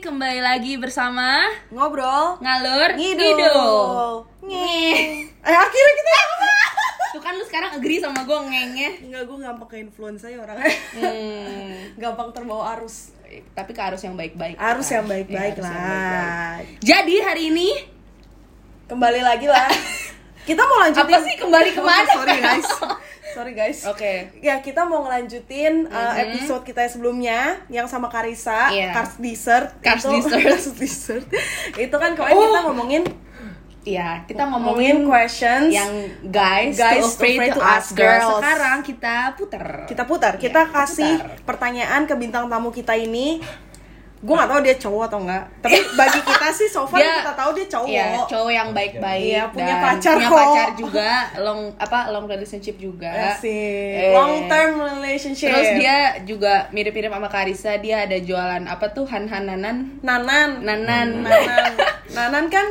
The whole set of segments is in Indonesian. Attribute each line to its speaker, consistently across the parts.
Speaker 1: lagi bersama
Speaker 2: Ngobrol
Speaker 1: Ngalur
Speaker 2: Ngidul
Speaker 1: Ngidul.
Speaker 2: Ngeh. Eh akhirnya kita
Speaker 1: Tuh kan lu sekarang agree sama gue ngengnya
Speaker 2: Enggak, gue gampang ke influence
Speaker 1: ya
Speaker 2: aja orang
Speaker 1: hmm.
Speaker 2: Gampang terbawa arus
Speaker 1: Tapi ke arus yang baik-baik
Speaker 2: Arus
Speaker 1: kan?
Speaker 2: yang baik-baik
Speaker 1: Iya, arus yang baik-baik.
Speaker 2: lah
Speaker 1: Jadi hari ini
Speaker 2: Kembali lagi lah Kita mau lanjutin Oh,
Speaker 1: Apa sih kembali kemana,
Speaker 2: Sorry
Speaker 1: Fel?
Speaker 2: guys Sorry guys
Speaker 1: Oke.
Speaker 2: Ya kita mau ngelanjutin uh, episode kita yang sebelumnya Yang sama Karisa
Speaker 1: Mm-hmm. Iya.
Speaker 2: Cars Dessert
Speaker 1: Cars
Speaker 2: itu,
Speaker 1: Dessert.
Speaker 2: Cars Dessert Itu kan kemarin kita ngomongin
Speaker 1: Ya kita
Speaker 2: Ngomongin
Speaker 1: ngomongin
Speaker 2: questions
Speaker 1: yang guys,
Speaker 2: Guys
Speaker 1: too afraid, to, ask, girls. Sekarang kita puter
Speaker 2: kita putar
Speaker 1: Iya,
Speaker 2: kita
Speaker 1: kita
Speaker 2: kasih
Speaker 1: putar.
Speaker 2: pertanyaan ke bintang tamu kita ini gue nggak tahu dia cowok atau enggak tapi bagi kita sih so far
Speaker 1: Dia-
Speaker 2: kita tahu dia cowok
Speaker 1: Iya, cowok yang baik-baik
Speaker 2: Iya, punya
Speaker 1: dan
Speaker 2: pacar
Speaker 1: punya
Speaker 2: kok.
Speaker 1: pacar juga, long apa long relationship juga.
Speaker 2: Asik.
Speaker 1: Eh.
Speaker 2: Ya long term relationship
Speaker 1: Terus dia juga mirip-mirip sama Karisa, dia ada jualan apa tuh han-hananan,
Speaker 2: nanan
Speaker 1: nanan.
Speaker 2: nanan nanan kan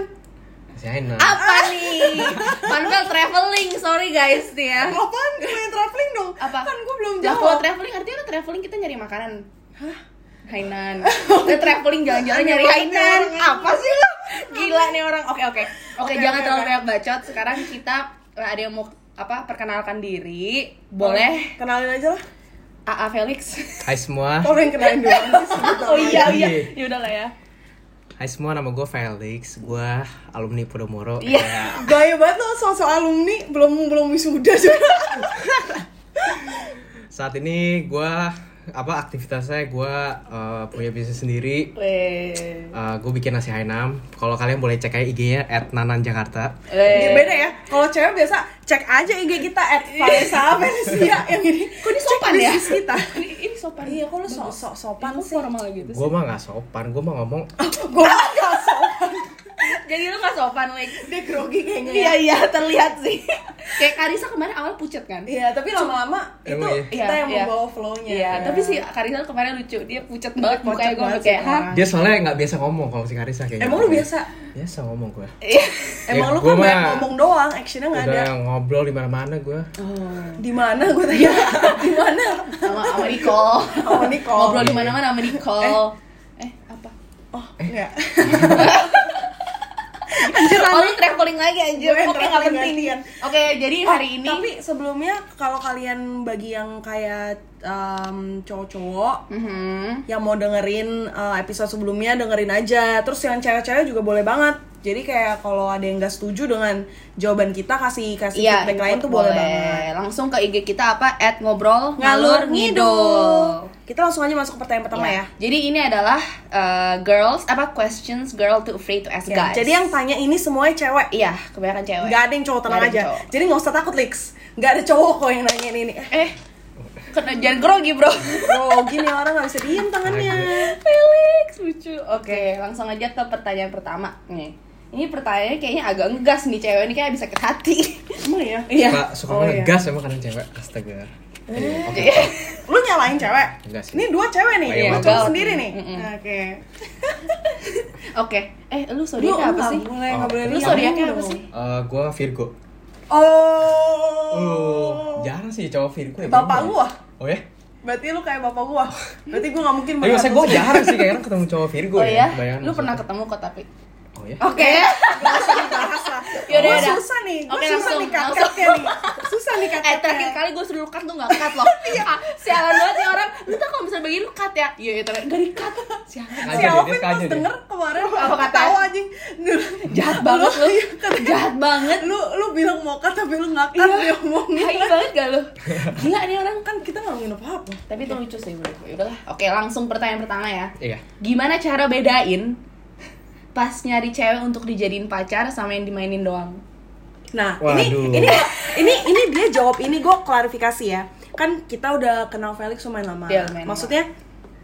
Speaker 3: Zainal.
Speaker 2: Ah.
Speaker 1: Apa nih? Manuel traveling, sorry guys nih ya.
Speaker 2: apaan gue yang traveling dong
Speaker 1: Apa?
Speaker 2: kan gue belum
Speaker 1: Lah, kalau
Speaker 2: jawab
Speaker 1: traveling artinya kan traveling kita nyari makanan. Hah? Hainan. Kita traveling jalan-jalan nyari Hainan. Apa sih lu? Gila nih orang. Oke, oke.
Speaker 2: Oke,
Speaker 1: Oke, jangan
Speaker 2: oke,
Speaker 1: terlalu
Speaker 2: oke.
Speaker 1: banyak bacot. Sekarang kita eh, ada yang mau apa perkenalkan diri boleh
Speaker 2: kenalin aja lah
Speaker 1: AA Felix
Speaker 3: Hai semua.
Speaker 2: kalau yang kenalin dulu
Speaker 1: oh iya iya
Speaker 3: Iya.
Speaker 1: ya udahlah ya
Speaker 3: Hai semua, nama gue Felix. Gue alumni Podomoro.
Speaker 1: Iya.
Speaker 3: Ya.
Speaker 2: gaya banget lo soal soal alumni belum belum wisuda juga
Speaker 3: Saat ini gue apa aktivitasnya gue eh, punya bisnis sendiri.
Speaker 1: Weh.
Speaker 3: gue bikin nasi Hainam. Kalau kalian boleh cek aja IG-nya @nananjakarta.
Speaker 1: Eh,
Speaker 2: beda ya kalau cewek biasa cek aja IG kita at Vanessa Felicia yang ini
Speaker 1: Iya. Kok ini sopan ya?
Speaker 2: bisnis kita
Speaker 1: Ini, ini sopan.
Speaker 2: Iya, kok lu sok sok sopan
Speaker 1: Kok
Speaker 2: sih?
Speaker 1: formal gitu sih.
Speaker 3: Gue mah nggak sopan. Gue mah ngomong.
Speaker 2: Gue gak sopan.
Speaker 1: Jadi lu gak sopan, Lex.
Speaker 2: Dia grogi kayaknya. ya.
Speaker 1: Iya, iya, terlihat sih. Kayak Karisa kemarin awal pucet kan?
Speaker 2: Iya, tapi lama-lama itu
Speaker 3: Emang iya.
Speaker 2: kita yang
Speaker 1: Iya,
Speaker 2: membawa flow-nya.
Speaker 1: Iya, tapi si Karisa kemarin lucu. Dia pucet banget
Speaker 2: Pucet
Speaker 1: mukanya gue
Speaker 2: banget
Speaker 1: kayak,
Speaker 2: sih
Speaker 1: "Hah?"
Speaker 2: orang.
Speaker 3: Dia soalnya nggak biasa ngomong kalau si Karisa kayaknya.
Speaker 2: Emang lu biasa?
Speaker 3: Biasa ngomong gue.
Speaker 1: Iya.
Speaker 2: Emang lu
Speaker 3: Eh, gua
Speaker 2: kan banyak
Speaker 3: mah
Speaker 2: ngomong doang, actionnya nggak ada.
Speaker 3: Udah ngobrol di mana-mana gue.
Speaker 2: Di mana gue tanya?
Speaker 1: Iya.
Speaker 2: Di mana? Oh,
Speaker 1: Sama sama Nicole.
Speaker 2: Sama Nicole.
Speaker 1: Ngobrol di mana-mana sama Nicole. Eh, apa?
Speaker 2: Oh,
Speaker 3: Eh.
Speaker 2: enggak.
Speaker 1: Oh, lu traveling lagi anjir.
Speaker 2: Gue yang
Speaker 1: Oke, nggak
Speaker 2: traveling
Speaker 1: penting.
Speaker 2: gantian.
Speaker 1: Oke, jadi Eh, hari ini
Speaker 2: Oh, Tapi sebelumnya kalau kalian bagi yang kayak em, cowok-cowok
Speaker 1: Mhm.
Speaker 2: yang mau dengerin uh, episode sebelumnya dengerin aja terus yang cewek-cewek juga boleh banget jadi kayak kalau ada yang gak setuju dengan jawaban kita kasih kasih
Speaker 1: Iya,
Speaker 2: feedback lain tuh
Speaker 1: input
Speaker 2: boleh, banget
Speaker 1: Langsung ke IG kita apa? At ngobrol
Speaker 2: ngalur ngidul kita langsung aja masuk ke pertanyaan pertama ya,
Speaker 1: Jadi ini adalah uh, girls apa questions girl too afraid to ask
Speaker 2: Ya,
Speaker 1: guys.
Speaker 2: jadi yang tanya ini semuanya cewek
Speaker 1: iya kebanyakan cewek.
Speaker 2: nggak ada yang cowok tenang
Speaker 1: Nggak ada
Speaker 2: aja
Speaker 1: yang cowok.
Speaker 2: jadi nggak usah takut Lix nggak ada cowok kok yang nanyain ini Eh,
Speaker 1: Eh kena jangan grogi bro.
Speaker 2: bro gini orang nggak bisa diem tangannya
Speaker 1: Felix lucu. Oke langsung aja ke pertanyaan pertama nih. Ini pertanyaannya kayaknya agak ngegas nih cewek ini kayak bisa sakit hati.
Speaker 2: emang ya
Speaker 1: Iya.
Speaker 3: Suka, suka
Speaker 2: Oh, iya. Eh.
Speaker 3: ngegas emang kadang cewek. Astaga. Iya, oke.
Speaker 2: lu nyalain cewek
Speaker 3: Enggak sih.
Speaker 2: ini dua cewek nih lu
Speaker 3: Iya,
Speaker 1: betul.
Speaker 2: cowok sendiri nih
Speaker 1: Mm-mm.
Speaker 2: oke
Speaker 1: Oke. Eh
Speaker 2: lu
Speaker 1: lu zodiaknya apa
Speaker 2: nggak
Speaker 1: sih?
Speaker 2: boleh nggak
Speaker 3: Oh.
Speaker 2: boleh
Speaker 1: Lu
Speaker 2: lihat
Speaker 1: zodiaknya apa
Speaker 2: dong.
Speaker 1: sih?
Speaker 3: Eh, gue Virgo.
Speaker 2: Oh.
Speaker 3: Oh, jarang sih cowok Virgo ya.
Speaker 2: Bapak
Speaker 3: Bingung
Speaker 2: gua.
Speaker 3: ya. Oh ya?
Speaker 2: Berarti lu kayak bapak gua. Berarti gua nggak mungkin
Speaker 3: Tapi maksudnya gue jarang sih kayaknya ketemu cowok Virgo
Speaker 1: Oh
Speaker 3: ya.
Speaker 1: ya,
Speaker 3: bayangan
Speaker 1: lu pernah
Speaker 3: maksudnya.
Speaker 1: ketemu kok tapi. Iya.
Speaker 3: Oh ya.
Speaker 1: Oke.
Speaker 2: bahas lah.
Speaker 1: Yaudah,
Speaker 2: Gua
Speaker 1: yaudah.
Speaker 2: susah nih. Gua
Speaker 1: Oke,
Speaker 2: susah
Speaker 1: langsung,
Speaker 2: nih kakak
Speaker 1: langsung.
Speaker 2: nih. Susah nih kakak.
Speaker 1: Eh terakhir kali gue suruh lu cut tuh gak cut loh
Speaker 2: Iya.
Speaker 1: Ah, Sialan banget sih orang Lu tuh kalau misalnya bagi lu cut ya Iya iya tapi gak di cut Sialan
Speaker 2: Si Alvin
Speaker 3: Sengaja dia,
Speaker 2: pas
Speaker 3: sengaja dia.
Speaker 2: denger kemarin
Speaker 1: Apa kata?
Speaker 2: ketawa anjing.
Speaker 1: Jahat banget lu
Speaker 2: Iya,
Speaker 1: Jahat banget
Speaker 2: Lu lu bilang mau kat tapi lu ngakak dia ngomongin.
Speaker 1: Iya. Hai banget gak lu Gila nih orang
Speaker 2: Kan kita nggak ngomongin apa-apa.
Speaker 1: Tapi itu lucu sih menurut gue Yaudah lah Oke langsung pertanyaan pertama ya
Speaker 3: Iya.
Speaker 1: Gimana cara bedain Pas nyari cewek untuk dijadiin pacar sama yang dimainin doang
Speaker 2: Nah,
Speaker 3: Waduh.
Speaker 2: ini ini ini ini dia jawab ini gue klarifikasi ya. Kan kita udah kenal Felix lumayan lama.
Speaker 1: Iya, lumayan lama.
Speaker 2: Maksudnya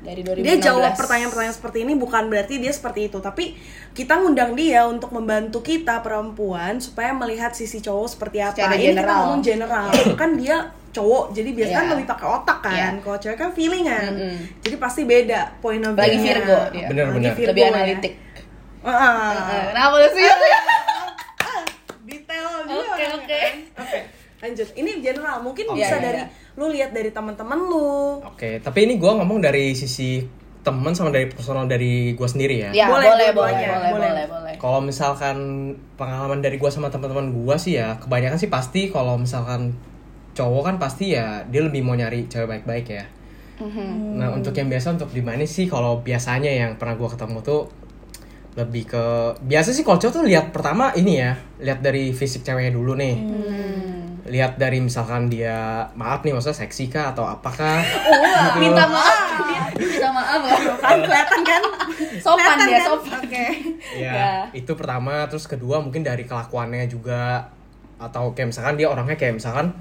Speaker 1: Dari 2016
Speaker 2: dia jawab pertanyaan-pertanyaan seperti ini bukan berarti dia seperti itu tapi kita ngundang dia untuk membantu kita perempuan supaya melihat sisi cowok seperti apa
Speaker 1: Secara
Speaker 2: ini kita
Speaker 1: general.
Speaker 2: ngomong general kan dia cowok jadi biasanya kan
Speaker 1: Iya.
Speaker 2: lebih pakai otak kan
Speaker 1: Iya.
Speaker 2: kalau cewek kan feelingan
Speaker 1: Mm-mm.
Speaker 2: jadi pasti beda point of
Speaker 1: Apalagi
Speaker 2: view-nya.
Speaker 1: Virgo dia.
Speaker 3: Bener,
Speaker 2: Apalagi
Speaker 3: bener.
Speaker 2: Virgo
Speaker 1: Lebih
Speaker 2: ya.
Speaker 1: analitik
Speaker 2: Ah, ah.
Speaker 1: Eh, Kenapa lu sih?
Speaker 2: detail dia
Speaker 1: Oke
Speaker 2: orangnya. kan?
Speaker 1: oke
Speaker 2: Oke, Oh, lanjut ini general mungkin
Speaker 3: Oke.
Speaker 2: bisa
Speaker 1: Iya,
Speaker 2: dari lu lihat dari teman-teman lu
Speaker 3: Oke, tapi ini gue ngomong dari sisi temen sama dari personal dari gua sendiri ya.
Speaker 1: Ya,
Speaker 2: Boleh,
Speaker 1: boleh, boleh, boleh,
Speaker 2: dua-duanya,
Speaker 1: boleh,
Speaker 2: boleh.
Speaker 1: boleh,
Speaker 3: Kalau misalkan pengalaman dari gua sama teman-teman gua sih ya kebanyakan sih pasti kalau misalkan cowok kan pasti ya dia lebih mau nyari cewek baik-baik ya.
Speaker 1: Mhm.
Speaker 3: Nah untuk yang biasa untuk di mana sih kalau biasanya yang pernah gua ketemu tuh lebih ke biasa sih kalau cowok tuh lihat pertama ini ya lihat dari fisik ceweknya dulu nih. Lihat dari misalkan dia maaf nih maksudnya seksi kah atau apakah?
Speaker 2: Ah.
Speaker 1: Wah, minta maaf dia minta maaf loh.
Speaker 2: kan kelihatan kan
Speaker 1: sopan
Speaker 2: Kelihatan
Speaker 1: dia
Speaker 2: kan?
Speaker 1: sopan
Speaker 2: Oke.
Speaker 3: Ya, itu pertama, terus kedua mungkin dari kelakuannya juga atau kayak misalkan dia orangnya kayak misalkan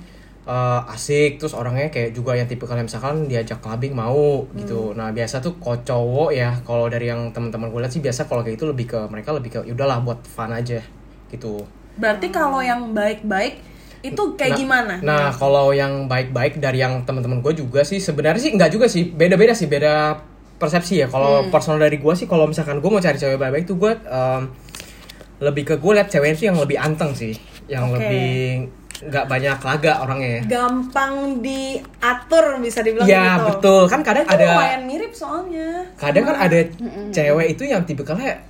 Speaker 3: eh, asik, terus orangnya kayak juga yang tipikal yang misalkan diajak clubbing mau gitu. Nah, biasa tuh kalau cowok ya, kalau dari yang teman-teman gue lihat sih biasa kalau kayak itu lebih ke mereka lebih ke ya udahlah buat fun aja gitu.
Speaker 2: berarti kalau yang baik-baik itu kayak
Speaker 3: Nah-
Speaker 2: gimana
Speaker 3: Nah, kalau yang baik-baik dari yang teman-teman gue juga sih sebenarnya sih nggak juga sih, beda-beda sih, beda persepsi ya. Kalau
Speaker 2: Hmm.
Speaker 3: personal dari gue sih, kalau misalkan gue mau cari cewek baik-baik tuh gue em, lebih ke gue liat cewek sih yang lebih anteng sih, yang
Speaker 2: Oke.
Speaker 3: lebih nggak banyak laga orangnya. ya.
Speaker 2: gampang diatur bisa dibilang
Speaker 3: Ya
Speaker 2: gitu
Speaker 3: betul, kan kadang
Speaker 2: itu
Speaker 3: ada
Speaker 2: lumayan mirip soalnya
Speaker 3: kadang kan ada cewek itu yang tipikalnya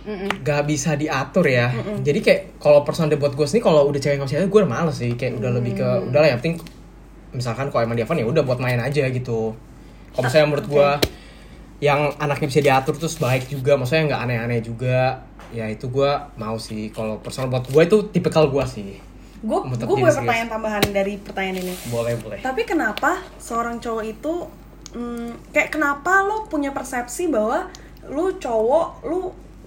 Speaker 1: Mm-mm.
Speaker 3: gak bisa diatur ya jadi kayak kalau personal buat gue sendiri kalau udah cewek ngasih aja gue udah males sih kayak udah lebih ke udah lah yang penting misalkan kalau emang dia fun ya udah buat main aja gitu kalau misalnya menurut gue yang anaknya bisa diatur terus baik juga maksudnya nggak aneh-aneh juga ya itu gue mau sih kalau personal buat gue itu tipikal gue sih
Speaker 2: gue gue
Speaker 3: Menurut diri
Speaker 2: boleh
Speaker 3: sendiri.
Speaker 2: pertanyaan tambahan dari pertanyaan ini
Speaker 3: boleh boleh
Speaker 2: tapi kenapa seorang cowok itu mm, kayak kenapa lo punya persepsi bahwa lu cowok lu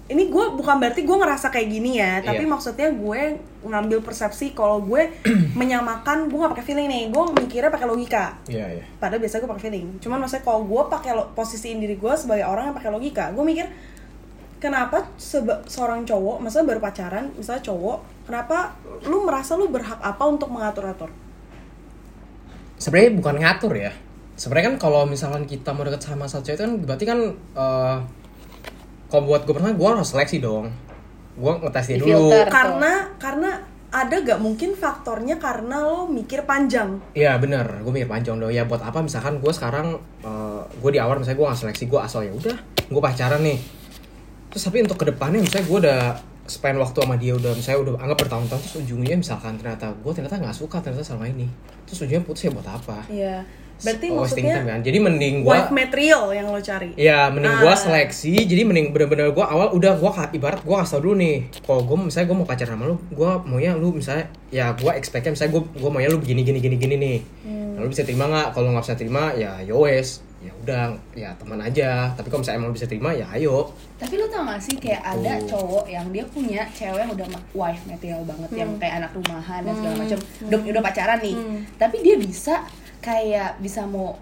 Speaker 2: ini gue bukan berarti gue ngerasa kayak gini ya tapi
Speaker 3: Iya.
Speaker 2: maksudnya gue ngambil persepsi kalau gue menyamakan gue nggak pakai feeling nih gue mikirnya pakai logika
Speaker 3: iya iya
Speaker 2: padahal biasanya gue pakai feeling cuman maksudnya kalau gue pakai lo- posisiin diri gue sebagai orang yang pakai logika gue mikir kenapa sebe- seorang cowok maksudnya baru pacaran misalnya cowok kenapa lu merasa lu berhak apa untuk mengatur atur
Speaker 3: sebenarnya bukan ngatur ya sebenarnya kan kalau misalkan kita mau deket sama satu cewek itu kan berarti kan eh kalau buat gue pernah gue harus seleksi dong gue ngetes dia dulu
Speaker 1: Di-filter. Betul.
Speaker 2: karena karena ada gak mungkin faktornya karena lo mikir panjang
Speaker 3: Iya bener, gue mikir panjang dong. Ya buat apa misalkan gue sekarang eh, gue di awal misalnya gue nggak seleksi gue asal ya udah gue pacaran nih. Terus tapi untuk kedepannya misalnya gue udah spend waktu sama dia udah misalnya udah anggap bertahun-tahun terus ujungnya misalkan ternyata gue ternyata nggak suka ternyata sama ini terus ujungnya putus ya buat apa?
Speaker 2: Iya. berarti
Speaker 3: Wasting
Speaker 2: maksudnya
Speaker 3: time kan. Jadi mending gue
Speaker 2: wife material yang lo cari
Speaker 3: Iya,
Speaker 2: Ah.
Speaker 3: mending gua seleksi. Jadi mending bener-bener gua awal udah gua ka- ibarat gua kasih tau dulu nih. Kalau gua misalnya gua mau pacaran sama lu, gua maunya lu misalnya ya gua expect-nya misalnya gua gua maunya lu begini gini gini gini nih.
Speaker 2: Hmm.
Speaker 3: Nah, lu bisa terima nggak? Kalau nggak bisa terima ya yowes. Ya udah, ya teman aja. Tapi kalau misalnya emang lu bisa terima ya ayo.
Speaker 1: tapi lu tau gak sih kayak ada cowok yang dia punya cewek yang udah ma- wife material banget yang kayak anak rumahan dan segala macam udah udah pacaran nih tapi dia bisa kayak bisa mau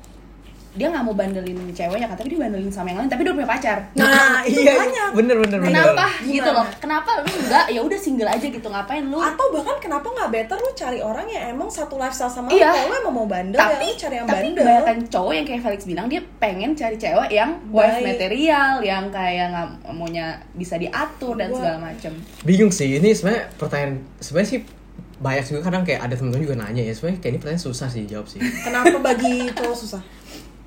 Speaker 1: dia nggak mau bandelin ceweknya kan tapi dia bandelin sama yang lain tapi dia udah punya pacar
Speaker 2: Nah, itu banyak.
Speaker 3: Iya, Bener bener
Speaker 1: kenapa
Speaker 3: bener.
Speaker 1: gitu loh kenapa lu nggak ya udah single aja gitu ngapain lu
Speaker 2: atau bahkan kenapa nggak better lo cari orang yang emang satu lifestyle sama lo
Speaker 1: Iya.
Speaker 2: kalau lo emang mau bandel ya
Speaker 1: tapi
Speaker 2: lo cari yang
Speaker 1: tapi
Speaker 2: bandel
Speaker 1: kebanyakan cowok yang kayak Felix bilang dia pengen cari cewek yang wife
Speaker 2: Baik.
Speaker 1: material yang kayak nggak maunya bisa diatur dan
Speaker 2: Gua-
Speaker 1: segala macam
Speaker 3: Bingung sih ini sebenarnya pertanyaan sebenarnya sih banyak juga kadang kayak ada temen-temen juga nanya ya sebenarnya kayak ini pertanyaan susah sih jawab sih.
Speaker 2: kenapa bagi cowok susah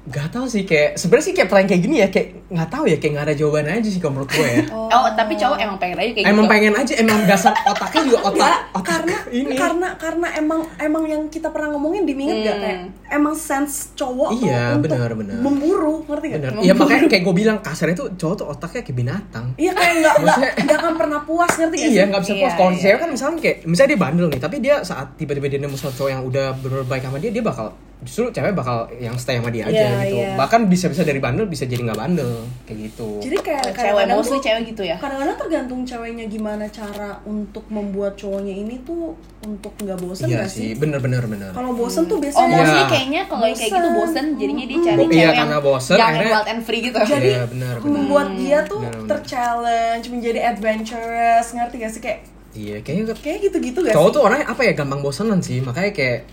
Speaker 3: Gak tau sih kayak sebenarnya sih kayak pertanyaan kayak gini ya kayak nggak tahu ya kayak nggak ada jawaban aja sih kalau menurut gue ya.
Speaker 1: oh. tapi cowok emang pengen aja kayak
Speaker 3: emang
Speaker 1: gitu
Speaker 3: pengen aja emang dasar otaknya juga otak otak
Speaker 2: Iya, karena
Speaker 3: ini
Speaker 2: karena karena emang emang yang kita pernah ngomongin diinget gak
Speaker 1: Hmm.
Speaker 2: kayak emang sense cowok tuh
Speaker 3: Iya,
Speaker 2: untuk
Speaker 3: benar, benar.
Speaker 2: memburu ngerti gak?
Speaker 3: bener ya makanya kayak gue bilang kasarnya tuh cowok tuh otaknya kayak binatang
Speaker 2: Iya kayak nggak nggak
Speaker 3: Maksudnya-
Speaker 2: nggak akan pernah puas ngerti gak sih?
Speaker 3: Iya nggak bisa
Speaker 1: Iya,
Speaker 3: puas. Kalau
Speaker 1: iya.
Speaker 3: cewek kan misalnya kayak misalnya dia bandel nih, tapi dia saat tiba-tiba dia nemu sama cowok yang udah bener baik sama dia, dia bakal justru cewek bakal yang stay sama dia aja
Speaker 2: Iya,
Speaker 3: gitu.
Speaker 2: iya.
Speaker 3: Bahkan bisa-bisa dari bandel bisa jadi nggak bandel kayak gitu.
Speaker 2: Jadi kayak
Speaker 1: Oh, cewek
Speaker 2: kadang-kadang
Speaker 1: mostly
Speaker 2: tuh-
Speaker 1: cewek gitu ya
Speaker 2: Kadang-kadang tergantung ceweknya gimana cara untuk membuat cowoknya ini tuh untuk nggak bosen
Speaker 3: iya
Speaker 2: gak sih?
Speaker 3: sih, bener-bener bener.
Speaker 2: Kalau bosen tuh
Speaker 1: Oh,
Speaker 2: biasanya
Speaker 3: Iya.
Speaker 1: mostly kayaknya kalau yang kayak gitu
Speaker 2: Bosen.
Speaker 1: bosen, jadinya dia cari
Speaker 3: Bo-
Speaker 1: cewek
Speaker 3: iya,
Speaker 1: yang
Speaker 3: karena bosen,
Speaker 1: yang
Speaker 3: akhirnya-
Speaker 1: wild and free gitu.
Speaker 2: jadi
Speaker 3: Iya, benar, benar.
Speaker 2: membuat dia tuh
Speaker 3: Benar, benar.
Speaker 2: terchallenge, menjadi adventurous, ngerti gak sih kayak
Speaker 3: Iya kayaknya
Speaker 2: kayak gitu-gitu
Speaker 1: Iya
Speaker 2: gak
Speaker 3: cowok
Speaker 2: sih?
Speaker 3: tuh orangnya apa ya gampang bosanan sih, makanya kayak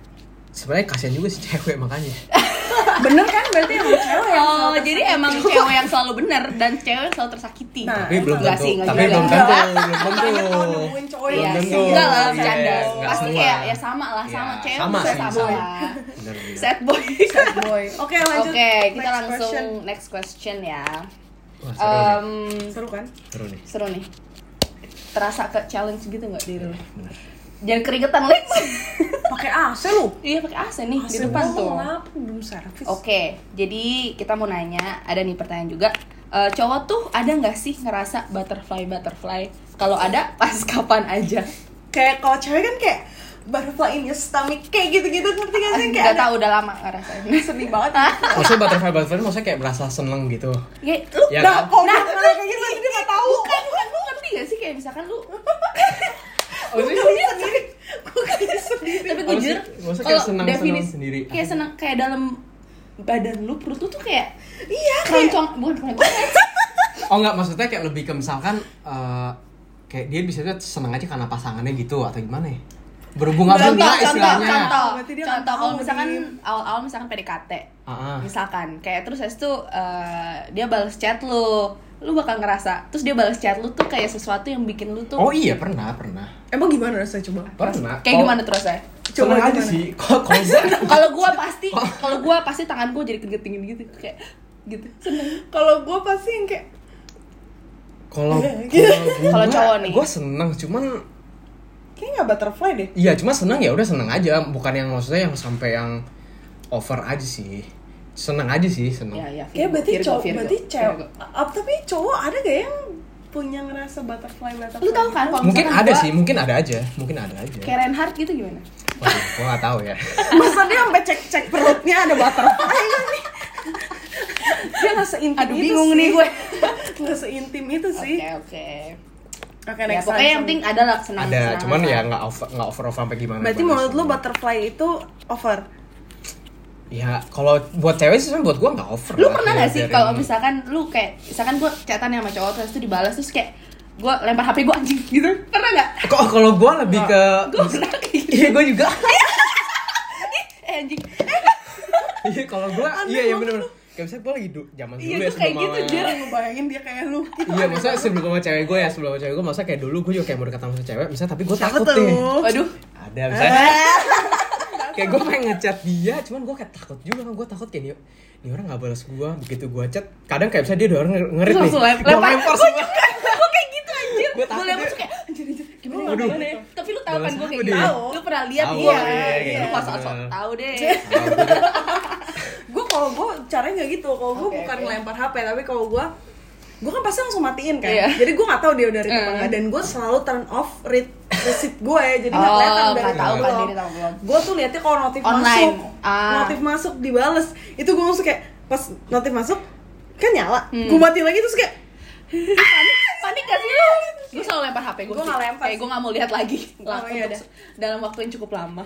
Speaker 3: sebenarnya kasihan juga sih cewek makanya.
Speaker 2: bener kan berarti yang cewek yang
Speaker 1: Oh,
Speaker 2: selalu
Speaker 1: jadi emang cewek yang selalu benar dan cewek yang selalu tersakiti.
Speaker 2: Nah,
Speaker 3: tapi belum
Speaker 1: Enggak
Speaker 3: tentu
Speaker 1: sih, enggak
Speaker 3: tapi
Speaker 1: juga. Iya.
Speaker 3: belum
Speaker 1: Enggak.
Speaker 3: tentu belum
Speaker 2: tertekan. Banyak tau
Speaker 3: tentu
Speaker 2: nemuin cowok
Speaker 1: Iya,
Speaker 2: yang
Speaker 3: Belum
Speaker 1: sih.
Speaker 3: tentu.
Speaker 1: enggak lah,
Speaker 3: Iya,
Speaker 1: bercanda.
Speaker 3: enggak
Speaker 1: Pasti
Speaker 3: semua.
Speaker 1: kayak ya sama lah, sama
Speaker 3: Iya,
Speaker 1: cewek
Speaker 3: sama
Speaker 1: juga
Speaker 3: sih,
Speaker 1: sama,
Speaker 3: sama.
Speaker 1: lah.
Speaker 3: Bener, bener.
Speaker 1: Sad boy.
Speaker 2: boy. Oke
Speaker 1: Oke,
Speaker 2: lanjut.
Speaker 1: kita
Speaker 2: Next
Speaker 1: langsung
Speaker 2: question.
Speaker 1: next question ya.
Speaker 3: Wah, seru nih.
Speaker 1: Em,
Speaker 2: seru kan?
Speaker 3: seru nih
Speaker 1: seru nih. Terasa ke challenge gitu nggak diri lo?
Speaker 3: bener.
Speaker 1: Jangan keringetan, Lex.
Speaker 2: Pakai AC lu.
Speaker 1: Iya pakai AC nih di
Speaker 2: AC
Speaker 1: depan
Speaker 2: gua
Speaker 1: tuh.
Speaker 2: Kenapa belum servis?
Speaker 1: Oke, jadi kita mau nanya, ada nih pertanyaan juga. Eh, cowok tuh ada nggak sih ngerasa butterfly butterfly? Kalau ada, pas kapan aja?
Speaker 2: Kayak kalau cewek kan kayak butterfly in your stomach kayak gitu-gitu ngerti gak sih? kan Kayak
Speaker 1: Gak
Speaker 2: ada
Speaker 1: tahu udah lama ngerasain.
Speaker 2: sedih banget.
Speaker 3: maksudnya butterfly butterfly maksudnya kayak berasa seneng gitu
Speaker 1: Ya, lu
Speaker 3: Ya
Speaker 2: Nah,
Speaker 3: kan?
Speaker 2: kok nah, kayak gitu tapi dia gak tahu.
Speaker 1: bukan, bukan, lu ngerti gak sih kayak misalkan lu
Speaker 3: Oh,
Speaker 2: Gue kali sendiri. Gue kali sendiri.
Speaker 1: tapi gue
Speaker 3: Apa sih?
Speaker 1: jujur
Speaker 3: Maksudnya
Speaker 1: kalau
Speaker 3: kayak senang-senang
Speaker 1: definis-
Speaker 3: sendiri.
Speaker 1: kayak senang kayak dalam badan lu perut lu tuh kayak
Speaker 2: Iya, kayak
Speaker 1: keroncong bukan keroncong
Speaker 3: oh enggak maksudnya kayak lebih ke misalkan eh, kayak dia bisa tuh seneng aja karena pasangannya gitu atau gimana ya berhubungan
Speaker 2: Contoh,
Speaker 3: apa enggak
Speaker 2: contoh,
Speaker 3: istilahnya
Speaker 1: contoh
Speaker 2: Berarti dia nggak
Speaker 1: contoh kalau
Speaker 2: tahu,
Speaker 1: misalkan
Speaker 2: Dim.
Speaker 1: awal-awal misalkan PDKT
Speaker 3: Ah, ah.
Speaker 1: misalkan kayak terus habis itu eh, dia balas chat lu lu bakal ngerasa terus dia balas chat lu tuh kayak sesuatu yang bikin lu tuh
Speaker 3: oh iya Oh. pernah pernah
Speaker 2: Emang gimana rasanya coba?
Speaker 3: pernah
Speaker 1: kayak
Speaker 3: Kalau-
Speaker 1: gimana terus ya
Speaker 3: Coba
Speaker 2: Coba
Speaker 3: aja
Speaker 2: gimana?
Speaker 3: sih kalau kalau gua-
Speaker 1: kalau gua pasti
Speaker 3: Oh.
Speaker 1: kalau gua pasti tangan gua jadi keringet dingin gitu kayak gitu seneng
Speaker 2: Kalau gue pasti yang kayak
Speaker 3: kalau
Speaker 1: Gitu. Kalau cowok nih.
Speaker 3: gue seneng cuman
Speaker 2: kayak nggak butterfly deh.
Speaker 3: iya cuma seneng ya udah seneng aja bukan yang maksudnya yang sampai yang over aja sih seneng aja sih seneng
Speaker 1: ya ya
Speaker 2: Kayak
Speaker 1: Virgo,
Speaker 2: berarti
Speaker 1: Virgo,
Speaker 2: cowok,
Speaker 1: Virgo,
Speaker 2: berarti cewek.
Speaker 1: Virgo.
Speaker 2: Ap, tapi cowok ada gak yang punya ngerasa butterfly butterfly? gitu?
Speaker 1: lu tau kan kalau
Speaker 3: mungkin
Speaker 1: misalkan
Speaker 3: ada
Speaker 1: gua
Speaker 3: sih mungkin ada aja mungkin ada aja
Speaker 1: kayak Reinhardt gitu gimana
Speaker 3: Waduh, gue nggak tahu ya
Speaker 2: Masa dia sampai cek-cek perutnya ada butterfly kan nih? dia nggak seintim
Speaker 1: aduh
Speaker 2: itu
Speaker 1: bingung
Speaker 2: sih.
Speaker 1: nih gue
Speaker 2: Nggak seintim itu
Speaker 1: oke
Speaker 2: sih.
Speaker 1: oke
Speaker 2: Oke,
Speaker 1: ya pokoknya yang penting ada lah senang
Speaker 3: ada cuman ya nggak over nggak over over sampai gimana
Speaker 2: Berarti
Speaker 3: bagus.
Speaker 2: menurut lu butterfly itu over?
Speaker 3: ya kalau buat cewek sih sebenarnya buat gue nggak over
Speaker 1: lu
Speaker 3: lah.
Speaker 1: pernah
Speaker 3: Ya,
Speaker 1: gak sih
Speaker 3: biarin.
Speaker 1: kalau misalkan lu kayak misalkan gue chatan sama cowok terus itu dibalas terus kayak gue lempar hp gue anjing gitu pernah gak
Speaker 3: kok kalau gue lebih ke
Speaker 1: gue pernah kayak gitu
Speaker 3: iya gue juga
Speaker 1: eh, anjing
Speaker 3: iya kalau gue iya ya benar-benar kayak misalnya gue lagi du- zaman dulu
Speaker 1: Iya,
Speaker 3: ya
Speaker 1: gua kayak
Speaker 3: sebelum
Speaker 1: gitu,
Speaker 3: sama-
Speaker 1: Jer.
Speaker 2: Lu bayangin dia kayak lu.
Speaker 3: Iya, maksudnya sebelum sama cewek gue ya, sebelum sama cewek gue, masa kayak dulu gue juga kayak mau dekat sama cewek, misalnya tapi gue
Speaker 2: Siapa
Speaker 3: takut
Speaker 2: tuh?
Speaker 3: deh.
Speaker 1: waduh
Speaker 3: Ada
Speaker 1: Eh.
Speaker 3: misalnya. kayak gue pengen ngechat dia, cuman gue kayak takut juga kan, gue takut kayak nih, nih orang gak balas gue, begitu gue chat, kadang kayak misalnya dia udah orang ngerit
Speaker 1: terus
Speaker 3: nih,
Speaker 1: langsung lempar
Speaker 3: gue lempar
Speaker 1: gue
Speaker 3: semua.
Speaker 1: juga gue kayak gitu anjir
Speaker 3: Gua takut
Speaker 1: gue lempar
Speaker 3: deh.
Speaker 1: tuh kayak anjir anjir gimana ya,
Speaker 3: Waduh.
Speaker 1: gimana ya tapi lu tau kan
Speaker 3: Balas
Speaker 1: gue kayak
Speaker 3: apa
Speaker 1: gitu
Speaker 3: dia?
Speaker 1: Tahu. lu pernah lihat
Speaker 3: Tahu,
Speaker 1: iya
Speaker 3: iya, iya.
Speaker 1: lu pas soal tahu deh
Speaker 3: Ah, gua-
Speaker 2: gue kalau gue caranya nggak gitu kalau gue
Speaker 1: Oke,
Speaker 2: bukan
Speaker 1: oke.
Speaker 2: lempar HP tapi kalau gue gue kan pasti langsung matiin kan
Speaker 1: Iya.
Speaker 2: jadi gue nggak tahu dia udah read apa
Speaker 1: Mm.
Speaker 2: nggak dan gue selalu turn off read receipt gue jadi nggak
Speaker 1: Oh,
Speaker 2: kelihatan dari
Speaker 1: nggak tahu
Speaker 2: itu
Speaker 1: kan
Speaker 2: belum.
Speaker 1: diri tahu belum.
Speaker 2: gue tuh liatnya kalau notif
Speaker 1: Online.
Speaker 2: masuk
Speaker 1: Ah.
Speaker 2: notif masuk dibales itu gue langsung kayak pas notif masuk kan nyala
Speaker 1: Hmm.
Speaker 2: gue matiin lagi terus kayak
Speaker 1: panik gak sih lu gue selalu lempar hp gue
Speaker 2: Gua nggak lempar
Speaker 1: kayak gue Iya. nggak mau lihat lagi
Speaker 2: Oh,
Speaker 1: Untuk
Speaker 2: iya dah.
Speaker 1: dalam waktu yang cukup lama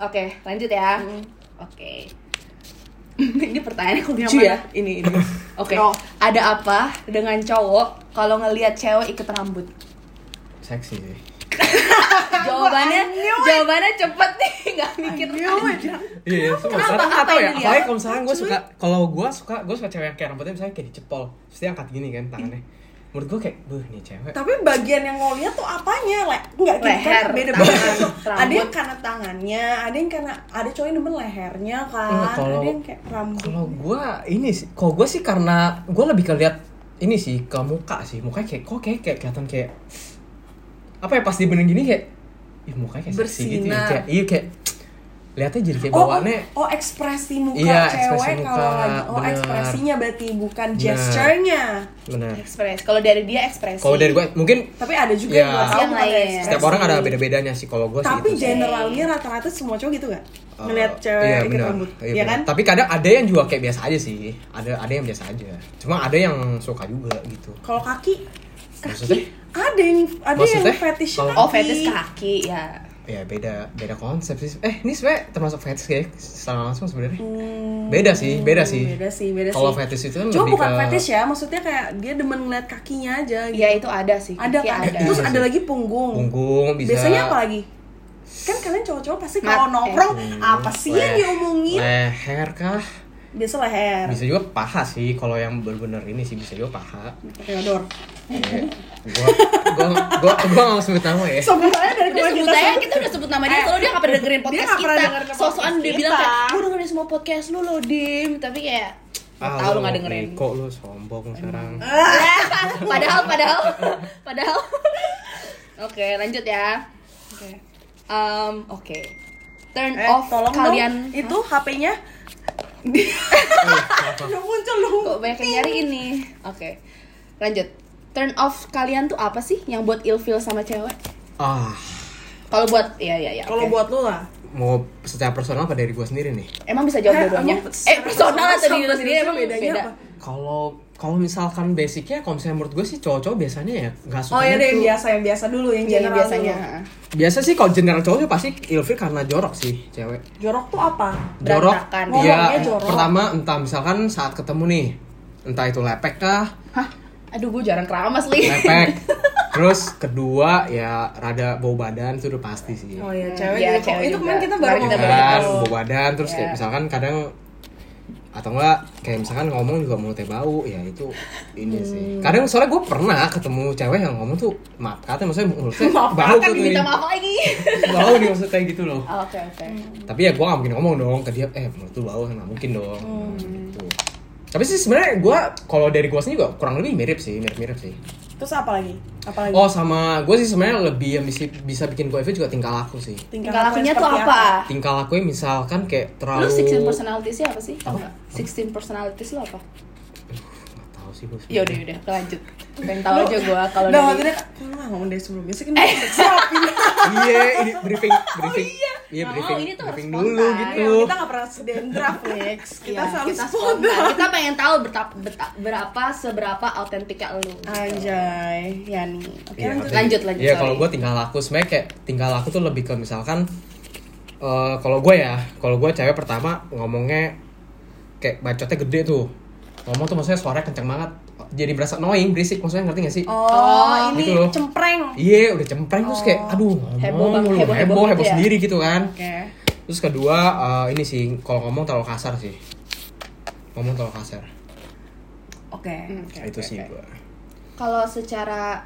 Speaker 1: oke lanjut ya oke ini pertanyaannya kok
Speaker 2: Yang
Speaker 1: lucu ya
Speaker 2: mana? ini ini
Speaker 1: oke
Speaker 2: No.
Speaker 1: ada apa dengan cowok kalau ngelihat cewek ikat rambut
Speaker 3: Seksi sih.
Speaker 1: jawabannya jawabannya cepet nih nggak mikir panjang.
Speaker 3: Iya, itu
Speaker 1: Kenapa?
Speaker 3: masalah
Speaker 1: Apa
Speaker 3: atau
Speaker 1: yang
Speaker 3: ya.
Speaker 1: dilihat?
Speaker 3: Apalagi kalau misalnya gue suka, kalau gue suka, gue suka cewek yang kayak rambutnya misalnya kayak dicepol, terus dia angkat gini kan tangannya. Menurut gue kayak, buh nih cewek.
Speaker 2: tapi bagian yang lo lihat tuh apanya le nggak gitu
Speaker 1: Leher,
Speaker 2: kan beda
Speaker 1: tangan,
Speaker 2: beda ada
Speaker 1: rambut.
Speaker 2: yang karena tangannya ada yang karena ada cowok yang demen lehernya kan
Speaker 3: Enggak, kalau-
Speaker 2: ada yang kayak rambut
Speaker 3: Kalau gue ini sih, kalau gue sih karena gue lebih ke lihat ini sih ke muka sih, mukanya kayak kok kayak kayak kelihatan kayak apa ya pas dibenerin gini kayak, ih mukanya kayak seksi gitu ya,
Speaker 2: Bersinar.
Speaker 3: kayak iya kayak lihatnya jadi kayak
Speaker 2: Oh,
Speaker 3: bawaannya
Speaker 2: oh, oh, ekspresi muka
Speaker 3: Iya, ekspresi
Speaker 2: cewek
Speaker 3: muka,
Speaker 2: kalau lagi oh
Speaker 3: bener.
Speaker 2: ekspresinya berarti bukan
Speaker 3: Bener.
Speaker 2: gesturenya
Speaker 3: benar.
Speaker 1: ekspresi kalau dari dia ekspresi
Speaker 3: Kalau dari gue mungkin
Speaker 2: tapi ada juga
Speaker 3: Iya.
Speaker 2: yang gua tahu
Speaker 1: Yang
Speaker 2: bukan
Speaker 1: lain.
Speaker 2: ekspresi.
Speaker 3: setiap orang ada beda-bedanya sih kalau gue sih.
Speaker 2: tapi
Speaker 3: itu sih.
Speaker 2: generalnya rata-rata semua cowok gitu gak
Speaker 3: Eh,
Speaker 2: ngeliat cewek
Speaker 3: iya,
Speaker 2: ikat
Speaker 3: benar.
Speaker 2: rambut
Speaker 3: Iya,
Speaker 2: iya,
Speaker 3: benar.
Speaker 2: kan
Speaker 3: Tapi kadang ada yang juga kayak biasa aja sih. Ada ada yang biasa aja. Cuma ada yang suka juga gitu.
Speaker 2: kalau kaki
Speaker 3: Maksudnya?
Speaker 2: ada yang ada
Speaker 3: Maksudnya?
Speaker 2: yang fetish
Speaker 3: Kalau-
Speaker 1: oh fetish kaki ya
Speaker 3: Ya beda beda konsep sih. Eh ini sebenarnya termasuk fetish ya secara langsung sebenarnya. beda sih, beda sih.
Speaker 2: Hmm. beda sih beda
Speaker 3: Kalau
Speaker 2: sih.
Speaker 3: fetish itu kan
Speaker 2: cuma
Speaker 3: lebih
Speaker 2: bukan
Speaker 3: ke-
Speaker 2: fetish ya maksudnya kayak dia demen ngeliat kakinya aja gitu
Speaker 1: ya itu ada sih
Speaker 2: ada
Speaker 1: kaki
Speaker 2: kan
Speaker 1: ada
Speaker 2: terus
Speaker 3: Iya
Speaker 2: ada
Speaker 3: sih.
Speaker 2: lagi punggung
Speaker 3: Punggung bisa.
Speaker 2: Biasanya apa lagi? Kan kalian cowok-cowok pasti
Speaker 1: Mat-
Speaker 2: kalau nongkrong
Speaker 3: Hmm,
Speaker 2: apa sih yang
Speaker 3: le-
Speaker 2: diomongin?
Speaker 3: Leher kah?
Speaker 2: biasa leher
Speaker 3: bisa juga paha sih kalau yang bener-bener ini sih bisa juga paha
Speaker 2: pakai odor
Speaker 3: Kayak gua gua gua gua nggak mau sebut nama ya
Speaker 2: sebenarnya dari
Speaker 1: Eh. Udah
Speaker 2: kemarin
Speaker 1: sebut
Speaker 2: kita
Speaker 1: aja, kita udah sebut nama dia,
Speaker 2: Eh,
Speaker 1: soalnya dia gak pernah dengerin
Speaker 2: dia
Speaker 1: podcast
Speaker 2: nggak pernah
Speaker 1: kita
Speaker 2: denger ke
Speaker 1: Sosokan
Speaker 2: podcast
Speaker 1: dia bilang kayak,
Speaker 2: kita.
Speaker 1: gue dengerin semua podcast lu lo, Dim Tapi kayak,
Speaker 3: Ah,
Speaker 1: tau lu gak dengerin
Speaker 3: Kok lu sombong sekarang?
Speaker 1: Padahal, padahal, padahal Oke, lanjut ya
Speaker 2: Oke.
Speaker 1: um, Oke Turn
Speaker 2: Eh,
Speaker 1: off
Speaker 2: tolong dong,
Speaker 1: kalian
Speaker 2: itu HP-nya udah muncul lu.
Speaker 1: Kok banyak yang nyari ini Oke, lanjut Turn off kalian tuh apa sih yang buat ilfeel sama cewek?
Speaker 3: Ah,
Speaker 1: Kalau buat, ya ya ya
Speaker 2: Kalau
Speaker 1: oke.
Speaker 2: buat lu lah.
Speaker 3: mau secara personal apa dari gua sendiri nih?
Speaker 1: Emang bisa
Speaker 2: Eh,
Speaker 1: jawab dua-duanya?
Speaker 2: emang
Speaker 1: Eh, personal atau
Speaker 2: sama
Speaker 1: diri lu sendiri
Speaker 2: diri
Speaker 1: emang
Speaker 2: bedanya
Speaker 1: beda?
Speaker 2: apa?
Speaker 3: Kalau kalau misalkan basicnya, kalau misalnya menurut gue sih cowok-cowok biasanya ya nggak suka.
Speaker 2: Oh ya deh yang biasa yang biasa dulu yang
Speaker 1: Iya,
Speaker 2: general
Speaker 1: biasanya
Speaker 2: dulu.
Speaker 1: ha.
Speaker 3: Biasa sih kalau general cowok sih pasti ilfil karena jorok sih cewek.
Speaker 2: Jorok tuh apa?
Speaker 3: Jorok,
Speaker 1: Berantakan.
Speaker 3: iya.
Speaker 2: Ngomongnya jorok.
Speaker 3: Pertama entah misalkan saat ketemu nih, entah itu lepek kah,
Speaker 1: Hah? Aduh, gue jarang keramas, Li.
Speaker 3: lepek. Terus kedua ya rada bau badan itu udah pasti sih.
Speaker 2: Oh ya cewek
Speaker 1: Iya,
Speaker 2: juga.
Speaker 1: cewek
Speaker 2: itu
Speaker 1: juga.
Speaker 2: kemarin kita baru
Speaker 1: Kemarin
Speaker 3: Ya
Speaker 1: kita
Speaker 2: ngomong.
Speaker 3: kan,
Speaker 2: itu.
Speaker 3: bau badan terus kayak
Speaker 1: Iya.
Speaker 3: misalkan kadang atau enggak kayak misalkan ngomong juga mulutnya bau ya itu ini sih kadang soalnya gue pernah ketemu cewek yang ngomong tuh maaf kata maksudnya mulutnya
Speaker 2: Maaf
Speaker 3: bau
Speaker 1: Kan
Speaker 3: tuh nih.
Speaker 1: diminta maaf lagi.
Speaker 3: bau nih maksudnya kayak gitu loh
Speaker 1: Oh, Oke, oke.
Speaker 2: Hmm,
Speaker 3: tapi ya gue gak mungkin ngomong dong ke dia eh menurut lu bau nggak mungkin dong
Speaker 1: Oh, iya.
Speaker 3: gitu tapi sih sebenarnya gue kalau dari gue sendiri juga kurang lebih mirip sih mirip-mirip sih
Speaker 2: Terus apa lagi? Apa lagi?
Speaker 3: oh sama gue sih sebenarnya lebih yang bisa, bisa bikin gue juga tingkah laku sih
Speaker 1: Tingkah lakunya tuh
Speaker 2: seperti
Speaker 1: apa?
Speaker 3: tingkah lakunya misalkan kayak terlalu
Speaker 1: Lu 16 personalities apa sih? Tau
Speaker 3: Apa?
Speaker 1: nggak? 16 personalities lu apa?
Speaker 3: Nggak tahu sih gue
Speaker 1: Ya udah, udah, lanjut. Pengen tahu aja gue kalau
Speaker 2: Nah,
Speaker 1: dari
Speaker 2: maksudnya kalau nggak ngomong dari sebelumnya sih kan dia udah siapin.
Speaker 3: iya ini briefing briefing iya,
Speaker 1: Nggak mau,
Speaker 3: briefing
Speaker 1: Oh, ini tuh harus
Speaker 3: briefing
Speaker 1: spontan.
Speaker 3: dulu gitu
Speaker 2: kita nggak pernah sedang draft Lex. Kita
Speaker 1: Iya,
Speaker 2: selalu
Speaker 1: kita
Speaker 2: spontan.
Speaker 1: Kita pengen tahu berta- beta- berapa seberapa autentiknya lu.
Speaker 2: Anjay, Yani. Oke,
Speaker 3: Iya,
Speaker 2: lanjut.
Speaker 3: tapi-
Speaker 1: Lanjut, lanjut,
Speaker 3: iya
Speaker 1: sorry.
Speaker 3: kalau gue tinggal laku sebenarnya kayak tinggal laku tuh lebih ke misalkan eh kalau gue ya kalau gue cewek pertama ngomongnya kayak bacotnya gede tuh ngomong tuh maksudnya suaranya kencang banget jadi berasa annoying berisik maksudnya ngerti gak sih
Speaker 2: Oh, ini
Speaker 3: Gitu loh.
Speaker 2: cempreng.
Speaker 3: Iya, udah cempreng terus kayak aduh ngomong
Speaker 1: Oh. Heboh banget, heboh,
Speaker 3: mulu, heboh,
Speaker 1: heboh
Speaker 3: heboh,
Speaker 1: gitu ya.
Speaker 3: sendiri gitu kan.
Speaker 2: Oke.
Speaker 3: Terus kedua eh, ini sih kalau ngomong terlalu kasar sih. Ngomong terlalu kasar.
Speaker 2: Oke.
Speaker 3: Nah, itu sih gue.
Speaker 1: Kalau secara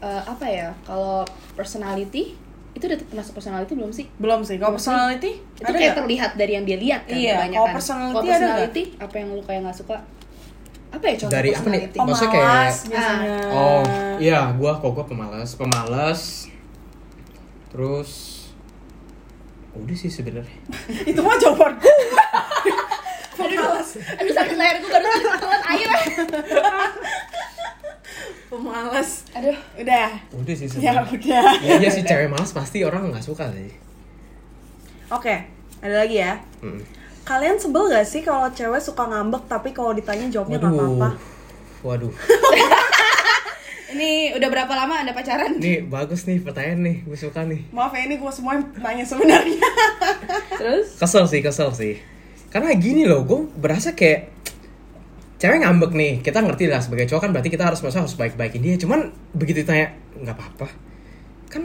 Speaker 1: eh, apa ya? Kalau personality itu udah termasuk personality belum sih?
Speaker 2: Belum sih. Kalau personality
Speaker 1: itu
Speaker 2: ada
Speaker 1: kayak
Speaker 2: nggak?
Speaker 1: terlihat dari yang dia lihat kan
Speaker 2: Iya,
Speaker 1: kebanyakan.
Speaker 2: kalau personality
Speaker 1: Kalau
Speaker 2: ada
Speaker 1: personality, apa yang lu kayak nggak suka apa ya contoh
Speaker 3: Dari apa nih?
Speaker 1: personality
Speaker 2: Oh,
Speaker 3: Maksudnya
Speaker 2: malas
Speaker 3: kayak-
Speaker 2: biasanya.
Speaker 3: Oh iya, gua kok gua pemalas, pemalas. Terus udah sih sebenarnya.
Speaker 2: Itu mah jawaban gue. Pemalas.
Speaker 1: aduh sakit leher gue baru telan air
Speaker 2: Pemalas.
Speaker 1: aduh
Speaker 2: Udah.
Speaker 3: Udah sih
Speaker 2: Ya
Speaker 3: sebenarnya.
Speaker 2: udah.
Speaker 3: Ya, iya sih cewek malas pasti orang nggak suka sih.
Speaker 2: Oke, ada lagi ya.
Speaker 3: Mm.
Speaker 2: Kalian sebel gak sih kalau cewek suka ngambek tapi kalau ditanya jawabnya nggak apa-apa?
Speaker 3: Waduh. Waduh.
Speaker 1: ini udah berapa lama anda pacaran
Speaker 3: Nih bagus nih pertanyaan nih, gue suka nih.
Speaker 2: Maaf ya ini gue semua yang nanya sebenarnya.
Speaker 1: terus
Speaker 3: Kesel sih, kesel sih. Karena gini loh, gue berasa kayak cewek ngambek nih. Kita ngerti lah sebagai cowok kan berarti kita harus masa harus baik-baikin dia. Cuman begitu ditanya nggak apa-apa. Kan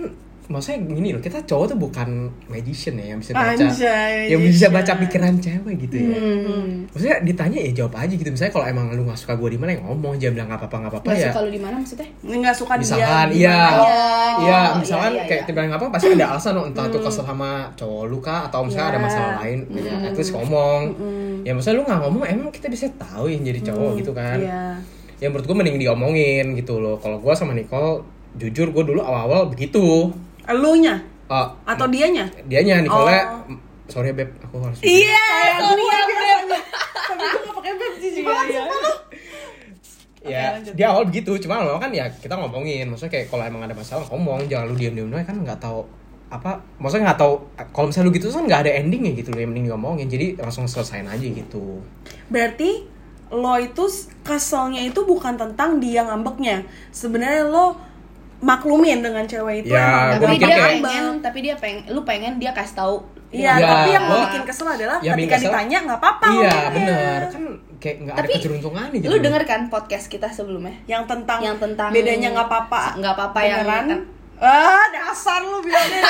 Speaker 3: maksudnya gini loh, kita cowok tuh bukan magician ya yang bisa baca
Speaker 2: Anjay,
Speaker 3: yang bisa
Speaker 2: magician.
Speaker 3: baca pikiran cewek gitu ya.
Speaker 1: Hmm.
Speaker 3: Maksudnya ditanya ya jawab aja gitu. Misalnya kalau emang lu nggak suka gue di mana ya ngomong jangan bilang nggak apa-apa nggak apa-apa
Speaker 1: nggak
Speaker 3: ya.
Speaker 1: suka lu di mana maksudnya
Speaker 2: Nggak suka
Speaker 3: Misalkan
Speaker 2: dia.
Speaker 3: iya.
Speaker 2: gimana ya.
Speaker 1: Oh,
Speaker 3: Iya,
Speaker 1: iya,
Speaker 3: misalkan
Speaker 1: iya,
Speaker 3: kayak
Speaker 1: iya.
Speaker 3: tiba-tiba apa pasti ada alasan loh, entah itu kesel sama cowok lu kah atau misalnya ada
Speaker 2: Iya.
Speaker 3: masalah lain, ya at least ngomong. Ya maksudnya lu nggak ngomong emang kita bisa tahu yang jadi cowok gitu kan.
Speaker 2: Iya.
Speaker 3: Ya menurut gue mending diomongin gitu loh. Kalau gue sama Nicole jujur gue dulu awal-awal begitu.
Speaker 2: Elunya
Speaker 3: Eh,
Speaker 2: atau dianya?
Speaker 3: dianya Nicole
Speaker 2: Oh.
Speaker 3: "M- sorry ya, beb aku harus
Speaker 2: Iya, sorry ya beb. Tapi gue nggak pakai beb sih juga. iya.
Speaker 3: ya
Speaker 2: lanjut.
Speaker 3: dia awal begitu cuma awal kan ya kita ngomongin maksudnya kayak kalau emang ada masalah ngomong jangan lu diem diem doang kan nggak tahu apa maksudnya nggak tahu kalau misalnya lu gitu kan nggak ada endingnya gitu loh yang mending ngomongin jadi langsung selesain aja gitu
Speaker 2: Berarti lo itu s- keselnya itu bukan tentang dia ngambeknya. Sebenarnya lo maklumin dengan cewek itu
Speaker 3: Ya,
Speaker 2: emang
Speaker 3: gua
Speaker 1: tapi
Speaker 3: mikir
Speaker 1: dia
Speaker 3: kayak-
Speaker 1: pengen tapi dia pengen lu pengen dia kasih tahu
Speaker 2: Iya,
Speaker 3: Ya,
Speaker 2: tapi yang lo
Speaker 3: gua-
Speaker 2: bikin kesel adalah
Speaker 3: Ya, bikin
Speaker 2: ketika
Speaker 3: kesel.
Speaker 2: ditanya nggak apa-apa.
Speaker 3: iya
Speaker 2: ngomongnya.
Speaker 3: bener kan kayak nggak ada
Speaker 1: Tapi,
Speaker 3: keceruntungan gitu
Speaker 1: lu denger kan podcast kita sebelumnya
Speaker 2: Yang tentang
Speaker 1: yang tentang
Speaker 2: bedanya nggak apa-apa.
Speaker 1: nggak apa-apa yang
Speaker 2: Beneran. ah dasar lu bilangnya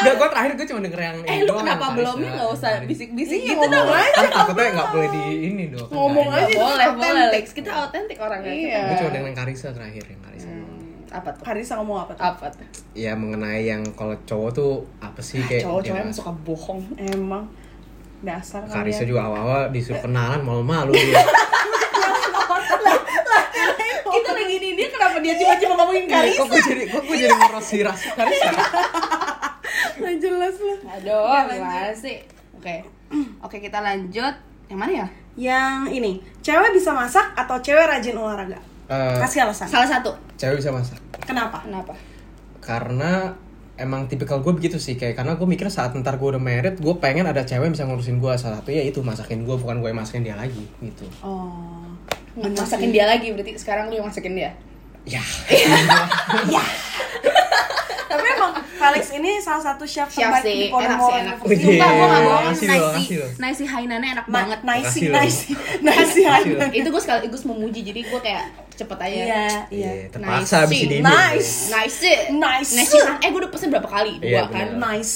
Speaker 3: Enggak, gue terakhir gue cuma denger yang
Speaker 1: eh
Speaker 3: ini
Speaker 1: lu
Speaker 3: doang,
Speaker 1: kenapa
Speaker 3: yang
Speaker 1: belum
Speaker 3: Farisa,
Speaker 1: nggak usah
Speaker 3: yang Farisa.
Speaker 1: bisik-bisik
Speaker 2: Iya,
Speaker 1: gitu
Speaker 2: ngomong
Speaker 1: dong
Speaker 2: aja.
Speaker 3: Kan takutnya nggak boleh di ini dong kan
Speaker 2: Ngomong
Speaker 3: nggak
Speaker 2: aja.
Speaker 3: enak.
Speaker 1: boleh boleh
Speaker 2: Otentik.
Speaker 1: Lex kita otentik orangnya
Speaker 2: Iya.
Speaker 1: kita.
Speaker 3: Gue cuma denger yang Karisa terakhir yang Karisa
Speaker 1: Hmm.
Speaker 3: doang.
Speaker 1: apa tuh Ah,
Speaker 2: Harisa ngomong apa tuh
Speaker 1: apa tuh
Speaker 3: Ya mengenai yang kalau cowok tuh apa sih kayak
Speaker 1: Ah, cowok-cowok
Speaker 3: dia-
Speaker 1: yang suka bohong
Speaker 2: emang dasar
Speaker 3: Karisa
Speaker 2: kalian. Eh.
Speaker 3: juga awal-awal disuruh kenalan malu-malu dia.
Speaker 1: kita lagi ini dia kenapa dia tiba-tiba ngomongin
Speaker 3: Iya, Kok gue jadi kok gue jadi ngoros si Ras- Eh, Karisa.
Speaker 2: Nggak jelas lah
Speaker 1: aduh gimana sih Iya, oke oke kita lanjut yang mana ya
Speaker 2: yang ini cewek bisa masak atau cewek rajin olahraga
Speaker 3: Eh,
Speaker 2: kasih alasan
Speaker 1: salah satu
Speaker 3: cewek bisa masak.
Speaker 2: kenapa
Speaker 1: Nah. kenapa
Speaker 3: karena emang tipikal gue begitu sih kayak karena gue mikir saat ntar gue udah married gue pengen ada cewek yang bisa ngurusin gue salah satunya itu masakin gue bukan gue yang masakin dia lagi gitu
Speaker 2: oh
Speaker 1: masakin dia lagi berarti sekarang lu yang masakin dia
Speaker 3: ya
Speaker 2: tapi emang Felix ini salah satu chef
Speaker 1: siap
Speaker 2: terbaik di
Speaker 1: sih
Speaker 2: Konoha
Speaker 1: enak sih enak
Speaker 3: Wih,
Speaker 1: sumpah gue gak bohong
Speaker 3: Oh, iya. makasih loh, makasih
Speaker 1: Iya, nasi iya.
Speaker 3: loh.
Speaker 1: nasi hainannya enak
Speaker 2: Ma-
Speaker 1: banget
Speaker 2: Nice,
Speaker 3: Makasih loh.
Speaker 2: nice, nice,
Speaker 3: Makasih loh.
Speaker 1: itu gue sekaligus memuji jadi gue kayak cepet aja
Speaker 2: Iya, iya.
Speaker 3: Iya, terpaksa
Speaker 1: Nice
Speaker 3: abis
Speaker 1: sih.
Speaker 3: ini
Speaker 2: Nice.
Speaker 1: nice
Speaker 2: Nice.
Speaker 1: nice eh gue udah pesen berapa kali dua
Speaker 3: Iya,
Speaker 1: kan
Speaker 3: bener.
Speaker 2: Nice.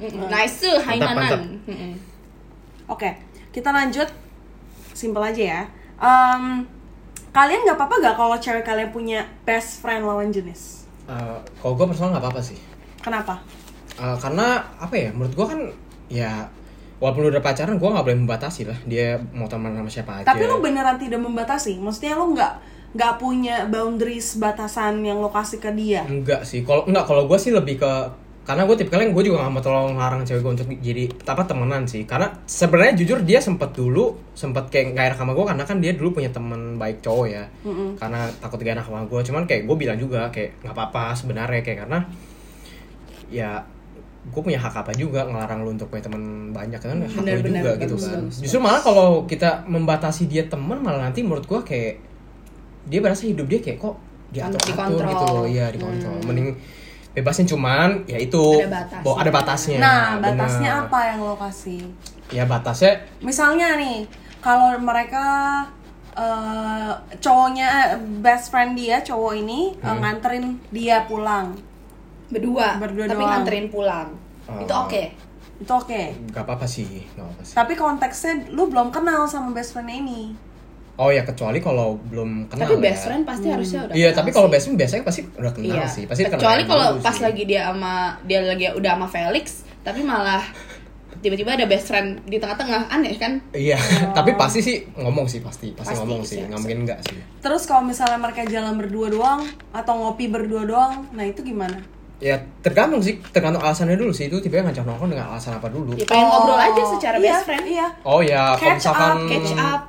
Speaker 1: Mm-mm. nice
Speaker 3: mantap.
Speaker 1: hainanan Mm-mm.
Speaker 2: Oke, kita lanjut. Simple aja ya. Em, kalian nggak apa-apa nggak kalau cewek kalian punya best friend lawan jenis?
Speaker 3: Eh, kalau gue personal nggak apa-apa sih
Speaker 2: Kenapa?
Speaker 3: Eh, karena apa ya menurut gue kan ya walaupun udah pacaran gue nggak boleh membatasi lah dia mau teman sama siapa aja
Speaker 2: Tapi lo beneran tidak membatasi. Maksudnya lo nggak nggak punya boundaries batasan yang lo kasih ke dia.
Speaker 3: Enggak sih, kalau enggak kalau gue sih lebih ke karena gue tipikalnya yang gue juga gak mau tolong larang cewek gue untuk jadi apa temenan sih karena sebenarnya jujur dia sempet dulu sempet kayak gak enak sama gue karena kan dia dulu punya temen baik cowok ya karena takut gak enak sama gue cuman kayak gue bilang juga kayak nggak apa-apa sebenarnya kayak karena ya gue punya hak apa juga ngelarang lu untuk punya teman banyak kan hak lu
Speaker 1: Bener, bener,
Speaker 3: juga gitu
Speaker 1: bagus,
Speaker 3: kan
Speaker 1: bagus,
Speaker 3: justru malah kalau kita membatasi dia teman malah nanti menurut gue kayak dia merasa hidup dia kayak kok diatur atur
Speaker 1: Dikontrol. Hmm.
Speaker 3: gitu loh iya dikontrol mending bebasin cuman ya itu
Speaker 1: Ada batasnya.
Speaker 3: bahwa ada batasnya
Speaker 2: Nah,
Speaker 3: bener.
Speaker 2: batasnya apa yang lo kasih?
Speaker 3: ya batasnya
Speaker 2: Misalnya nih, kalau mereka eh, cowoknya eh, best friend dia cowok ini eh,
Speaker 3: Hmm.
Speaker 2: nganterin dia pulang,
Speaker 1: berdua,
Speaker 2: Berdua
Speaker 1: tapi
Speaker 2: doang.
Speaker 1: nganterin pulang
Speaker 3: Oh.
Speaker 1: itu oke
Speaker 2: itu oke.
Speaker 3: gak apa apa sih gak apa sih
Speaker 2: Tapi konteksnya lu belum kenal sama best friendnya ini.
Speaker 3: oh ya kecuali kalau belum kenal
Speaker 1: tapi best
Speaker 3: ya.
Speaker 1: friend pasti harusnya udah
Speaker 3: iya
Speaker 1: kenal
Speaker 3: tapi kalau
Speaker 1: sih.
Speaker 3: best friend biasanya pasti udah kenal
Speaker 1: iya
Speaker 3: sih pasti kenal
Speaker 1: kecuali
Speaker 3: dulu
Speaker 1: kalau pas
Speaker 3: sih.
Speaker 1: lagi dia sama dia lagi udah sama Felix tapi malah tiba-tiba ada best friend di tengah-tengah aneh kan
Speaker 3: iya tapi pasti sih ngomong sih pasti pasti,
Speaker 1: Pasti,
Speaker 3: ngomong sih
Speaker 1: siap,
Speaker 3: nggak mungkin enggak sih
Speaker 2: Terus kalau misalnya mereka jalan berdua doang atau ngopi berdua doang, nah itu gimana?
Speaker 3: ya tergantung sih tergantung alasannya dulu sih itu tiba ngajak nongkrong dengan alasan apa dulu
Speaker 1: ya, pengen
Speaker 2: Oh,
Speaker 1: ngobrol aja secara
Speaker 2: iya,
Speaker 1: best friend
Speaker 2: Iya.
Speaker 3: oh ya kalau
Speaker 2: Catch up,
Speaker 3: misalkan
Speaker 1: catch up.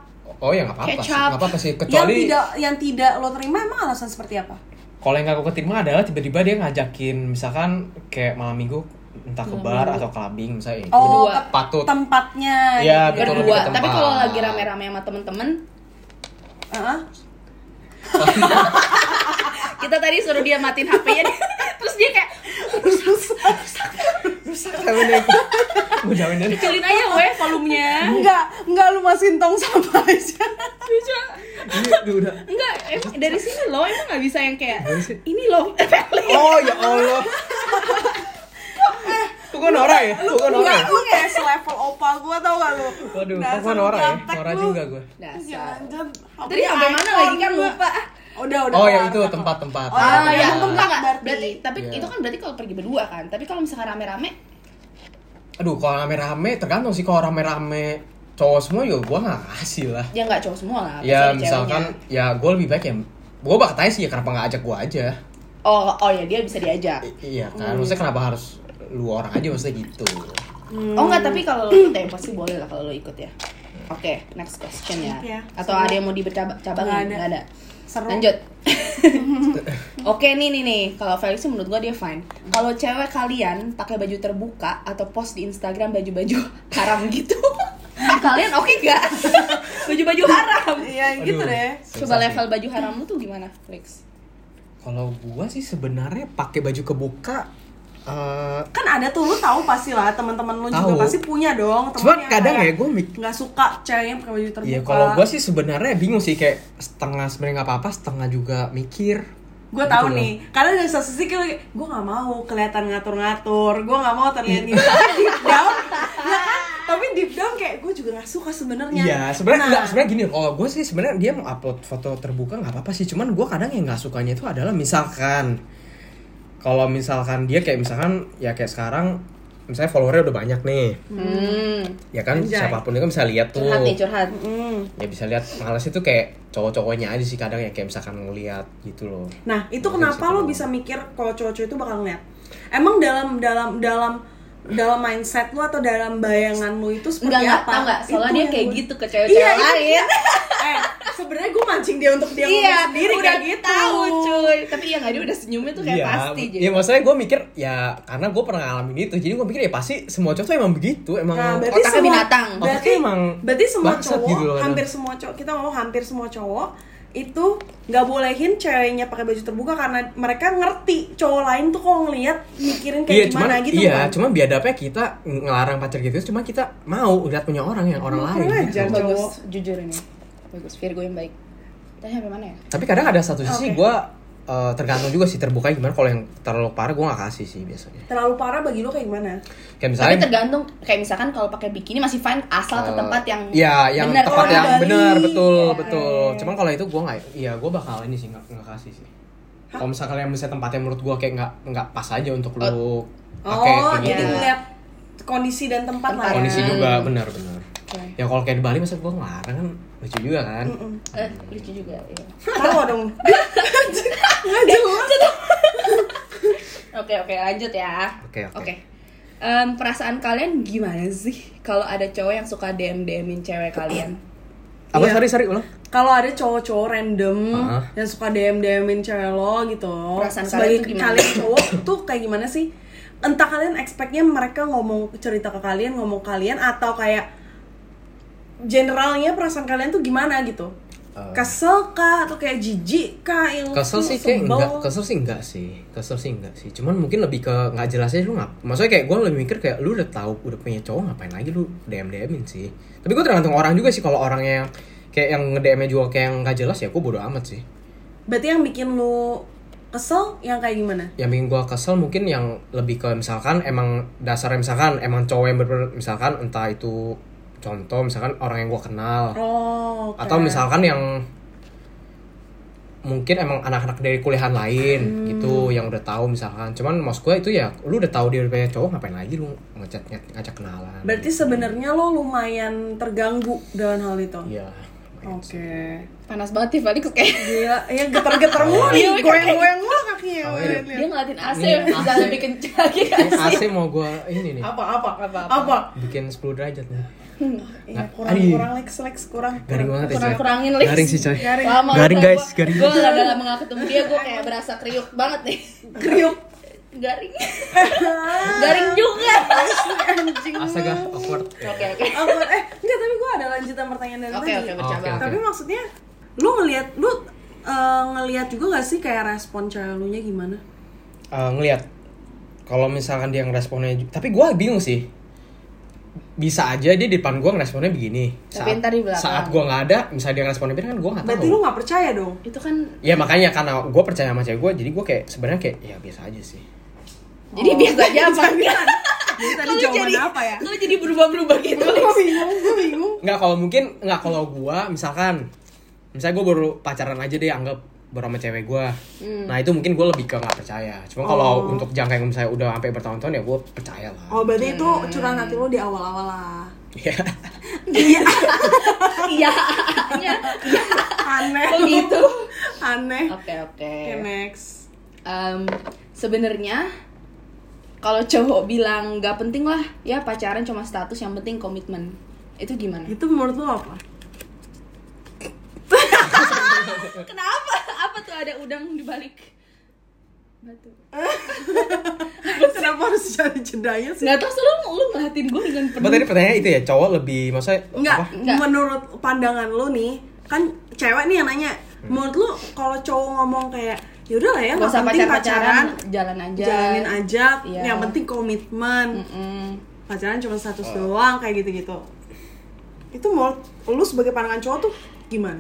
Speaker 3: oh ya nggak apa-apa
Speaker 1: Catch
Speaker 3: sih
Speaker 1: up.
Speaker 3: nggak apa-apa sih
Speaker 2: Yang
Speaker 3: kecuali
Speaker 2: tidak yang tidak lo terima emang alasan seperti apa?
Speaker 3: kalau yang gak aku keterima adalah tiba-tiba dia ngajakin misalkan kayak malam minggu entah ke bar atau clubbing misalnya itu
Speaker 2: Oh,
Speaker 1: Berdua.
Speaker 2: ke
Speaker 3: patut
Speaker 2: tempatnya.
Speaker 3: Iya,
Speaker 2: gitu.
Speaker 3: betul.
Speaker 1: berdua
Speaker 3: Tempat.
Speaker 1: tapi kalau lagi rame-rame sama temen-temen
Speaker 2: Heeh.
Speaker 1: kita tadi suruh dia matiin HP-nya terus dia kayak
Speaker 3: rusak tahunnya itu gue jauhin dari
Speaker 1: kecilin aja weh volumenya
Speaker 2: Eh, Enggak, enggak lu masukin tong sampah aja.
Speaker 1: lucu
Speaker 3: ini udah- udah
Speaker 1: enggak em- dari sini loh emang nggak bisa yang kayak
Speaker 3: Dari sini.
Speaker 1: ini loh Felix
Speaker 3: oh ya allah tuh kan orang ya tuh kan orang
Speaker 2: Enggak, Eh, lu kayak selevel opa gua tau gak lu?
Speaker 3: waduh
Speaker 2: Dasar
Speaker 3: tuh kan orang ya
Speaker 2: gaptek
Speaker 3: orang
Speaker 2: lu.
Speaker 3: juga gue
Speaker 1: dasar
Speaker 2: Jangan-jangan
Speaker 1: tadi sampai mana lagi kan
Speaker 2: gua.
Speaker 1: lupa ah
Speaker 2: Udah, udah.
Speaker 3: oh
Speaker 2: kelar.
Speaker 3: ya itu tempat-tempat
Speaker 2: Oh,
Speaker 1: Ah,
Speaker 2: iya.
Speaker 1: ya,
Speaker 2: Yang
Speaker 1: enggak,
Speaker 2: tempat
Speaker 1: enggak.
Speaker 2: berarti.
Speaker 1: berarti tapi
Speaker 3: Iya.
Speaker 1: itu kan berarti kalau pergi berdua kan. Tapi kalau misalkan rame-rame,
Speaker 3: aduh kalau rame-rame tergantung sih kalau rame-rame cowok semua juga gue nggak kasih lah
Speaker 1: ya nggak cowok semua lah. pasti
Speaker 3: ya
Speaker 1: ada
Speaker 3: misalkan
Speaker 1: ceweknya.
Speaker 3: ya gue lebih baik ya gue bakal tanya sih ya kenapa nggak ajak gue aja
Speaker 1: oh oh ya dia bisa diajak.
Speaker 3: I- iya kan maksudnya kenapa harus lu orang aja maksudnya gitu
Speaker 1: Oh enggak, tapi kalau lo ikut ya pasti boleh lah kalau lo ikut ya. Oke, next question ya.
Speaker 2: Iya.
Speaker 1: Atau ada yang mau
Speaker 2: Nggak ada.
Speaker 1: dibercabang-cabangin? Nggak ada.
Speaker 2: Seru.
Speaker 1: Lanjut. Oke nih nih nih, kalau Felix sih menurut gua dia fine. Kalau cewek kalian pakai baju terbuka atau post di Instagram baju-baju haram gitu, kalian oke nggak? Baju-baju haram.
Speaker 2: Iya, gitu
Speaker 3: Aduh.
Speaker 2: deh.
Speaker 1: Coba
Speaker 3: Sensasi.
Speaker 1: level baju harammu tuh gimana, Felix?
Speaker 3: kalau gua sih sebenarnya pakai baju kebuka eh
Speaker 2: Kan ada tuh lu tahu pasti lah teman-teman lu juga
Speaker 3: Tahu.
Speaker 2: pasti punya dong teman
Speaker 3: cuman
Speaker 2: yang
Speaker 3: kadang ya
Speaker 2: kayak
Speaker 3: gue mik
Speaker 2: nggak suka ceweknya pakai baju terbuka.
Speaker 3: Iya kalau gua sih sebenarnya bingung sih kayak setengah sebenarnya nggak apa-apa setengah juga mikir
Speaker 2: gue tahu
Speaker 3: Betul.
Speaker 2: nih karena dari satu sisi kayak gue nggak mau kelihatan ngatur-ngatur gue nggak mau terlihat gitu Tapi deep down ya kan tapi deep down kayak gue juga nggak suka sebenarnya
Speaker 3: Iya, sebenarnya
Speaker 2: Nah,
Speaker 3: enggak, sebenarnya gini. Kalau gue sih sebenarnya dia mau upload foto terbuka nggak apa-apa sih. Cuman gue kadang yang nggak sukanya itu adalah misalkan kalau misalkan dia kayak misalkan ya kayak sekarang misalnya followernya udah banyak nih,
Speaker 1: Hmm.
Speaker 3: ya kan
Speaker 2: Anjay.
Speaker 3: siapapun itu kan bisa lihat tuh.
Speaker 1: Curhat nih, curhat.
Speaker 2: mm.
Speaker 3: Ya bisa lihat males itu kayak cowok-cowoknya aja sih kadang ya kayak misalkan ngeliat gitu loh.
Speaker 2: Nah, itu
Speaker 3: Mungkin
Speaker 2: kenapa
Speaker 3: situ
Speaker 2: lo
Speaker 3: doang.
Speaker 2: bisa mikir kalau cowok-cowok itu bakal ngeliat? Emang dalam dalam dalam dalam mindset lo atau dalam bayangan lo itu seperti
Speaker 1: Enggak, enggak,
Speaker 2: apa?
Speaker 1: tau enggak? Soalnya
Speaker 2: Itu
Speaker 1: dia
Speaker 2: yang
Speaker 1: kayak
Speaker 2: gue-
Speaker 1: gitu ke cewek-cewek
Speaker 2: itu-
Speaker 1: lain.
Speaker 2: eh, sebenarnya gue mancing dia untuk dia ngomong sendiri
Speaker 1: Iya, udah
Speaker 2: kayak gitu.
Speaker 1: tahu cuy. Tapi iya nggak dia udah senyumnya tuh kayak pasti.
Speaker 3: ya maksudnya gue mikir ya karena gue pernah ngalamin itu jadi gue mikir ya pasti semua cowok tuh emang begitu emang
Speaker 2: Nah, berarti
Speaker 3: otaknya
Speaker 2: semua
Speaker 1: binatang.
Speaker 3: Otaknya
Speaker 2: Berarti
Speaker 3: emang
Speaker 2: berarti semua
Speaker 3: bangsat
Speaker 2: cowok,
Speaker 3: gitu loh kadang.
Speaker 2: hampir semua cowok, kita ngomong hampir semua cowok itu nggak bolehin ceweknya pakai baju terbuka karena mereka ngerti cowok lain tuh kalau ngelihat mikirin kayak gimana
Speaker 3: cuman,
Speaker 2: gitu
Speaker 3: iya
Speaker 2: bukan?
Speaker 3: cuman biadabnya kita ngelarang pacar gitu cuma kita mau lihat punya orang yang orang
Speaker 2: Nah, Kurang
Speaker 3: lain
Speaker 2: ajar.
Speaker 3: gitu.
Speaker 1: Bagus,
Speaker 2: cowok.
Speaker 1: jujur ini. Bagus, Virgo yang baik. Tadi sampai mana ya?
Speaker 3: tapi kadang ada satu sisi
Speaker 2: Oke.
Speaker 3: gue eh, tergantung juga sih terbuka gimana kalau yang terlalu parah gue gak kasih sih biasanya
Speaker 2: Terlalu parah bagi lo kayak gimana?
Speaker 3: kayak
Speaker 1: Tapi
Speaker 3: misalnya
Speaker 1: tergantung kayak misalkan kalau pakai bikini masih fine asal ke
Speaker 3: eh,
Speaker 1: tempat yang
Speaker 3: Iya, yang
Speaker 1: bener.
Speaker 3: tempat
Speaker 2: Oh,
Speaker 3: yang
Speaker 2: di Bali.
Speaker 3: benar betul
Speaker 2: Iya.
Speaker 3: betul cuman kalau itu gue nggak iya gue bakal ini sih nggak nggak kasih sih kalau misalkan yang misalnya tempatnya menurut gue kayak nggak nggak pas aja untuk lu pakai
Speaker 2: oh,
Speaker 3: kayak
Speaker 2: jadi
Speaker 3: gitu
Speaker 1: iya.
Speaker 2: ngeliat kondisi dan tempat, lah. ya.
Speaker 3: kondisi
Speaker 1: Hmm.
Speaker 3: juga benar-benar
Speaker 1: Oke.
Speaker 3: ya kalau kayak di Bali masa gue ngelarang kan lucu juga kan
Speaker 1: Eh, lucu juga iya.
Speaker 2: Tahu dong. Nggak jelas.
Speaker 1: Oke oke lanjut ya.
Speaker 3: Oke, oke.
Speaker 1: Em, perasaan kalian gimana sih kalau ada cowok yang suka DM DMin cewek kalian?
Speaker 3: apa
Speaker 2: Iya.
Speaker 3: sorry sorry ulang
Speaker 2: Kalau ada cowok-cowok random
Speaker 3: Heeh.
Speaker 2: yang suka DM DMin cewek lo gitu,
Speaker 1: Perasaan
Speaker 2: sebagai
Speaker 1: kalian tuh gimana?
Speaker 2: kalian cowok tuh kayak gimana sih? Entah kalian expectnya mereka ngomong cerita ke kalian, ngomong kalian atau kayak generalnya perasaan kalian tuh gimana gitu?
Speaker 3: Eh.
Speaker 2: Kesel kah atau kayak jijik kah yang
Speaker 3: kesel
Speaker 2: lu
Speaker 3: sih
Speaker 2: sebel?
Speaker 3: kayak enggak kesel sih enggak sih kesel sih enggak sih cuman mungkin lebih ke nggak jelasnya lu nggak maksudnya kayak gue lebih mikir kayak lu udah tahu udah punya cowok ngapain lagi lu dm dmin sih tapi gue tergantung orang juga sih kalau orangnya yang kayak yang nge-DM-nya juga kayak yang nggak jelas ya gue bodo amat sih
Speaker 2: Berarti yang bikin lu kesel yang kayak gimana?
Speaker 3: yang bikin gue kesel mungkin yang lebih ke misalkan emang dasarnya misalkan emang cowok yang bener misalkan entah itu contoh misalkan orang yang gue kenal
Speaker 2: Oh. oke.
Speaker 3: atau misalkan yang mungkin emang anak-anak dari kuliahan
Speaker 2: Hmm.
Speaker 3: lain gitu yang udah tahu misalkan cuman maksud gue itu ya lu udah tahu dia udah punya cowok ngapain lagi lu ngechat ngajak, ngajak kenalan
Speaker 2: Berarti sebenarnya lo lumayan terganggu dengan hal itu.
Speaker 3: iya gitu. lumayan
Speaker 2: Oke.
Speaker 3: sih.
Speaker 1: Panas banget ya Fadil kayak
Speaker 2: Gila, ya geter-geter mulu nih,
Speaker 1: Iya,
Speaker 2: goyang-goyang mulu kakinya.
Speaker 3: Oh,
Speaker 2: Wah,
Speaker 3: iya.
Speaker 2: lihat.
Speaker 1: dia ngeliatin AC
Speaker 3: Iya,
Speaker 1: bisa
Speaker 3: AC.
Speaker 1: lebih kencang lagi kan?
Speaker 3: Ini AC mau gue ini nih
Speaker 2: Apa apa
Speaker 1: Apa,
Speaker 2: apa?
Speaker 1: apa?
Speaker 2: Apa?
Speaker 3: bikin 10 derajat nih
Speaker 2: Iya,
Speaker 3: Nah,
Speaker 2: kurang
Speaker 3: aduh.
Speaker 2: kurang Lex Lex kurang.
Speaker 3: garing banget ya
Speaker 1: Kurang-
Speaker 3: coy.
Speaker 1: kurangin, Lex.
Speaker 3: garing sih coy
Speaker 2: Garing.
Speaker 1: Lama
Speaker 3: Garing,
Speaker 1: banget
Speaker 3: guys, garing.
Speaker 1: Gue udah lama gak ketemu dia, gue kayak berasa kriuk banget nih.
Speaker 2: Kriuk. Ah,
Speaker 1: Garing. Garing juga.
Speaker 2: Anjing.
Speaker 3: astaga awkward
Speaker 1: Oke oke.
Speaker 2: Apa eh enggak tapi gue ada lanjutan pertanyaan dari
Speaker 1: Oke
Speaker 2: tadi.
Speaker 1: oke
Speaker 3: Oke,
Speaker 1: bercabang.
Speaker 3: oke.
Speaker 2: Tapi maksudnya lu ngelihat lu eh, ngelihat juga gak sih kayak respon cewek lu nya gimana?
Speaker 3: Eh, ngelihat kalau misalkan dia ngeresponnya ju- tapi gue bingung sih bisa aja dia di depan gue ngeresponnya begini
Speaker 1: Tapi ntar di belakang.
Speaker 3: saat gue nggak ada misalnya dia ngeresponnya begini kan gue nggak
Speaker 2: Berarti
Speaker 3: tahu
Speaker 2: lu nggak percaya dong.
Speaker 1: Itu kan
Speaker 3: ya makanya karena gue percaya sama cewek gue jadi gue kayak sebenarnya kayak ya biasa aja sih
Speaker 1: jadi biasa aja apa enggak?
Speaker 2: Jadi tadi
Speaker 1: Kalau
Speaker 2: jawaban
Speaker 1: jadi
Speaker 2: apa ya?
Speaker 1: Kalau jadi berubah-berubah gitu.
Speaker 2: Gue bingung, gue bingung.
Speaker 3: nggak kalau mungkin nggak kalau gue misalkan misalnya gue baru pacaran aja deh anggap baru sama cewek gue
Speaker 1: Hmm.
Speaker 3: nah itu mungkin gue lebih ke nggak percaya cuma kalau
Speaker 1: Oh.
Speaker 3: untuk jangka yang misalnya udah sampai bertahun-tahun ya gue percaya lah
Speaker 2: Oh berarti itu curahan hati lo di awal-awal lah
Speaker 3: Iya.
Speaker 2: Iya
Speaker 1: Iya. Iya.
Speaker 2: aneh
Speaker 1: Kok gitu?
Speaker 2: Aneh Oke
Speaker 1: Oke oke.
Speaker 2: next
Speaker 1: Em, Sebenarnya kalau cowok bilang gak penting lah, ya pacaran cuma status yang penting komitmen. Itu gimana?
Speaker 2: Itu menurut lo apa?
Speaker 1: Kenapa? Apa tuh ada udang di balik batu?
Speaker 2: Kenapa harus cari jedanya sih?
Speaker 1: Nggak tahu selalu lu ngeliatin gue dengan penuh.
Speaker 3: Berarti tadi pertanyaannya itu ya cowok lebih maksudnya apa?
Speaker 2: Enggak,
Speaker 1: Enggak.
Speaker 2: menurut pandangan lo nih Kan cewek nih yang nanya Menurut lo kalau cowok ngomong kayak Yaudah lah ya,
Speaker 1: Gak
Speaker 2: nggak iya.
Speaker 1: usah
Speaker 2: penting
Speaker 1: pacar pacaran,
Speaker 2: pacaran,
Speaker 1: jalan aja.
Speaker 2: Jalanin aja,
Speaker 1: Iya.
Speaker 2: yang penting komitmen
Speaker 1: Mm-mm.
Speaker 2: Pacaran cuma status doang, kayak gitu-gitu Itu menurut lo sebagai pandangan cowok tuh gimana?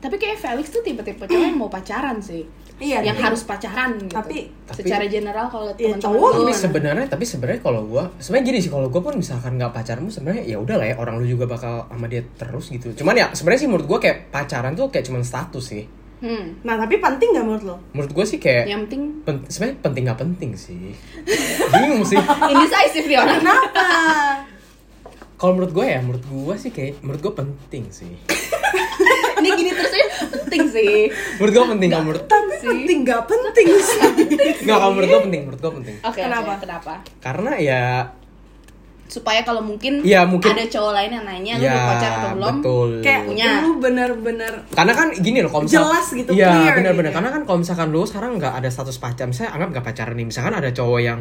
Speaker 1: Tapi kayak Felix tuh tipe-tipe cowok yang mau pacaran sih.
Speaker 2: Iya,
Speaker 1: yang
Speaker 2: tapi-
Speaker 1: harus pacaran gitu.
Speaker 2: tapi-
Speaker 1: secara general kalau
Speaker 2: Ya,
Speaker 3: Iya,
Speaker 1: teman-teman
Speaker 2: cowok
Speaker 1: lu
Speaker 3: tapi
Speaker 1: gimana?
Speaker 3: sebenarnya tapi sebenarnya kalau gua sebenarnya gini sih kalau gua pun misalkan nggak pacaran pun sebenarnya ya udah lah ya orang lu juga bakal sama dia terus gitu cuman ya sebenarnya sih menurut gua kayak pacaran tuh kayak cuman status sih
Speaker 1: Hmm.
Speaker 2: Nah, tapi penting nggak menurut lo?
Speaker 3: menurut gua sih kayak
Speaker 1: Yang penting
Speaker 3: pen- sebenarnya penting nggak penting sih bingung sih
Speaker 1: indecisive nih orang.
Speaker 3: Nah,
Speaker 2: Kenapa?
Speaker 3: kalau menurut gua ya menurut gua sih kayak menurut gua penting sih
Speaker 1: Ini gini terus aja penting sih.
Speaker 3: menurut gua penting kalau menurut
Speaker 2: tapi
Speaker 1: Sih.
Speaker 2: penting nggak penting sih.
Speaker 3: nggak kalau menurut gua penting menurut gua penting
Speaker 1: Oke,
Speaker 2: Kenapa?
Speaker 1: kenapa? Kenapa?
Speaker 3: karena ya
Speaker 1: Supaya kalau mungkin,
Speaker 3: Iya, mungkin-
Speaker 1: ada cowok lain yang nanya lu udah
Speaker 3: ya
Speaker 1: pacar atau belum.
Speaker 3: betul
Speaker 2: Kayak
Speaker 1: Punya.
Speaker 2: lu bener-bener
Speaker 3: karena kan gini loh kalau misal-
Speaker 2: Jelas gitu,
Speaker 3: iya
Speaker 2: clear
Speaker 3: benar-benar
Speaker 2: gitu ya.
Speaker 3: karena kan kalau misalkan lu sekarang nggak ada status pacar saya anggap nggak pacaran nih misalkan ada cowok yang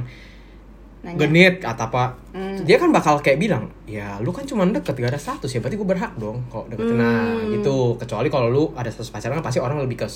Speaker 1: Nanya.
Speaker 3: genit atau apa
Speaker 2: Hmm.
Speaker 3: dia kan bakal kayak bilang ya lu kan cuma deket gak ada status ya berarti gue berhak dong kalau deket nah
Speaker 2: Hmm.
Speaker 3: gitu kecuali kalau lu ada status pacaran kan pasti orang lebih ke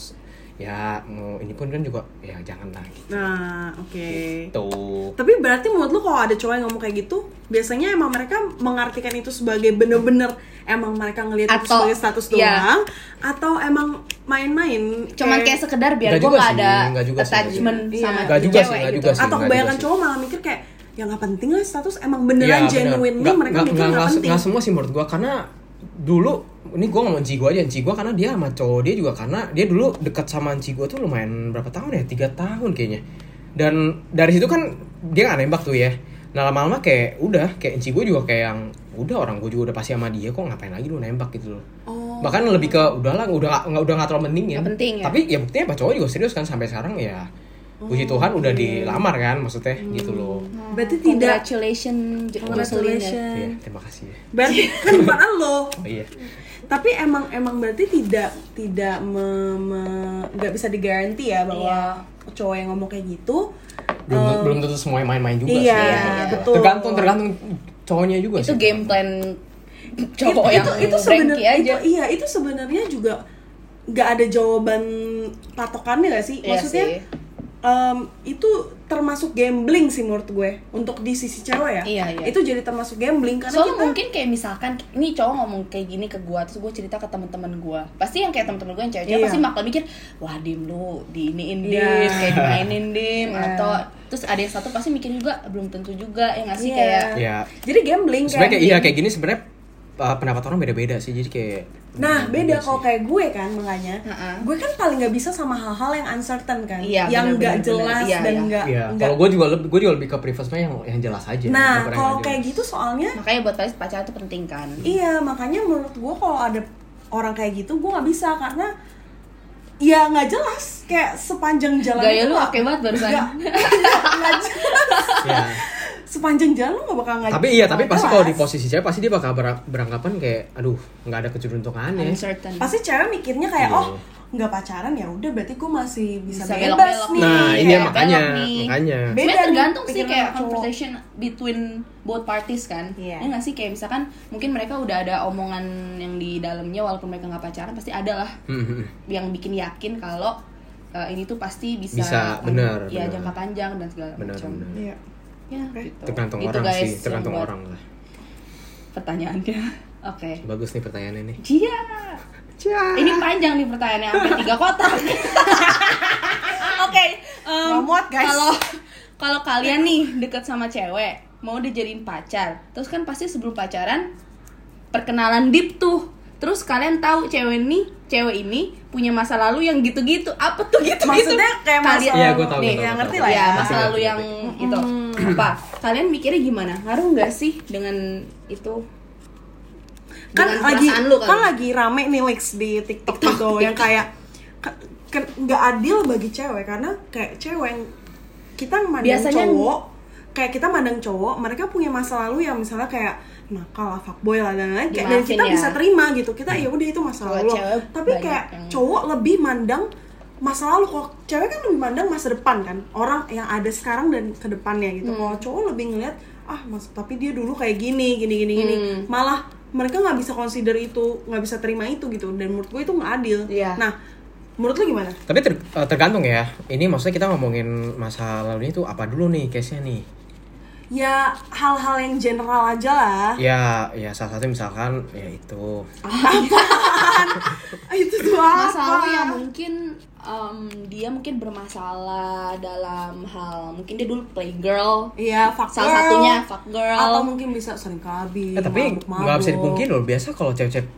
Speaker 3: ya mau ini pun kan juga ya jangan lah gitu
Speaker 2: Nah, oke.
Speaker 3: tuh
Speaker 2: Tapi berarti menurut lu kalau ada cowok yang ngomong kayak gitu, biasanya emang mereka mengartikan itu sebagai bener-bener emang mereka ngelihat itu
Speaker 1: Atau-
Speaker 2: sebagai status doang,
Speaker 1: iya.
Speaker 2: atau emang main-main?
Speaker 1: Cuman kayak sekedar biar gue
Speaker 3: Nggak juga
Speaker 1: gak
Speaker 3: sih,
Speaker 1: ada
Speaker 3: nggak juga sih, nggak
Speaker 1: attachment
Speaker 2: juga.
Speaker 1: sama
Speaker 2: Nggak
Speaker 3: juga sih,
Speaker 1: cewek
Speaker 3: nggak
Speaker 1: gitu.
Speaker 3: juga
Speaker 2: atau
Speaker 3: sih. nggak
Speaker 2: kebanyakan
Speaker 3: juga sih. Iya,
Speaker 2: cowok malah mikir kayak ya nggak penting lah status emang beneran genuinely mereka mikir nggak penting.
Speaker 3: Gak semua sih menurut gue karena dulu ini gue ngomong Ci gue aja Ci gue karena dia sama cowok dia juga karena dia dulu dekat sama Ci gue tuh lumayan berapa tahun ya tiga tahun kayaknya dan dari situ kan dia gak nembak tuh ya nah lama-lama kayak udah kayak Ci gue juga kayak yang udah orang gue juga udah pasti sama dia kok ngapain lagi lu nembak gitu loh
Speaker 2: Oh.
Speaker 3: bahkan lebih ke udahlah udah nggak- nggak udah nggak terlalu penting ya
Speaker 1: Nggak penting ya.
Speaker 3: tapi ya buktinya pak cowok juga serius kan sampai sekarang ya puji
Speaker 2: Oh,
Speaker 3: Tuhan udah
Speaker 2: iya.
Speaker 3: dilamar kan maksudnya gitu loh
Speaker 2: Berarti tidak
Speaker 1: Congratulations, Jocelyn.
Speaker 2: Congratulations.
Speaker 3: Iya, terima kasih ya.
Speaker 2: Berarti kan bukan lo.
Speaker 3: oh iya
Speaker 2: Tapi emang emang berarti tidak tidak me- me- nggak bisa digaranti ya bahwa
Speaker 1: Iya.
Speaker 2: cowok yang ngomong kayak gitu
Speaker 3: belum belum tentu semuanya main-main juga
Speaker 2: iya,
Speaker 3: sih.
Speaker 2: iya, betul.
Speaker 3: Tergantung tergantung cowoknya juga
Speaker 1: Itu
Speaker 3: sih.
Speaker 1: game plan cowok
Speaker 2: Itu-
Speaker 1: yang
Speaker 2: itu, itu
Speaker 1: cranky
Speaker 2: sebenarnya
Speaker 1: aja.
Speaker 2: itu- iya itu sebenarnya juga nggak ada jawaban patokannya gak sih
Speaker 1: Iya
Speaker 2: maksudnya
Speaker 1: sih.
Speaker 2: em, itu termasuk gambling sih menurut gue untuk di sisi cewek ya
Speaker 1: Iya, iya.
Speaker 2: itu jadi termasuk gambling karena
Speaker 1: Soalnya
Speaker 2: kita
Speaker 1: mungkin kayak misalkan ini cowok ngomong kayak gini ke gua terus gua cerita ke teman-teman gua. Pasti yang kayak teman-teman gua yang cewek-cewek
Speaker 2: Iya.
Speaker 1: pasti bakal mikir, "Wah, dim lu diiniin dim,
Speaker 2: Iya.
Speaker 1: kayak dimainin dim"
Speaker 2: Iya.
Speaker 1: atau terus ada yang satu pasti mikir juga belum tentu juga ya nggak sih
Speaker 2: Iya.
Speaker 1: kayak
Speaker 3: Iya.
Speaker 2: jadi gambling
Speaker 3: Sebenarnya kayak
Speaker 2: kan.
Speaker 3: iya kayak gini sebenarnya uh, pendapat orang beda-beda sih. Jadi kayak
Speaker 2: Nah, beda kalau
Speaker 3: Iya, sih.
Speaker 2: kayak gue kan makanya.
Speaker 1: Heeh.
Speaker 2: Gue kan paling nggak bisa sama hal-hal yang uncertain kan,
Speaker 1: Iya,
Speaker 2: yang nggak
Speaker 1: benar-benar,
Speaker 2: jelas
Speaker 1: benar. Iya,
Speaker 2: dan
Speaker 1: iya.
Speaker 2: nggak
Speaker 3: Iya,
Speaker 2: nggak-
Speaker 3: kalau gue ya, juga lebih gue juga lebih ke preference yang yang jelas aja.
Speaker 2: Nah,
Speaker 3: bukan yang
Speaker 2: kalau
Speaker 3: nggak
Speaker 2: kayak
Speaker 3: jelas.
Speaker 2: gitu soalnya
Speaker 1: makanya buat kalian pacaran itu penting kan.
Speaker 2: iya, makanya menurut gue kalau ada orang kayak gitu gue nggak bisa karena ya nggak jelas kayak sepanjang jalan
Speaker 1: Gaya
Speaker 2: itu
Speaker 1: lu
Speaker 2: nggak-
Speaker 1: oke banget barusan.
Speaker 2: nggak- nggak jelas.
Speaker 3: Iya.
Speaker 2: sepanjang jalan lu nggak bakal nggak
Speaker 3: tapi iya, tapi
Speaker 2: nggak
Speaker 3: pasti kalau di
Speaker 2: jelas.
Speaker 3: posisi cewek pasti dia bakal ber- beranggapan kayak aduh, nggak ada keberuntungannya.
Speaker 1: Uncertain.
Speaker 2: pasti cewek mikirnya kayak
Speaker 3: Iya.
Speaker 2: oh nggak pacaran ya udah berarti gue masih bisa,
Speaker 1: Bisa
Speaker 2: bebas
Speaker 1: belok-belok
Speaker 2: nih
Speaker 3: Nah,
Speaker 1: Iya,
Speaker 3: iya
Speaker 1: belok
Speaker 3: makanya,
Speaker 1: nih.
Speaker 3: makanya.
Speaker 2: Beda
Speaker 1: Sebenarnya
Speaker 2: nih
Speaker 1: tergantung sih
Speaker 2: pikiran
Speaker 1: kayak
Speaker 2: cowok.
Speaker 1: conversation between both parties kan.
Speaker 2: Iya.
Speaker 1: Ya nggak sih kayak misalkan mungkin mereka udah ada omongan yang di dalamnya walaupun mereka nggak pacaran pasti ada lah
Speaker 3: Hmm, hmm, hmm.
Speaker 1: yang bikin yakin kalau uh, ini tuh pasti bisa
Speaker 3: Bisa, benar,
Speaker 1: ya
Speaker 3: benar.
Speaker 1: jangka panjang dan segala
Speaker 3: Benar,
Speaker 1: macam.
Speaker 3: benar.
Speaker 2: Iya.
Speaker 1: Ya,
Speaker 2: Oke.
Speaker 1: gitu.
Speaker 3: Tergantung
Speaker 1: Itu
Speaker 3: orang
Speaker 1: guys
Speaker 3: sih,
Speaker 1: yang
Speaker 3: tergantung
Speaker 1: buat
Speaker 3: orang lah.
Speaker 1: Pertanyaannya. Oke.
Speaker 3: Bagus nih pertanyaannya nih.
Speaker 1: Jia. Ini panjang nih pertanyaannya sampai tiga kotak. Oke, em,
Speaker 2: Nggak muat, guys.
Speaker 1: Kalau kalau kalian nih deket sama cewek, mau dijadiin pacar, terus kan pasti sebelum pacaran perkenalan deep tuh. Terus kalian tahu cewek ini, cewek ini punya masa lalu yang gitu-gitu. Apa tuh gitu-gitu?
Speaker 2: Maksudnya kayak masa
Speaker 1: Kalian-
Speaker 3: Iya,
Speaker 1: Nih,
Speaker 3: gua tahu, gua tahu,
Speaker 1: yang
Speaker 3: gua
Speaker 2: ngerti
Speaker 3: tahu.
Speaker 2: lah
Speaker 1: ya,
Speaker 2: ya.
Speaker 1: masa
Speaker 3: Ngerti,
Speaker 1: lalu
Speaker 3: ngerti,
Speaker 1: yang
Speaker 3: ngerti.
Speaker 1: itu.
Speaker 2: Hmm.
Speaker 1: Apa? Kalian mikirnya gimana? Ngaruh nggak sih dengan itu?
Speaker 2: kan
Speaker 1: Dengan
Speaker 2: lagi
Speaker 1: perasaan lu
Speaker 2: kan
Speaker 1: kali? ya? iya.
Speaker 2: lagi rame nih Lex di TikTok, gitu yang kayak ke- ke- nggak adil bagi cewek karena kayak cewek yang- kita mandang
Speaker 1: Biasanya-
Speaker 2: cowok kayak kita mandang cowok mereka punya masa lalu yang misalnya kayak nakal lah fuckboy lah dan lain-lain kayak- dan
Speaker 1: Dimaafin
Speaker 2: kita
Speaker 1: ya.
Speaker 2: bisa terima gitu kita ya udah itu masa
Speaker 1: Kalau
Speaker 2: lalu lo."
Speaker 1: cewek
Speaker 2: tapi
Speaker 1: banyak
Speaker 2: kayak
Speaker 1: yang-
Speaker 2: cowok lebih mandang masa lalu kok cewek kan lebih mandang masa depan kan orang yang ada sekarang dan ke depannya gitu
Speaker 1: Hmm.
Speaker 2: kalau cowok lebih ngeliat ah mas tapi dia dulu kayak gini gini gini gini
Speaker 1: Hmm.
Speaker 2: malah mereka nggak bisa consider itu nggak bisa terima itu gitu dan menurut gue itu nggak adil
Speaker 1: Iya.
Speaker 2: nah menurut lu gimana
Speaker 3: Tapi ter- eh, tergantung ya. Ini maksudnya kita ngomongin masa lalunya itu apa dulu nih case-nya nih.
Speaker 2: ya hal-hal yang general aja lah
Speaker 3: ya ya salah satu misalkan ya itu
Speaker 2: Ah, itu tuh apa
Speaker 1: masalah ya, yang mungkin em, dia mungkin bermasalah dalam hal mungkin dia dulu playgirl
Speaker 2: Iya, fuck
Speaker 1: salah
Speaker 2: girl.
Speaker 1: satunya fuck girl
Speaker 2: atau mungkin bisa sering kabi
Speaker 3: Eh, tapi nggak bisa dipungkiri loh biasa kalau cewek-cewek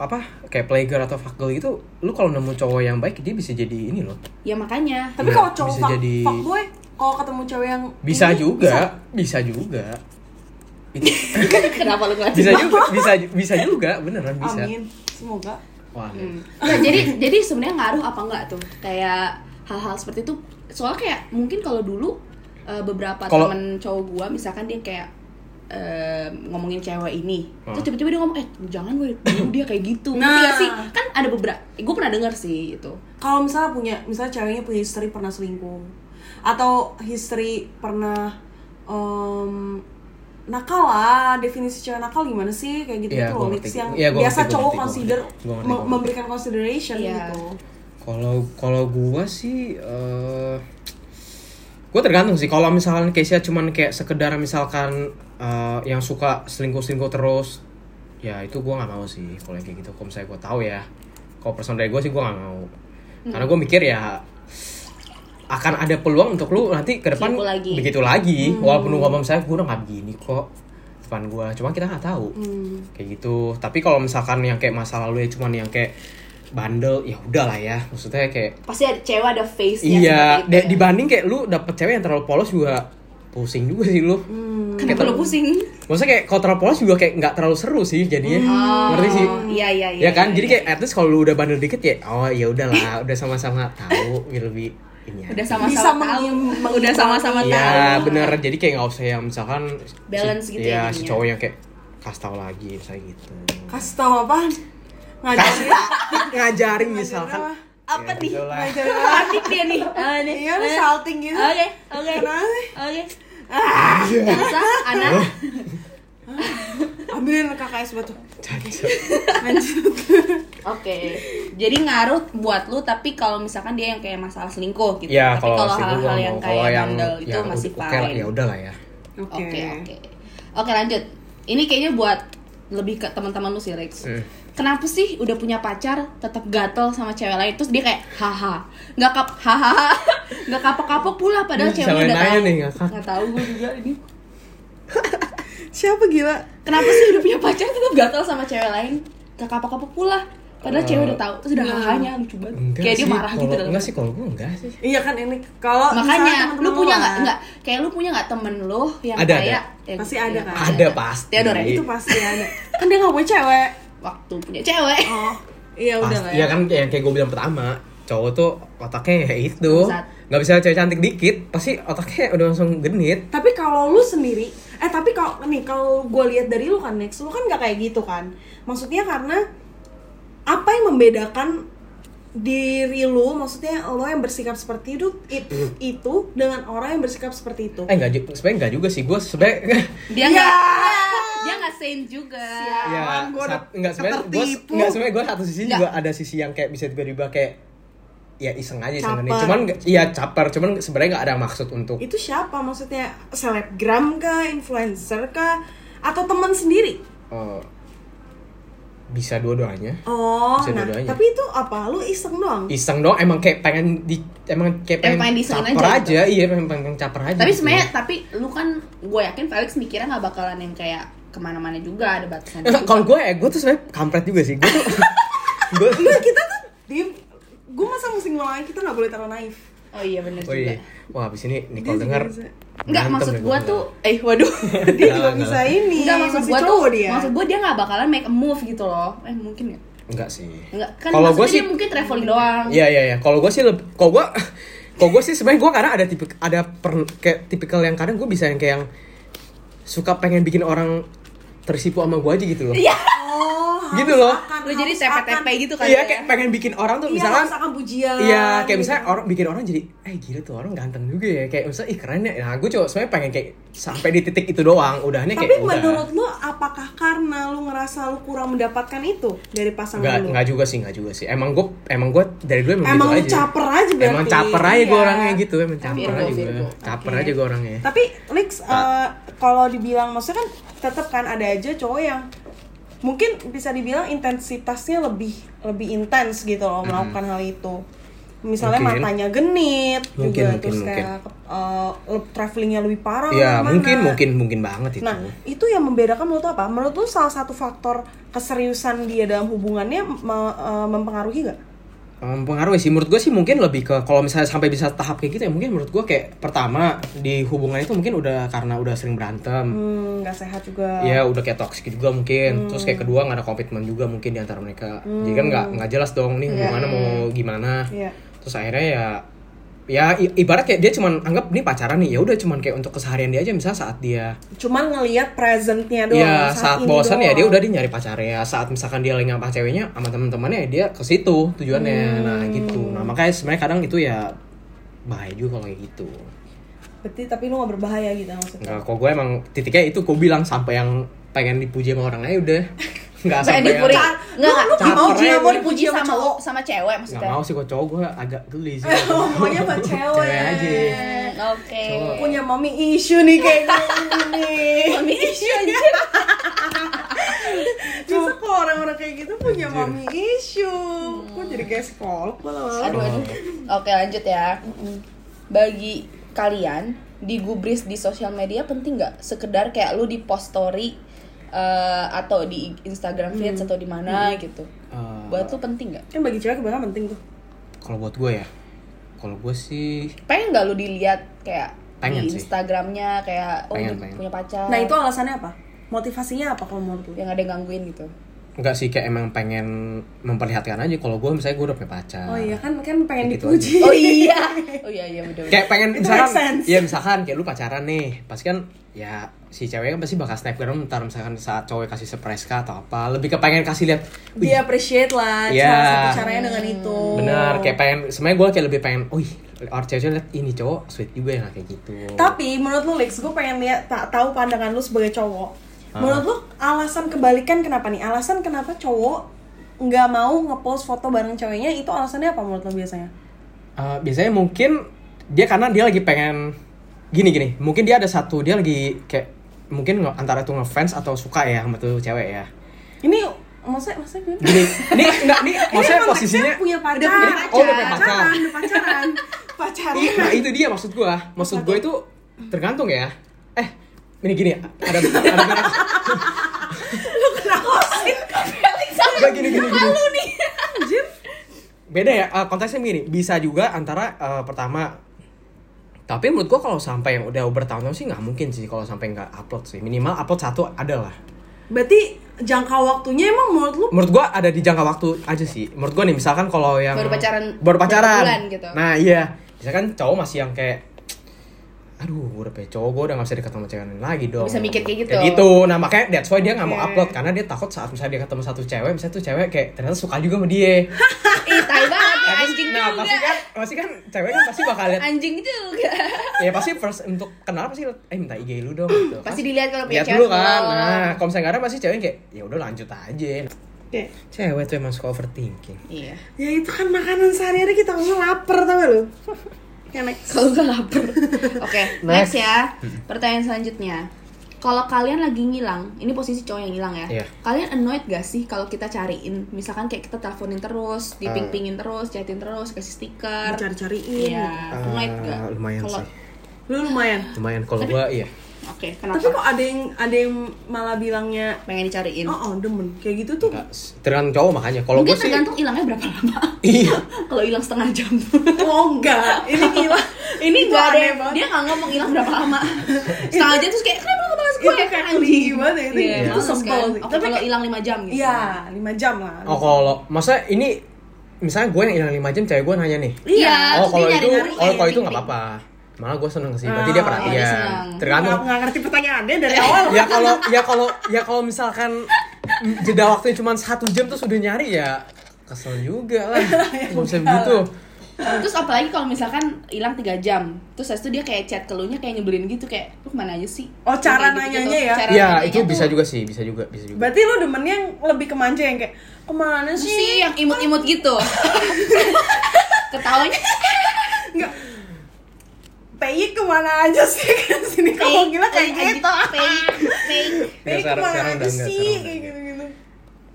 Speaker 3: apa kayak playgirl atau fuckgirl gitu lu kalau nemu cowok yang baik dia bisa jadi ini loh
Speaker 1: ya makanya
Speaker 2: tapi
Speaker 3: Iya,
Speaker 2: kalau cowok
Speaker 3: bisa
Speaker 2: fuck,
Speaker 3: jadi-
Speaker 2: fuckboy, kalau ketemu cewek yang
Speaker 3: bisa
Speaker 2: ini,
Speaker 3: juga bisa, juga Itu-
Speaker 1: kenapa lu ngeliatin
Speaker 3: bisa juga bisa bisa juga beneran bisa
Speaker 2: amin semoga
Speaker 3: wah
Speaker 1: Nah, jadi jadi sebenarnya ngaruh apa enggak tuh kayak hal-hal seperti itu soalnya kayak mungkin kalau dulu eh, beberapa
Speaker 3: Kalau-
Speaker 1: temen cowok gua misalkan dia kayak eh, ngomongin cewek ini
Speaker 3: Hmm.
Speaker 1: terus tiba-tiba dia ngomong eh jangan gue dulu dia kayak gitu
Speaker 2: Nah.
Speaker 1: ngerti gak sih kan ada beberapa gue pernah denger sih itu
Speaker 2: kalau misalnya punya misalnya ceweknya punya history pernah selingkuh atau history pernah em, nakal lah definisi cewek nakal gimana sih kayak gitu
Speaker 3: Iya,
Speaker 2: gitu
Speaker 3: gua
Speaker 2: loh
Speaker 3: ngerti.
Speaker 2: Lips, yang
Speaker 3: Iya, gua
Speaker 2: biasa
Speaker 3: ngerti, gua
Speaker 2: cowok
Speaker 3: ngerti, gua
Speaker 2: consider
Speaker 3: ngerti. Gua ngerti,
Speaker 2: me-
Speaker 3: gua ngerti.
Speaker 2: memberikan consideration
Speaker 1: Iya.
Speaker 2: gitu
Speaker 3: Kalau kalau gua sih eh gua tergantung sih. Kalau misalkan Keisha cuman kayak sekedar misalkan eh, yang suka selingkuh-selingkuh terus, ya itu gua nggak mau sih kalau yang kayak gitu. Kalau misalnya gua tahu ya, kalau personal dari gua sih gua nggak mau. Karena gua mikir ya akan ada peluang untuk lu nanti ke depan
Speaker 1: Selingkuh lagi.
Speaker 3: begitu lagi walaupun lu ngomong saya gua udah nggak begini kok depan gua cuma kita nggak tahu kayak gitu tapi kalau misalkan yang kayak masa lalu ya cuman yang kayak bandel ya udahlah ya maksudnya kayak
Speaker 1: pasti ada cewek ada face nya
Speaker 3: Iya,
Speaker 1: ya.
Speaker 3: di- dibanding kayak lu dapet cewek yang terlalu polos juga pusing juga sih lu.
Speaker 1: kenapa
Speaker 3: gitu.
Speaker 1: lu pusing
Speaker 3: Maksudnya kayak kalau terlalu polos juga kayak nggak terlalu seru sih jadinya. Ngerti sih?
Speaker 1: Hmm. Oh, iya iya iya
Speaker 3: Ya kan,
Speaker 1: iya,
Speaker 3: jadi kayak at least kalau lu udah bandel dikit ya, oh ya udahlah, udah sama-sama tahu gitu lebih ini.
Speaker 1: iya.
Speaker 3: aja.
Speaker 1: udah
Speaker 2: Bisa
Speaker 1: sama-sama tahu
Speaker 2: mengimbang-
Speaker 1: udah sama-sama tahu
Speaker 3: Iya, bener. Jadi kayak nggak usah yang misalkan
Speaker 1: Balance
Speaker 3: si,
Speaker 1: gitu ya
Speaker 3: Iya, si
Speaker 1: jadinya.
Speaker 3: cowok yang kayak kasih tau lagi misalnya gitu.
Speaker 2: kasih tau apaan ngajarin
Speaker 3: Kasih ngajarin misalkan
Speaker 2: apa?
Speaker 1: apa
Speaker 3: Ya,
Speaker 1: nih
Speaker 3: gitulah.
Speaker 2: ngajarin apa?
Speaker 1: panik dia nih Ah, nih. Iya.
Speaker 2: iya lu
Speaker 1: Ah.
Speaker 2: salting gitu
Speaker 1: Oke, oke.
Speaker 2: Kenapa sih?
Speaker 1: Oke. Ah. Elsa, Ana,
Speaker 3: Oh.
Speaker 2: ambilin KKS batu
Speaker 3: Cancel.
Speaker 1: oke. Jadi ngaruh buat lu, tapi kalau misalkan dia yang kayak masalah selingkuh gitu.
Speaker 3: Iya,
Speaker 1: tapi
Speaker 3: kalau
Speaker 1: kalau
Speaker 3: selingkuh
Speaker 1: hal-hal
Speaker 3: gua
Speaker 1: yang
Speaker 3: mau.
Speaker 1: kayak
Speaker 3: Kalau yang
Speaker 1: bandel itu
Speaker 3: yang
Speaker 1: masih
Speaker 3: oke lah,
Speaker 1: fine.
Speaker 3: ya udahlah ya.
Speaker 1: Oke, oke. Oke, lanjut. Ini kayaknya buat lebih ke teman-teman lu sih, Rex.
Speaker 3: Hmm.
Speaker 1: Kenapa sih udah punya pacar tetap gatel sama cewek lain terus dia kayak haha nggak kap hahaha nggak kapok-kapok pula padahal
Speaker 3: Ini
Speaker 1: ceweknya
Speaker 3: siapa Hmm, yang
Speaker 1: udah
Speaker 3: nanya
Speaker 1: tahu
Speaker 3: nih, ngakak?
Speaker 1: nggak tahu gue juga ini
Speaker 2: siapa gila
Speaker 1: Kenapa sih udah punya pacar tetap gatel sama cewek lain? Gak kapok-kapok pula. Padahal cewek udah tahu, terus udah hahanya lucu banget.
Speaker 3: Hmm. Enggak
Speaker 1: Kayak
Speaker 3: sih,
Speaker 1: dia marah gitu
Speaker 3: kalau-
Speaker 1: dalam.
Speaker 3: Enggak sih kalau gue enggak sih.
Speaker 2: Iya kan ini kalau misalnya kan.
Speaker 1: Makanya
Speaker 2: temen-temen
Speaker 1: lu punya nggak?
Speaker 2: lah,
Speaker 1: Enggak. Kayak lu punya nggak temen lu yang
Speaker 3: Ada,
Speaker 1: kayak Ya yang-
Speaker 2: Pasti ada
Speaker 1: yang-
Speaker 2: kan?
Speaker 3: Ada pasti.
Speaker 1: Theodore
Speaker 2: Itu pasti ada. Kan dia nggak punya cewek.
Speaker 1: waktu punya cewek.
Speaker 2: Oh, iya udah lah.
Speaker 3: Pasti,
Speaker 2: Ya.
Speaker 3: ya kan yang kayak gue bilang pertama cowok tuh otaknya ya itu
Speaker 1: Bangsat.
Speaker 3: nggak bisa cewek cantik dikit pasti otaknya udah langsung genit
Speaker 2: Tapi kalau lu sendiri, eh tapi kalau nih kalau gue lihat dari lu kan next, lu kan nggak kayak gitu kan. Maksudnya karena apa yang membedakan diri lu, maksudnya lo yang bersikap seperti itu, it- itu dengan orang yang bersikap seperti itu.
Speaker 3: eh nggak ju- sebenarnya nggak juga sih gue sebenarnya
Speaker 1: Dia nggak dia nggak sane juga.
Speaker 3: ya
Speaker 2: Aman, gua
Speaker 3: sat-
Speaker 2: udah
Speaker 3: nggak sebenarnya gue
Speaker 2: ketertipu.
Speaker 3: nggak sebenarnya gue satu sisi
Speaker 1: Nggak.
Speaker 3: juga ada sisi yang kayak bisa tiba-tiba kayak ya iseng aja iseng genit
Speaker 2: Caper.
Speaker 3: cuman nggak- iya caper cuman sebenarnya nggak ada maksud untuk
Speaker 2: Itu siapa maksudnya? Selebgram kah, influencer kah, atau teman sendiri?
Speaker 3: eh, bisa dua-duanya
Speaker 2: Oh,
Speaker 3: Bisa
Speaker 2: nah,
Speaker 3: dua-duanya.
Speaker 2: tapi itu apa? Lu iseng doang?
Speaker 3: iseng dong emang kayak pengen di emang kayak
Speaker 1: Emang
Speaker 3: pengen,
Speaker 1: pengen diisengin
Speaker 3: caper
Speaker 1: aja
Speaker 3: aja,
Speaker 1: gitu.
Speaker 3: iya pengen, pengen caper aja
Speaker 1: Tapi
Speaker 3: gitu.
Speaker 1: sebenarnya tapi lu kan gue yakin Felix mikirnya nggak bakalan yang kayak kemana-mana juga ada batasan.
Speaker 3: Eh, kalau gue ya gue tuh sebenarnya kampret juga sih gue tuh gue
Speaker 2: Enggak, kita tuh Dim, gue masa mesti ngomongin kita nggak boleh taruh naif
Speaker 1: Oh iya bener
Speaker 3: Woi,
Speaker 1: juga.
Speaker 3: wah abis ini Nicole
Speaker 2: Dia
Speaker 3: denger
Speaker 2: juga bisa.
Speaker 1: Enggak
Speaker 3: berantem
Speaker 1: maksud
Speaker 3: deh
Speaker 1: gue
Speaker 3: ya gua
Speaker 1: tuh eh waduh.
Speaker 2: Dia
Speaker 3: Enggak,
Speaker 2: juga bisa ini,
Speaker 1: Enggak maksud
Speaker 2: masih
Speaker 1: gue tuh,
Speaker 2: cowok dia
Speaker 1: maksud gue Iya, dia nggak bakalan make a move gitu loh. Eh mungkin ya?
Speaker 3: Enggak sih
Speaker 1: Enggak kan
Speaker 3: Kalau
Speaker 1: maksudnya
Speaker 3: gua sih-
Speaker 1: dia mungkin traveling doang.
Speaker 3: Iya iya iya Kalau gue sih lebih Kalau gue Kalau gue sih sebenarnya gue kadang ada tipe ada per- kayak tipikal yang kadang gue bisa yang kayak yang suka pengen bikin orang tersipu sama gue aja gitu loh.
Speaker 2: Oh, harus
Speaker 3: Gitu loh.
Speaker 2: akan-
Speaker 1: Lu jadi
Speaker 2: harus
Speaker 1: TP-TP
Speaker 2: akan-
Speaker 1: gitu Iya, kan
Speaker 3: iya
Speaker 1: ya?
Speaker 3: kayak pengen bikin orang tuh
Speaker 2: Iya,
Speaker 3: misalkan
Speaker 2: harus akan pujian
Speaker 3: Iya, kayak
Speaker 2: gitu.
Speaker 3: misalnya orang bikin orang jadi, eh gila tuh orang ganteng juga ya. Kayak misalnya, ih keren ya. Nah, gue coba sebenarnya pengen kayak sampai di titik itu doang. Udahnya
Speaker 2: Tapi
Speaker 3: kayak
Speaker 2: menurut lu apakah karena lu ngerasa lu kurang mendapatkan itu dari pasangan
Speaker 3: Nggak,
Speaker 2: lu?
Speaker 3: nggak juga sih, nggak juga sih. Emang gue, emang gue dari dulu emang,
Speaker 2: Emang lu
Speaker 3: gitu aja.
Speaker 2: caper aja berarti.
Speaker 3: Emang caper aja gue
Speaker 2: Iya.
Speaker 3: orangnya gitu, emang caper
Speaker 1: Virgo,
Speaker 3: aja gue.
Speaker 1: Virgo.
Speaker 3: Caper
Speaker 2: Oke.
Speaker 3: aja gue orangnya.
Speaker 2: Tapi Lix
Speaker 3: Ah.
Speaker 2: eh, kalau dibilang maksudnya kan tetap kan ada aja cowok yang mungkin bisa dibilang intensitasnya lebih lebih intens gitu loh melakukan hal itu. Misalnya
Speaker 3: Mungkin.
Speaker 2: matanya genit
Speaker 3: Mungkin,
Speaker 2: juga
Speaker 3: mungkin,
Speaker 2: terus kayak eh, le- travelingnya lebih parah.
Speaker 3: Iya,
Speaker 2: kemana-mana.
Speaker 3: mungkin, mungkin, mungkin banget itu.
Speaker 2: Nah, itu yang membedakan menurut lu apa? Menurut lu salah satu faktor keseriusan dia dalam hubungannya me- eh, mempengaruhi gak?
Speaker 3: mempengaruhi sih menurut gue sih mungkin lebih ke kalau misalnya sampai bisa tahap kayak gitu ya mungkin menurut gue kayak pertama di hubungan itu mungkin udah karena udah sering berantem
Speaker 2: Hmm, gak sehat juga.
Speaker 3: ya udah kayak toxic juga
Speaker 2: Hmm.
Speaker 3: mungkin terus kayak kedua nggak ada komitmen juga mungkin di antara mereka jadi kan nggak nggak jelas dong nih hubungannya mau gimana
Speaker 2: Iya.
Speaker 3: terus akhirnya ya ya i- ibarat kayak dia cuman anggap ini pacaran nih ya udah cuman kayak untuk keseharian dia aja misalnya saat dia
Speaker 2: Cuman ngelihat presentnya doang.
Speaker 3: ya saat,
Speaker 2: ini
Speaker 3: bosan ya dia
Speaker 2: doang.
Speaker 3: udah dia nyari pacarnya saat misalkan dia lagi ngapa ceweknya sama teman-temannya ya dia ke situ tujuannya
Speaker 2: Hmm.
Speaker 3: nah gitu nah makanya sebenarnya kadang itu ya bahaya juga kalau kayak gitu
Speaker 2: Berarti tapi lu gak berbahaya gitu maksudnya.
Speaker 3: Nah, kalau gue emang titiknya itu gue bilang sampai yang pengen dipuji sama orang lain udah nggak
Speaker 1: Pengen
Speaker 3: sampai
Speaker 1: dipuri-
Speaker 3: yang-
Speaker 1: Nggak, nggak.
Speaker 2: Lu gak mau
Speaker 3: Caper ya,
Speaker 2: Ji, nggak
Speaker 3: aja
Speaker 2: Oh, mau
Speaker 3: gue.
Speaker 2: dipuji sama cowok.
Speaker 1: sama cewek
Speaker 3: Gak mau sih kok cowok gue agak geli sih.
Speaker 2: Oh, maunya buat cewek.
Speaker 3: Cewek aja.
Speaker 1: Hmm, Oke.
Speaker 3: Cowok.
Speaker 2: Punya mommy issue nih kayaknya nih.
Speaker 1: Mami issue aja.
Speaker 2: Bisa kok orang-orang kayak gitu punya mommy issue. Kok jadi kayak psikolog gua lama-lama.
Speaker 1: Aduh, aduh. Oke, lanjut ya. Bagi kalian, digubris di sosial media penting nggak? Sekedar kayak lu di post story eh, atau di Instagram feed atau di mana gitu.
Speaker 3: Eh,
Speaker 1: Buat lu penting nggak?
Speaker 2: Kan bagi cewek kebanyakan penting tuh.
Speaker 3: kalau buat gue ya, kalau gue sih
Speaker 1: Pengen nggak lu dilihat kayak
Speaker 3: Pengen
Speaker 1: di
Speaker 3: sih.
Speaker 1: Instagramnya kayak oh
Speaker 3: Pengen,
Speaker 1: dia
Speaker 3: pengen.
Speaker 1: punya pacar.
Speaker 2: Nah, itu alasannya apa? Motivasinya apa kalau menurut lu?
Speaker 1: yang ada yang gangguin gitu.
Speaker 3: nggak sih kayak emang pengen memperlihatkan aja kalau gue misalnya gue udah punya pacar.
Speaker 2: Oh iya kan kan pengen
Speaker 3: Gitu
Speaker 2: dipuji.
Speaker 1: Oh iya. Oh iya iya udah.
Speaker 3: Kayak pengen
Speaker 2: Itu
Speaker 3: misalkan,
Speaker 2: make sense.
Speaker 3: ya misalkan kayak lu pacaran nih, pasti kan ya si cewek kan pasti bakal snapgram ntar misalkan saat cowek kasih surprise kah atau apa, lebih ke pengen kasih lihat. "Wih,
Speaker 2: Dia appreciate lah
Speaker 3: Iya.
Speaker 2: salah satu caranya dengan itu.
Speaker 3: Bener, kayak pengen, sebenarnya gue kayak lebih pengen, wih, orang cewek lihat ini cowok sweet juga ya kayak gitu.
Speaker 2: Tapi menurut lu Lex, gue pengen lihat tak tahu pandangan lu sebagai cowok.
Speaker 3: Ah.
Speaker 2: Menurut lu alasan kebalikan kenapa nih? Alasan kenapa cowok nggak mau ngepost foto bareng ceweknya itu alasannya apa menurut lu biasanya?
Speaker 3: Eh, biasanya mungkin dia karena dia lagi pengen gini gini mungkin dia ada satu dia lagi kayak mungkin nge- antara tuh ngefans atau suka ya sama tuh cewek ya
Speaker 2: Ini maksudnya maksudnya gimana?
Speaker 3: gini ini enggak ini
Speaker 2: Ini
Speaker 3: maksudnya
Speaker 2: konteksnya
Speaker 3: posisinya
Speaker 2: punya pacar,
Speaker 3: Udah punya- oh, udah punya pacar.
Speaker 2: pacaran, udah pacaran, pacaran.
Speaker 3: Iya, nah itu dia maksud gua maksud gua itu tergantung ya eh ini gini ada ada beres Gak gini gini gini beda ya eh, konteksnya gini bisa juga antara eh, pertama tapi menurut gua kalau sampai yang udah bertahun-tahun sih nggak mungkin sih kalau sampai nggak upload sih minimal upload satu ada lah
Speaker 2: Berarti jangka waktunya emang menurut lu
Speaker 3: menurut gua ada di jangka waktu aja sih. Menurut gua nih misalkan kalau yang
Speaker 1: Baru pacaran
Speaker 3: baru pacaran.
Speaker 1: berbulan gitu.
Speaker 3: Nah, iya. Misalkan cowok masih yang kayak aduh gue udah punya cowok gue udah gak bisa deket sama cewek lain lagi dong
Speaker 1: Bisa mikir kayak gitu. Iya.
Speaker 3: nah makanya that's why dia gak mau
Speaker 2: Oke.
Speaker 3: upload karena dia takut saat misalnya dia ketemu satu cewek misalnya tuh cewek kayak ternyata suka juga sama dia
Speaker 1: Ih, tai banget ya, anjing
Speaker 3: nah
Speaker 1: juga.
Speaker 3: pasti kan pasti kan cewek kan pasti bakal lihat
Speaker 1: Anjing juga.
Speaker 3: ya pasti first untuk kenal pasti liat, eh minta IG lu dong gitu.
Speaker 1: Pasti dilihat kalau punya
Speaker 3: lihat dulu
Speaker 1: cewek
Speaker 3: kan
Speaker 1: belum.
Speaker 3: nah kalau misalnya gak ada pasti cewek kayak ya udah lanjut aja
Speaker 2: Kayak,
Speaker 3: cewek tuh emang suka overthinking
Speaker 1: Iya.
Speaker 2: ya itu kan makanan sehari-hari kita ngomong lapar tau gak lu? Kayak next.
Speaker 1: Kalau nggak lapar. Oke,
Speaker 3: Next.
Speaker 1: next. ya. Pertanyaan selanjutnya. Kalau kalian lagi ngilang, ini posisi cowok yang hilang ya.
Speaker 3: Iya.
Speaker 1: Kalian annoyed gak sih kalau kita cariin? Misalkan kayak kita teleponin terus,
Speaker 3: Eh.
Speaker 1: diping-pingin terus, chatin terus, kasih stiker.
Speaker 2: Dicari-cariin.
Speaker 1: Iya,
Speaker 3: Ah,
Speaker 1: annoyed gak?
Speaker 3: lumayan
Speaker 1: Kalau-
Speaker 3: sih.
Speaker 2: Lu lumayan.
Speaker 3: lumayan kalau gua iya
Speaker 1: Oke, kenapa?
Speaker 2: Tapi kok ada yang ada yang malah bilangnya
Speaker 1: pengen dicariin.
Speaker 2: oh, oh demen kayak gitu tuh.
Speaker 3: Nggak, tergantung cowok makanya kalau
Speaker 1: Mungkin
Speaker 3: gua sih
Speaker 1: tergantung hilangnya berapa lama.
Speaker 3: iya
Speaker 1: kalau hilang setengah jam.
Speaker 2: Oh enggak, ini gila.
Speaker 1: ini
Speaker 2: Itu
Speaker 1: gak ada
Speaker 2: aneh
Speaker 1: yang-
Speaker 2: banget. Iya.
Speaker 1: dia gak ngomong hilang berapa lama setengah jam terus kayak kenapa lo gak balas
Speaker 2: Itu
Speaker 1: gue
Speaker 2: kayak
Speaker 1: Anjing.
Speaker 2: creepy banget ya, itu-
Speaker 1: Iya,
Speaker 2: itu
Speaker 1: males
Speaker 2: sebel
Speaker 1: kan.
Speaker 2: sih.
Speaker 1: Oke,
Speaker 2: Tapi
Speaker 1: kalau
Speaker 2: kayak-
Speaker 1: hilang 5 jam gitu
Speaker 2: Iya, 5 jam lah.
Speaker 3: oh kalau masa ini misalnya gue yang hilang lima jam cewek gue nanya nih
Speaker 1: Iya,
Speaker 3: oh
Speaker 1: terus
Speaker 3: kalau
Speaker 1: dia
Speaker 3: itu
Speaker 1: nyari-nyari,
Speaker 3: oh kalau itu nggak
Speaker 1: ping-ping.
Speaker 3: apa-apa malah gue seneng sih berarti
Speaker 2: Ah,
Speaker 3: dia
Speaker 2: dia
Speaker 3: perhatian
Speaker 1: iya, seneng. Iya,
Speaker 3: tergantung
Speaker 2: Nggak- nggak ngerti pertanyaannya dari awal.
Speaker 3: ya kalau ya kalau ya kalau misalkan jeda waktunya cuma satu jam terus udah nyari ya kesel juga lah
Speaker 1: Iya,
Speaker 3: nggak bisa begitu
Speaker 1: terus apalagi kalau misalkan hilang 3 jam terus habis itu dia kayak chat keluhnya kayak nyebelin gitu kayak lu kemana aja sih
Speaker 2: Oh, cara
Speaker 1: Kayak
Speaker 2: nanyanya ya?
Speaker 1: Cara
Speaker 3: ya
Speaker 1: nanyanya
Speaker 3: itu
Speaker 1: tuh,
Speaker 3: bisa juga sih bisa juga bisa juga
Speaker 2: Berarti lu demennya yang lebih kemanja yang kayak kemana
Speaker 1: "Lu
Speaker 2: sih?
Speaker 1: sih yang imut-imut gitu ketawanya
Speaker 2: PI kemana aja sih kan sini kamu gila kayak gitu.
Speaker 1: fake fake
Speaker 2: PI
Speaker 3: Iya, sekarang- sekarang
Speaker 2: kemana aja
Speaker 3: udah
Speaker 2: sih?
Speaker 3: enggak, sekarang udah
Speaker 2: Kayak
Speaker 3: enggak.
Speaker 2: gitu-gitu.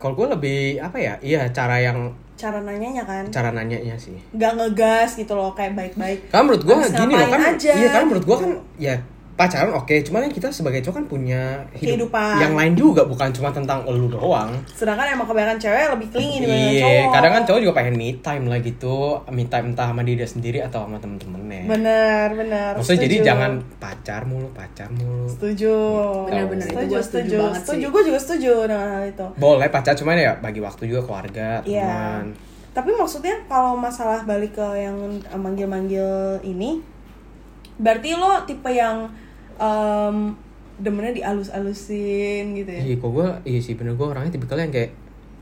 Speaker 3: kalau gue lebih apa ya iya cara yang
Speaker 2: Cara nanyanya kan
Speaker 3: cara nanyanya sih
Speaker 2: nggak ngegas gitu loh kayak baik-baik.
Speaker 3: Karena menurut gua
Speaker 2: Harus
Speaker 3: gini loh
Speaker 2: ngapain
Speaker 3: kan,
Speaker 2: aja.
Speaker 3: iya kan menurut gua kan ya pacaran oke, cuman kan kita sebagai cowok kan punya hidup
Speaker 2: Kehidupan.
Speaker 3: yang lain juga bukan cuma tentang elu doang.
Speaker 2: Sedangkan emang kebanyakan cewek lebih clingy dibanding
Speaker 3: Iya,
Speaker 2: cowok.
Speaker 3: kadang kan cowok juga pengen me time lah gitu, me time entah sama diri dia sendiri atau sama temen-temennya.
Speaker 2: Bener, bener.
Speaker 3: Maksudnya jadi
Speaker 2: Setuju.
Speaker 3: jangan pacar mulu, pacar mulu.
Speaker 2: setuju.
Speaker 1: Bener-bener, itu
Speaker 2: Setuju,
Speaker 1: gua setuju
Speaker 2: setuju.
Speaker 1: banget sih.
Speaker 2: Setuju, gue juga setuju dengan hal itu.
Speaker 3: Boleh pacar cuman ya bagi waktu juga keluarga,
Speaker 2: Iya.
Speaker 3: teman.
Speaker 2: Tapi maksudnya kalau masalah balik ke yang eh, manggil-manggil ini, berarti lo tipe yang em, demennya dialus-alusin gitu ya?
Speaker 3: Iya, kok gua iya sih bener gua orangnya tipikal yang kayak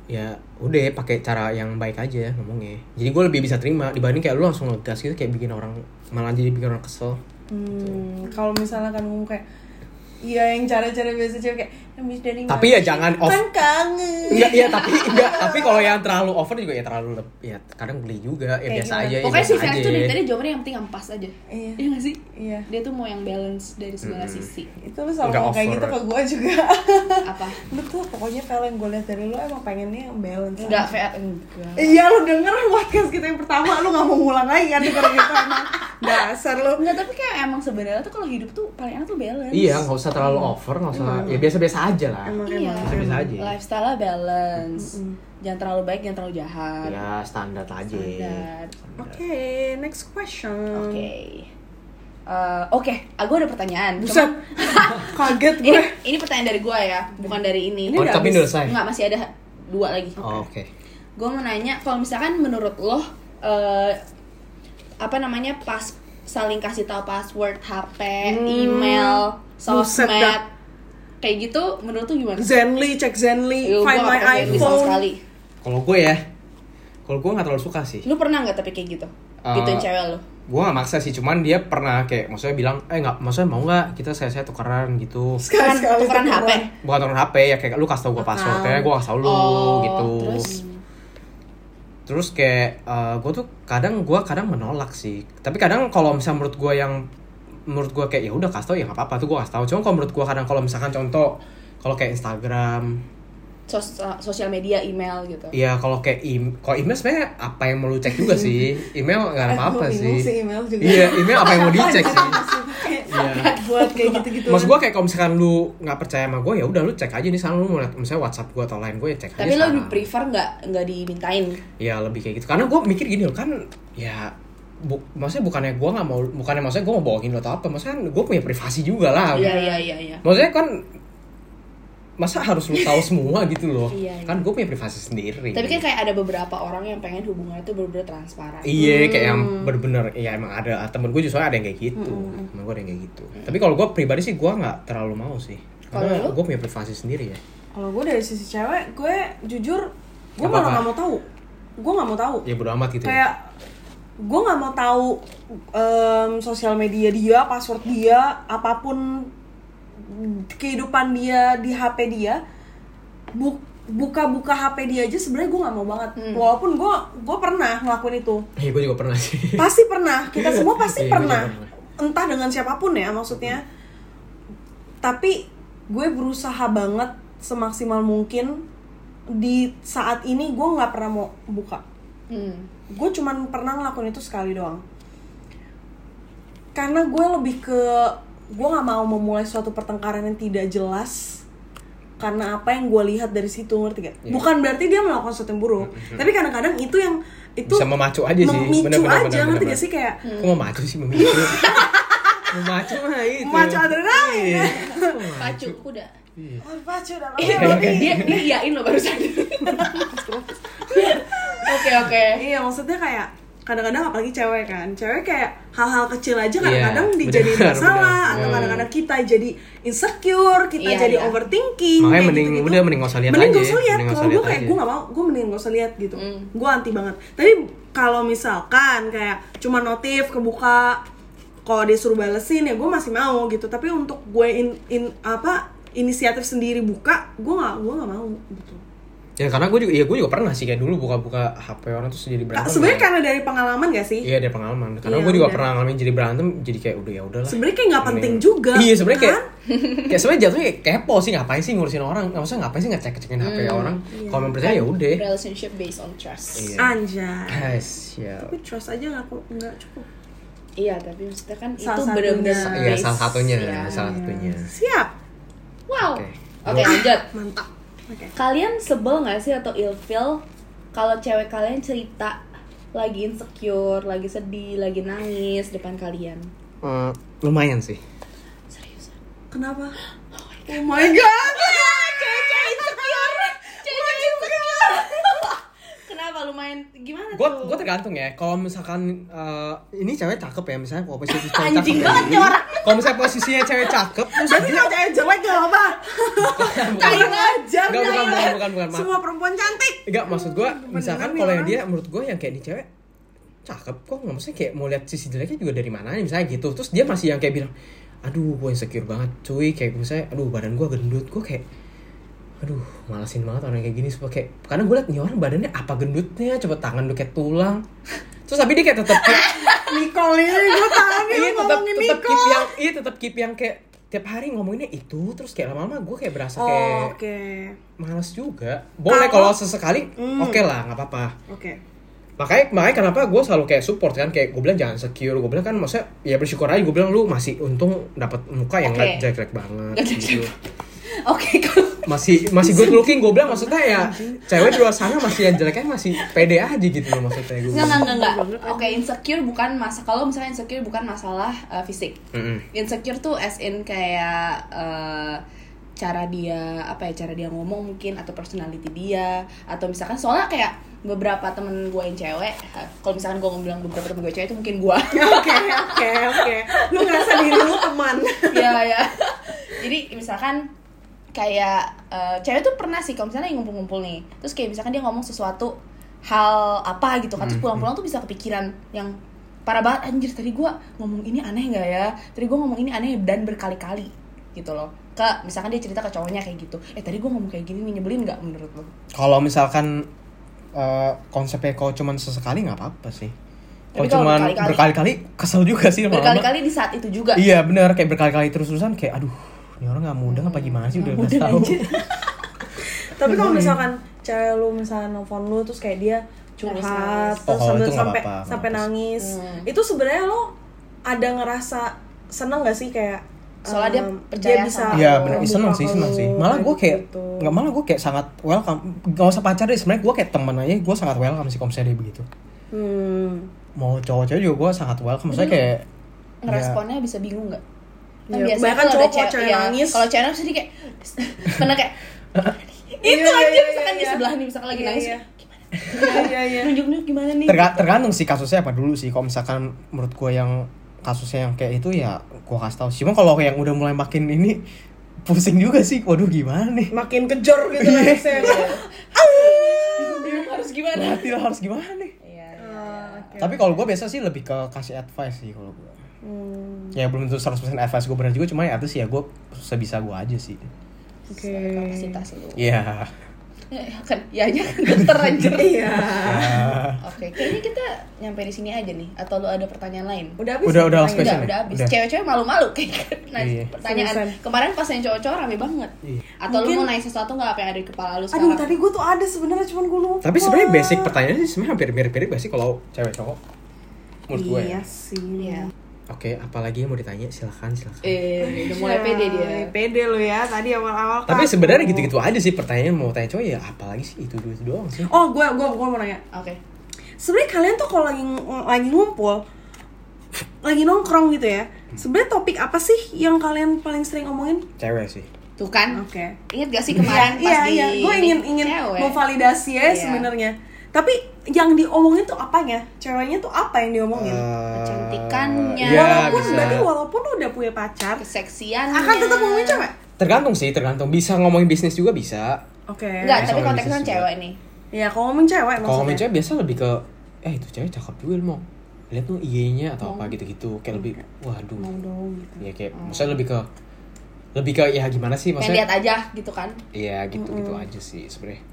Speaker 3: ya udah pakai cara yang baik aja ngomongnya. Jadi gua lebih bisa terima dibanding kayak lu langsung ngegas gitu kayak bikin orang malah jadi bikin orang kesel.
Speaker 2: Hmm, kalau misalnya kan ngomong kayak Iya yang cara-cara biasa cewek kayak habis dari
Speaker 3: Tapi
Speaker 2: mana
Speaker 3: ya
Speaker 2: sih?
Speaker 3: jangan off-
Speaker 2: Kan kangen.
Speaker 3: Iya, iya tapi enggak, tapi kalau yang terlalu over juga ya terlalu leb- ya kadang beli juga ya
Speaker 2: Kayak
Speaker 3: biasa
Speaker 2: gimana?
Speaker 3: aja. ya
Speaker 1: pokoknya
Speaker 3: biasa
Speaker 1: si Vans tuh dari
Speaker 3: aja.
Speaker 1: tadi jawabannya yang penting yang pas aja
Speaker 2: Iya.
Speaker 1: iya nggak sih
Speaker 2: Iya.
Speaker 1: dia tuh mau yang balance dari segala sisi
Speaker 2: Itu lu sama
Speaker 3: Nggak
Speaker 2: kayak
Speaker 3: over.
Speaker 2: gitu ke gue juga.
Speaker 1: apa
Speaker 2: lu tuh pokoknya kalau yang gue lihat dari lu emang pengennya yang balance.
Speaker 1: enggak
Speaker 2: aja.
Speaker 1: fair enggak
Speaker 2: Iya lu denger podcast kita yang pertama lu gak mau ngulang lagi kan denger gitu emang. Dasar lu.
Speaker 1: Enggak, tapi kayak emang sebenarnya tuh kalau hidup tuh paling enak tuh balance.
Speaker 3: Iya, nggak usah terlalu over, nggak usah ya biasa-biasa aja lah.
Speaker 2: Hmm. Emang
Speaker 1: Iya.
Speaker 2: emang.
Speaker 3: Biasa-biasa aja.
Speaker 1: Lifestyle balance. Jangan terlalu baik, jangan terlalu jahat.
Speaker 3: Ya standar aja.
Speaker 1: Standar.
Speaker 2: Oke, next question.
Speaker 1: Oke. Eh, Oke, aku ada pertanyaan.
Speaker 2: Buset.
Speaker 1: Cuma-
Speaker 2: Kaget
Speaker 1: ini
Speaker 2: gue.
Speaker 1: ini pertanyaan dari gua ya, bukan dari ini.
Speaker 3: Oh,
Speaker 2: udah
Speaker 3: tapi
Speaker 2: habis.
Speaker 3: udah selesai.
Speaker 1: Enggak, masih ada dua lagi.
Speaker 3: Oh, Oke.
Speaker 1: Gue mau nanya, kalau misalkan menurut lo, eh, apa namanya pas saling kasih tahu password HP, email,
Speaker 2: Hmm. buset
Speaker 1: sosmed,
Speaker 2: dah.
Speaker 1: kayak gitu, menurut lo gimana?
Speaker 2: Zenly, cek Zenly,
Speaker 1: Yo, Iya, gua
Speaker 2: find
Speaker 1: nggak
Speaker 2: my
Speaker 1: pernah kayak gitu sama
Speaker 2: iPhone.
Speaker 1: sekali.
Speaker 3: Kalau gue ya, kalau gue nggak terlalu suka sih.
Speaker 1: Lu pernah nggak tapi kayak gitu?
Speaker 3: Eh,
Speaker 1: Gituin cewek lu.
Speaker 3: Gue nggak maksa sih, cuman dia pernah kayak maksudnya bilang, eh nggak, maksudnya mau nggak kita saya-saya tukeran gitu.
Speaker 1: Tukeran,
Speaker 2: Sekali-sekali
Speaker 1: Kan tukeran
Speaker 2: tuh
Speaker 1: HP.
Speaker 2: keluar.
Speaker 3: Bukan tukeran HP ya kayak lu kasih tau ya, gue passwordnya, gue kasih tau lu
Speaker 1: Oh,
Speaker 3: gitu.
Speaker 1: Terus
Speaker 3: terus kayak gue tuh kadang gue kadang menolak sih tapi kadang kalau misalnya menurut gue yang menurut gue kayak ya udah kasih tau ya nggak apa-apa tuh gue kasih tau cuma kalau menurut gue kadang kalau misalkan contoh kalau kayak Instagram
Speaker 1: sos- uh, sosial media, email gitu.
Speaker 3: ya kalau kayak im kalau email sebenarnya apa yang mau lu cek juga sih email nggak
Speaker 2: Eh, gua
Speaker 3: ada apa-apa
Speaker 2: bingung
Speaker 3: sih
Speaker 2: sih email juga.
Speaker 3: iya email apa yang mau dicek sih
Speaker 2: Iya. Buat kayak gitu-gitu.
Speaker 1: Gitu.
Speaker 3: Maksud gue kayak kalau misalkan lu nggak percaya sama gue ya udah lu cek aja nih sana lu mau liat misalnya WhatsApp gue atau lain gue ya cek aja
Speaker 1: Tapi lo
Speaker 3: sana.
Speaker 1: lebih prefer nggak nggak dimintain?
Speaker 3: ya lebih kayak gitu karena gue mikir gini loh kan ya bu- maksudnya bukannya gue nggak mau bukannya maksudnya gue mau bohongin lo atau apa maksudnya kan gue punya privasi juga lah
Speaker 1: Iya iya iya iya.
Speaker 3: maksudnya kan masa harus lu tahu semua gitu loh
Speaker 1: Iya, iya.
Speaker 3: kan gue punya privasi sendiri
Speaker 1: Tapi kan kayak ada beberapa orang yang pengen hubungannya tuh bener-bener transparan.
Speaker 3: Iya, kayak yang
Speaker 1: Hmm.
Speaker 3: bener-bener, ya emang ada temen gue justru ada yang kayak gitu, temen gue ada yang kayak gitu. Tapi kalau gue pribadi sih gue nggak terlalu mau sih, karena
Speaker 1: Hmm. Kalau lu?
Speaker 3: gue punya privasi sendiri ya.
Speaker 2: Kalau gue dari sisi cewek, gue jujur gue
Speaker 3: Nggak
Speaker 2: malah
Speaker 3: apa-apa.
Speaker 2: nggak mau tahu. Gue nggak mau tahu.
Speaker 3: Ya bodo amat gitu. ya.
Speaker 2: Kayak gue nggak mau tahu em, sosial media dia, password dia, apapun kehidupan dia di HP dia. Bu- buka-buka HP dia aja sebenarnya gue nggak mau banget. Walaupun gue gue pernah ngelakuin itu.
Speaker 3: Iya, gue juga pernah sih.
Speaker 2: pasti pernah kita semua pasti
Speaker 3: Iya,
Speaker 2: pernah
Speaker 3: bener,
Speaker 2: entah dengan siapapun ya maksudnya tapi gue berusaha banget semaksimal mungkin di saat ini gue nggak pernah mau buka
Speaker 1: Hmm.
Speaker 2: gue cuman pernah ngelakuin itu sekali doang karena gue lebih ke gue nggak mau memulai suatu pertengkaran yang tidak jelas karena apa yang gue lihat dari situ ngerti gak?
Speaker 3: Iya.
Speaker 2: Bukan berarti dia melakukan sesuatu yang buruk, tapi kadang-kadang itu yang itu
Speaker 3: Bisa memacu aja sih,
Speaker 2: memicu aja
Speaker 3: bener-bener, bener-bener,
Speaker 2: ngerti
Speaker 3: bener-bener.
Speaker 2: gak sih kayak
Speaker 3: Kok mau macu sih memicu? mau macu mah itu.
Speaker 2: Macu adrenalin.
Speaker 3: Iya.
Speaker 2: Nah,
Speaker 1: Pacu kuda.
Speaker 2: Oh, pacu dalam
Speaker 1: Iya,
Speaker 3: Iya.
Speaker 1: dia dia iyain lo barusan. Oke oke.
Speaker 2: Iya maksudnya kayak kadang-kadang apalagi cewek kan cewek kayak hal-hal kecil aja
Speaker 3: Iya,
Speaker 2: kadang-kadang
Speaker 3: benar,
Speaker 2: dijadiin
Speaker 3: benar.
Speaker 2: masalah atau
Speaker 3: Hmm.
Speaker 2: kadang-kadang kita jadi insecure kita
Speaker 1: Iya,
Speaker 2: jadi
Speaker 1: iya.
Speaker 2: overthinking
Speaker 3: Makanya
Speaker 2: kayak
Speaker 3: mending-
Speaker 2: gitu-gitu.
Speaker 3: udah, mending nggak usah lihat
Speaker 2: mending
Speaker 3: aja
Speaker 2: nggak usah
Speaker 3: ya.
Speaker 2: lihat.
Speaker 3: Mending nggak
Speaker 2: kalau
Speaker 3: usah
Speaker 2: gue
Speaker 3: lihat
Speaker 2: kayak
Speaker 3: aja.
Speaker 2: gue nggak mau gue mending nggak usah lihat gitu
Speaker 1: Mm.
Speaker 2: gue anti banget tapi kalau misalkan kayak cuma notif kebuka kalau dia suruh balesin ya gue masih mau gitu tapi untuk gue in, in- apa inisiatif sendiri buka gue nggak gue nggak mau gitu
Speaker 3: ya karena gue juga ya gue juga pernah sih kayak dulu buka-buka HP orang terus jadi
Speaker 2: Ka-
Speaker 3: berantem
Speaker 2: sebenarnya
Speaker 3: ya.
Speaker 2: karena dari pengalaman gak sih
Speaker 3: iya dari pengalaman karena
Speaker 2: Iya,
Speaker 3: gue juga
Speaker 2: udah.
Speaker 3: pernah ngalamin jadi berantem jadi kayak udah ya udahlah
Speaker 2: sebenarnya kayak nggak penting
Speaker 3: Mending-
Speaker 2: juga
Speaker 3: iya sebenarnya kayak
Speaker 2: kan?
Speaker 3: kayak sebenarnya jatuhnya kayak kepo sih ngapain sih ngurusin orang nggak usah ngapain sih ngecek ngecekin HP
Speaker 2: Hmm,
Speaker 3: orang
Speaker 2: iya.
Speaker 3: kalau memang percaya ya udah
Speaker 1: relationship based on trust
Speaker 3: Iya.
Speaker 2: anjay
Speaker 3: guys ya
Speaker 2: tapi trust aja nggak kok- nggak cukup
Speaker 1: iya tapi maksudnya kan
Speaker 2: Salah
Speaker 1: itu
Speaker 2: satunya.
Speaker 1: benar-benar
Speaker 3: iya
Speaker 1: based,
Speaker 3: salah satunya
Speaker 1: ya.
Speaker 3: salah satunya
Speaker 2: Iya. siap
Speaker 1: wow
Speaker 3: Oke.
Speaker 1: oke lanjut
Speaker 2: mantap oke
Speaker 1: kalian sebel nggak sih atau ilfeel kalau cewek kalian cerita lagi insecure lagi sedih lagi nangis depan kalian
Speaker 3: Eh, lumayan sih
Speaker 1: serius
Speaker 2: kenapa oh my god
Speaker 1: cewek insecure cewek insecure kenapa lumayan gimana
Speaker 3: gue
Speaker 1: tuh
Speaker 3: gue tergantung ya kalau misalkan eh, ini cewek cakep ya misalnya kalau posisi cewek cakep
Speaker 1: Anjing
Speaker 3: ya.
Speaker 1: banget nih orang.
Speaker 3: kalau misalnya posisinya cewek cakep terus
Speaker 2: berarti kalau cewek jelek gak apa
Speaker 3: bukan,
Speaker 2: kurang ajar
Speaker 3: Nggak, bukan,
Speaker 2: Naya.
Speaker 3: bukan, bukan, bukan, maaf.
Speaker 2: semua perempuan cantik
Speaker 3: enggak maksud gue misalkan kalau yang
Speaker 2: orang.
Speaker 3: dia menurut gue yang kayak ini cewek cakep kok nggak maksudnya kayak mau lihat sisi jeleknya juga dari mana misalnya gitu terus dia masih yang kayak bilang aduh gue insecure banget cuy kayak misalnya aduh badan gue gendut gue kayak aduh malasin banget orang kayak gini suka kayak karena gue liat nih orang badannya apa gendutnya coba tangan lu kayak tulang terus tapi dia kayak tetep kayak-
Speaker 2: Nicole ini gue tahu nih
Speaker 3: iya
Speaker 2: lu
Speaker 3: tetap
Speaker 2: ngomongin
Speaker 3: tetap keep
Speaker 2: Nicole
Speaker 3: yang iya tetap keep yang kayak tiap hari ngomonginnya itu terus kayak lama-lama gue kayak berasa kayak
Speaker 2: oh oke
Speaker 3: males juga boleh
Speaker 2: Kalau-
Speaker 3: kalau sesekali
Speaker 2: Hmm.
Speaker 3: oke lah nggak apa-apa
Speaker 2: oke
Speaker 3: makanya makanya kenapa gue selalu kayak support kan kayak gue bilang jangan secure gue bilang kan maksudnya ya bersyukur aja gue bilang lu masih untung dapat muka yang nggak
Speaker 1: Oke.
Speaker 3: jelek-jelek banget
Speaker 1: Nggak
Speaker 3: gitu.
Speaker 1: oke kalau
Speaker 3: masih masih good looking gue bilang maksudnya ya cewek di luar sana masih yang jeleknya masih pede aja gitu loh maksudnya gue
Speaker 1: Enggak,
Speaker 3: bilang.
Speaker 1: enggak, enggak, enggak. Oke, insecure bukan masa kalau misalnya insecure bukan masalah uh, fisik.
Speaker 3: Mm-mm.
Speaker 1: Insecure tuh as in kayak uh, cara dia apa ya cara dia ngomong mungkin atau personality dia atau misalkan soalnya kayak beberapa temen gue yang cewek uh, kalau misalkan gue bilang beberapa temen gue cewek itu mungkin gue
Speaker 2: oke oke oke lu ngerasa diri lu teman
Speaker 1: ya ya jadi misalkan kayak eh, cewek tuh pernah sih kalau misalnya ngumpul-ngumpul nih terus kayak misalkan dia ngomong sesuatu hal apa gitu kan terus pulang-pulang tuh bisa kepikiran yang parah banget anjir tadi gua ngomong ini aneh nggak ya tadi gua ngomong ini aneh dan berkali-kali gitu loh ke misalkan dia cerita ke cowoknya kayak gitu eh tadi gua ngomong kayak gini nih nyebelin nggak menurut lo
Speaker 3: kalau misalkan eh, konsepnya kalau cuman sesekali nggak apa-apa sih
Speaker 1: Tapi kalau
Speaker 3: kalau cuman
Speaker 1: berkali-kali-
Speaker 3: berkali-kali kesel juga sih lama-lama.
Speaker 1: berkali-kali di saat itu juga
Speaker 3: iya bener kayak berkali-kali terus-terusan kayak aduh ini orang nggak muda apa gimana sih udah udah
Speaker 1: muda,
Speaker 3: tahu
Speaker 1: anjir.
Speaker 2: tapi kalau misalkan cewek lu misalnya nelfon lu terus kayak dia curhat
Speaker 1: Nangis-nangis.
Speaker 2: terus
Speaker 3: Oh,
Speaker 2: sambil
Speaker 3: itu nggak
Speaker 2: sampai
Speaker 3: apa-apa,
Speaker 2: sampai
Speaker 3: nggak
Speaker 2: nangis
Speaker 1: Hmm.
Speaker 2: itu sebenarnya lo ada ngerasa seneng gak sih kayak
Speaker 1: Soalnya dia
Speaker 2: em,
Speaker 1: percaya
Speaker 2: bisa
Speaker 1: sama
Speaker 3: Iya
Speaker 1: Oh,
Speaker 3: bener,
Speaker 2: membuka
Speaker 3: seneng sih,
Speaker 2: ke
Speaker 3: seneng
Speaker 2: lu,
Speaker 3: sih. Malah gue kayak
Speaker 2: gitu.
Speaker 3: nggak malah gue kayak sangat welcome. Gak usah pacar deh, sebenarnya gue kayak temen aja, gue sangat welcome sih kalau misalnya dia begitu.
Speaker 2: hmm.
Speaker 3: Mau cowok-cowok juga gue sangat welcome. Maksudnya kayak
Speaker 1: ngeresponnya bisa bingung nggak? Kan
Speaker 2: Iya,
Speaker 1: biasanya
Speaker 2: kebanyakan
Speaker 1: kalau
Speaker 2: cowok
Speaker 1: ada
Speaker 2: kalau cewek
Speaker 1: iya,
Speaker 2: nangis.
Speaker 1: Kalau cewek nangis jadi kayak pernah kayak itu
Speaker 2: Iya,
Speaker 1: aja
Speaker 2: iya, iya,
Speaker 1: misalkan di
Speaker 2: iya.
Speaker 1: sebelah nih misalkan lagi
Speaker 2: Iya,
Speaker 1: nangis
Speaker 2: iya.
Speaker 1: gimana?
Speaker 2: iya iya
Speaker 1: Nunjuk nunjuk gimana nih?
Speaker 3: terga- tergantung sih kasusnya apa dulu sih. Kalau misalkan menurut gue yang kasusnya yang kayak itu ya gue kasih tahu. Cuma kalau yang udah mulai makin ini pusing juga sih. Waduh gimana nih?
Speaker 2: makin kejor gitu kan saya
Speaker 3: Iya.
Speaker 1: Bingung harus gimana?
Speaker 3: Hati lah harus gimana nih?
Speaker 1: Iya.
Speaker 2: Ah,
Speaker 3: Tapi kalau gue biasa sih lebih ke kasih advice sih kalau gue. Ya belum tentu 100% advice gue benar juga, cuma ya itu sih ya gue sebisa gue aja sih.
Speaker 2: oke
Speaker 1: Kapasitas lu.
Speaker 3: Iya.
Speaker 1: Ya kan, ya aja kan geter anjir.
Speaker 2: iya
Speaker 3: Ah.
Speaker 1: Oke, kayaknya kita nyampe di sini aja nih. Atau lu ada pertanyaan lain?
Speaker 2: udah habis
Speaker 3: Udah,
Speaker 2: ya
Speaker 3: udah, last
Speaker 2: pertanyaan?
Speaker 1: Udah,
Speaker 3: question
Speaker 1: udah
Speaker 3: ya?
Speaker 1: habis.
Speaker 3: Udah.
Speaker 1: Cewek-cewek malu-malu kayak kan. Nah,
Speaker 3: Iya.
Speaker 1: pertanyaan
Speaker 2: Seriusan.
Speaker 1: kemarin pas yang cowok-cowok rame banget.
Speaker 3: Iya.
Speaker 1: Atau
Speaker 2: Mungkin-
Speaker 1: lu mau nanya sesuatu nggak apa yang ada di kepala lu sekarang?
Speaker 2: aduh tadi gue tuh ada sebenarnya cuman gue lupa
Speaker 3: Tapi sebenarnya basic pertanyaannya sih sebenarnya hampir mirip-mirip gak sih kalau cewek cowok? Menurut gue ya.
Speaker 2: iya sih
Speaker 1: Iya.
Speaker 3: Oke, apalagi yang mau ditanya silakan silakan.
Speaker 1: Eh, udah mulai pede dia.
Speaker 2: Pede lo ya, tadi awal-awal
Speaker 3: Tapi
Speaker 2: kaku.
Speaker 3: sebenarnya gitu-gitu aja sih pertanyaan mau tanya cowok ya apalagi sih itu dua itu doang sih.
Speaker 2: Oh, gue gue gue mau nanya.
Speaker 1: Oke.
Speaker 2: Sebenarnya kalian tuh kalau lagi lagi ngumpul, lagi nongkrong gitu ya. Sebenarnya topik apa sih yang kalian paling sering omongin?
Speaker 3: Cewek sih.
Speaker 1: Tuh kan?
Speaker 2: Oke.
Speaker 1: Ingat gak sih kemarin pas
Speaker 2: Iya
Speaker 1: di
Speaker 2: iya, gue ingin ingin
Speaker 1: cewek?
Speaker 2: memvalidasi ya
Speaker 1: Iya.
Speaker 2: sebenarnya. Tapi yang diomongin tuh apanya ceweknya tuh apa yang diomongin
Speaker 1: Iya, Kecantikannya.
Speaker 3: Eh, Iya,
Speaker 2: walaupun
Speaker 3: bisa.
Speaker 2: berarti walaupun lu udah punya pacar
Speaker 1: keseksian
Speaker 2: akan tetap ngomongin cewek
Speaker 3: Tergantung sih, tergantung. Bisa ngomongin bisnis juga bisa.
Speaker 2: oke
Speaker 1: enggak tapi
Speaker 3: Sama
Speaker 1: konteksnya
Speaker 3: bisnis juga.
Speaker 1: cewek nih
Speaker 2: ya kalau ngomongin cewek maksudnya
Speaker 3: Kalau ngomongin cewek biasa lebih ke eh itu cewek cakep juga lu mau lihat tuh IG-nya atau
Speaker 1: Oh.
Speaker 3: apa gitu-gitu. Kayak lebih waduh.
Speaker 2: mau dong gitu
Speaker 3: Ya kayak maksudnya lebih ke lebih ke ya gimana sih
Speaker 1: pengen
Speaker 3: maksudnya?
Speaker 1: lihat aja gitu kan
Speaker 3: Iya gitu-gitu aja sih sebenarnya.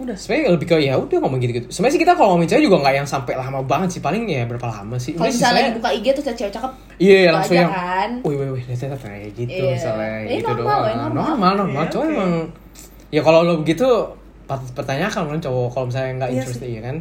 Speaker 2: udah
Speaker 3: Sebenarnya lebih ke ya udah ngomong gitu-gitu. Sebenarnya sih kita kalau ngomongin cewek juga nggak yang sampai lama banget sih paling ya berapa lama sih?
Speaker 1: kalau
Speaker 3: Ini
Speaker 1: misalnya lagi
Speaker 3: sisanya-
Speaker 1: buka IG terus ada cewek cakep
Speaker 3: Iya
Speaker 1: gitu
Speaker 3: langsung
Speaker 1: aja
Speaker 3: yang
Speaker 1: kan
Speaker 3: Wih wih wih lihat lihat kayak gitu
Speaker 1: Iya.
Speaker 3: misalnya
Speaker 1: Eh,
Speaker 3: gitu
Speaker 1: normal
Speaker 3: doang.
Speaker 1: loh, normal. Iya,
Speaker 3: normal normal.
Speaker 2: Oke,
Speaker 3: Cowok
Speaker 2: oke.
Speaker 3: emang ya kalau lo begitu pat- pertanyakan kan cowok kalau misalnya nggak
Speaker 2: Iya
Speaker 3: interested
Speaker 2: sih.
Speaker 3: ya kan.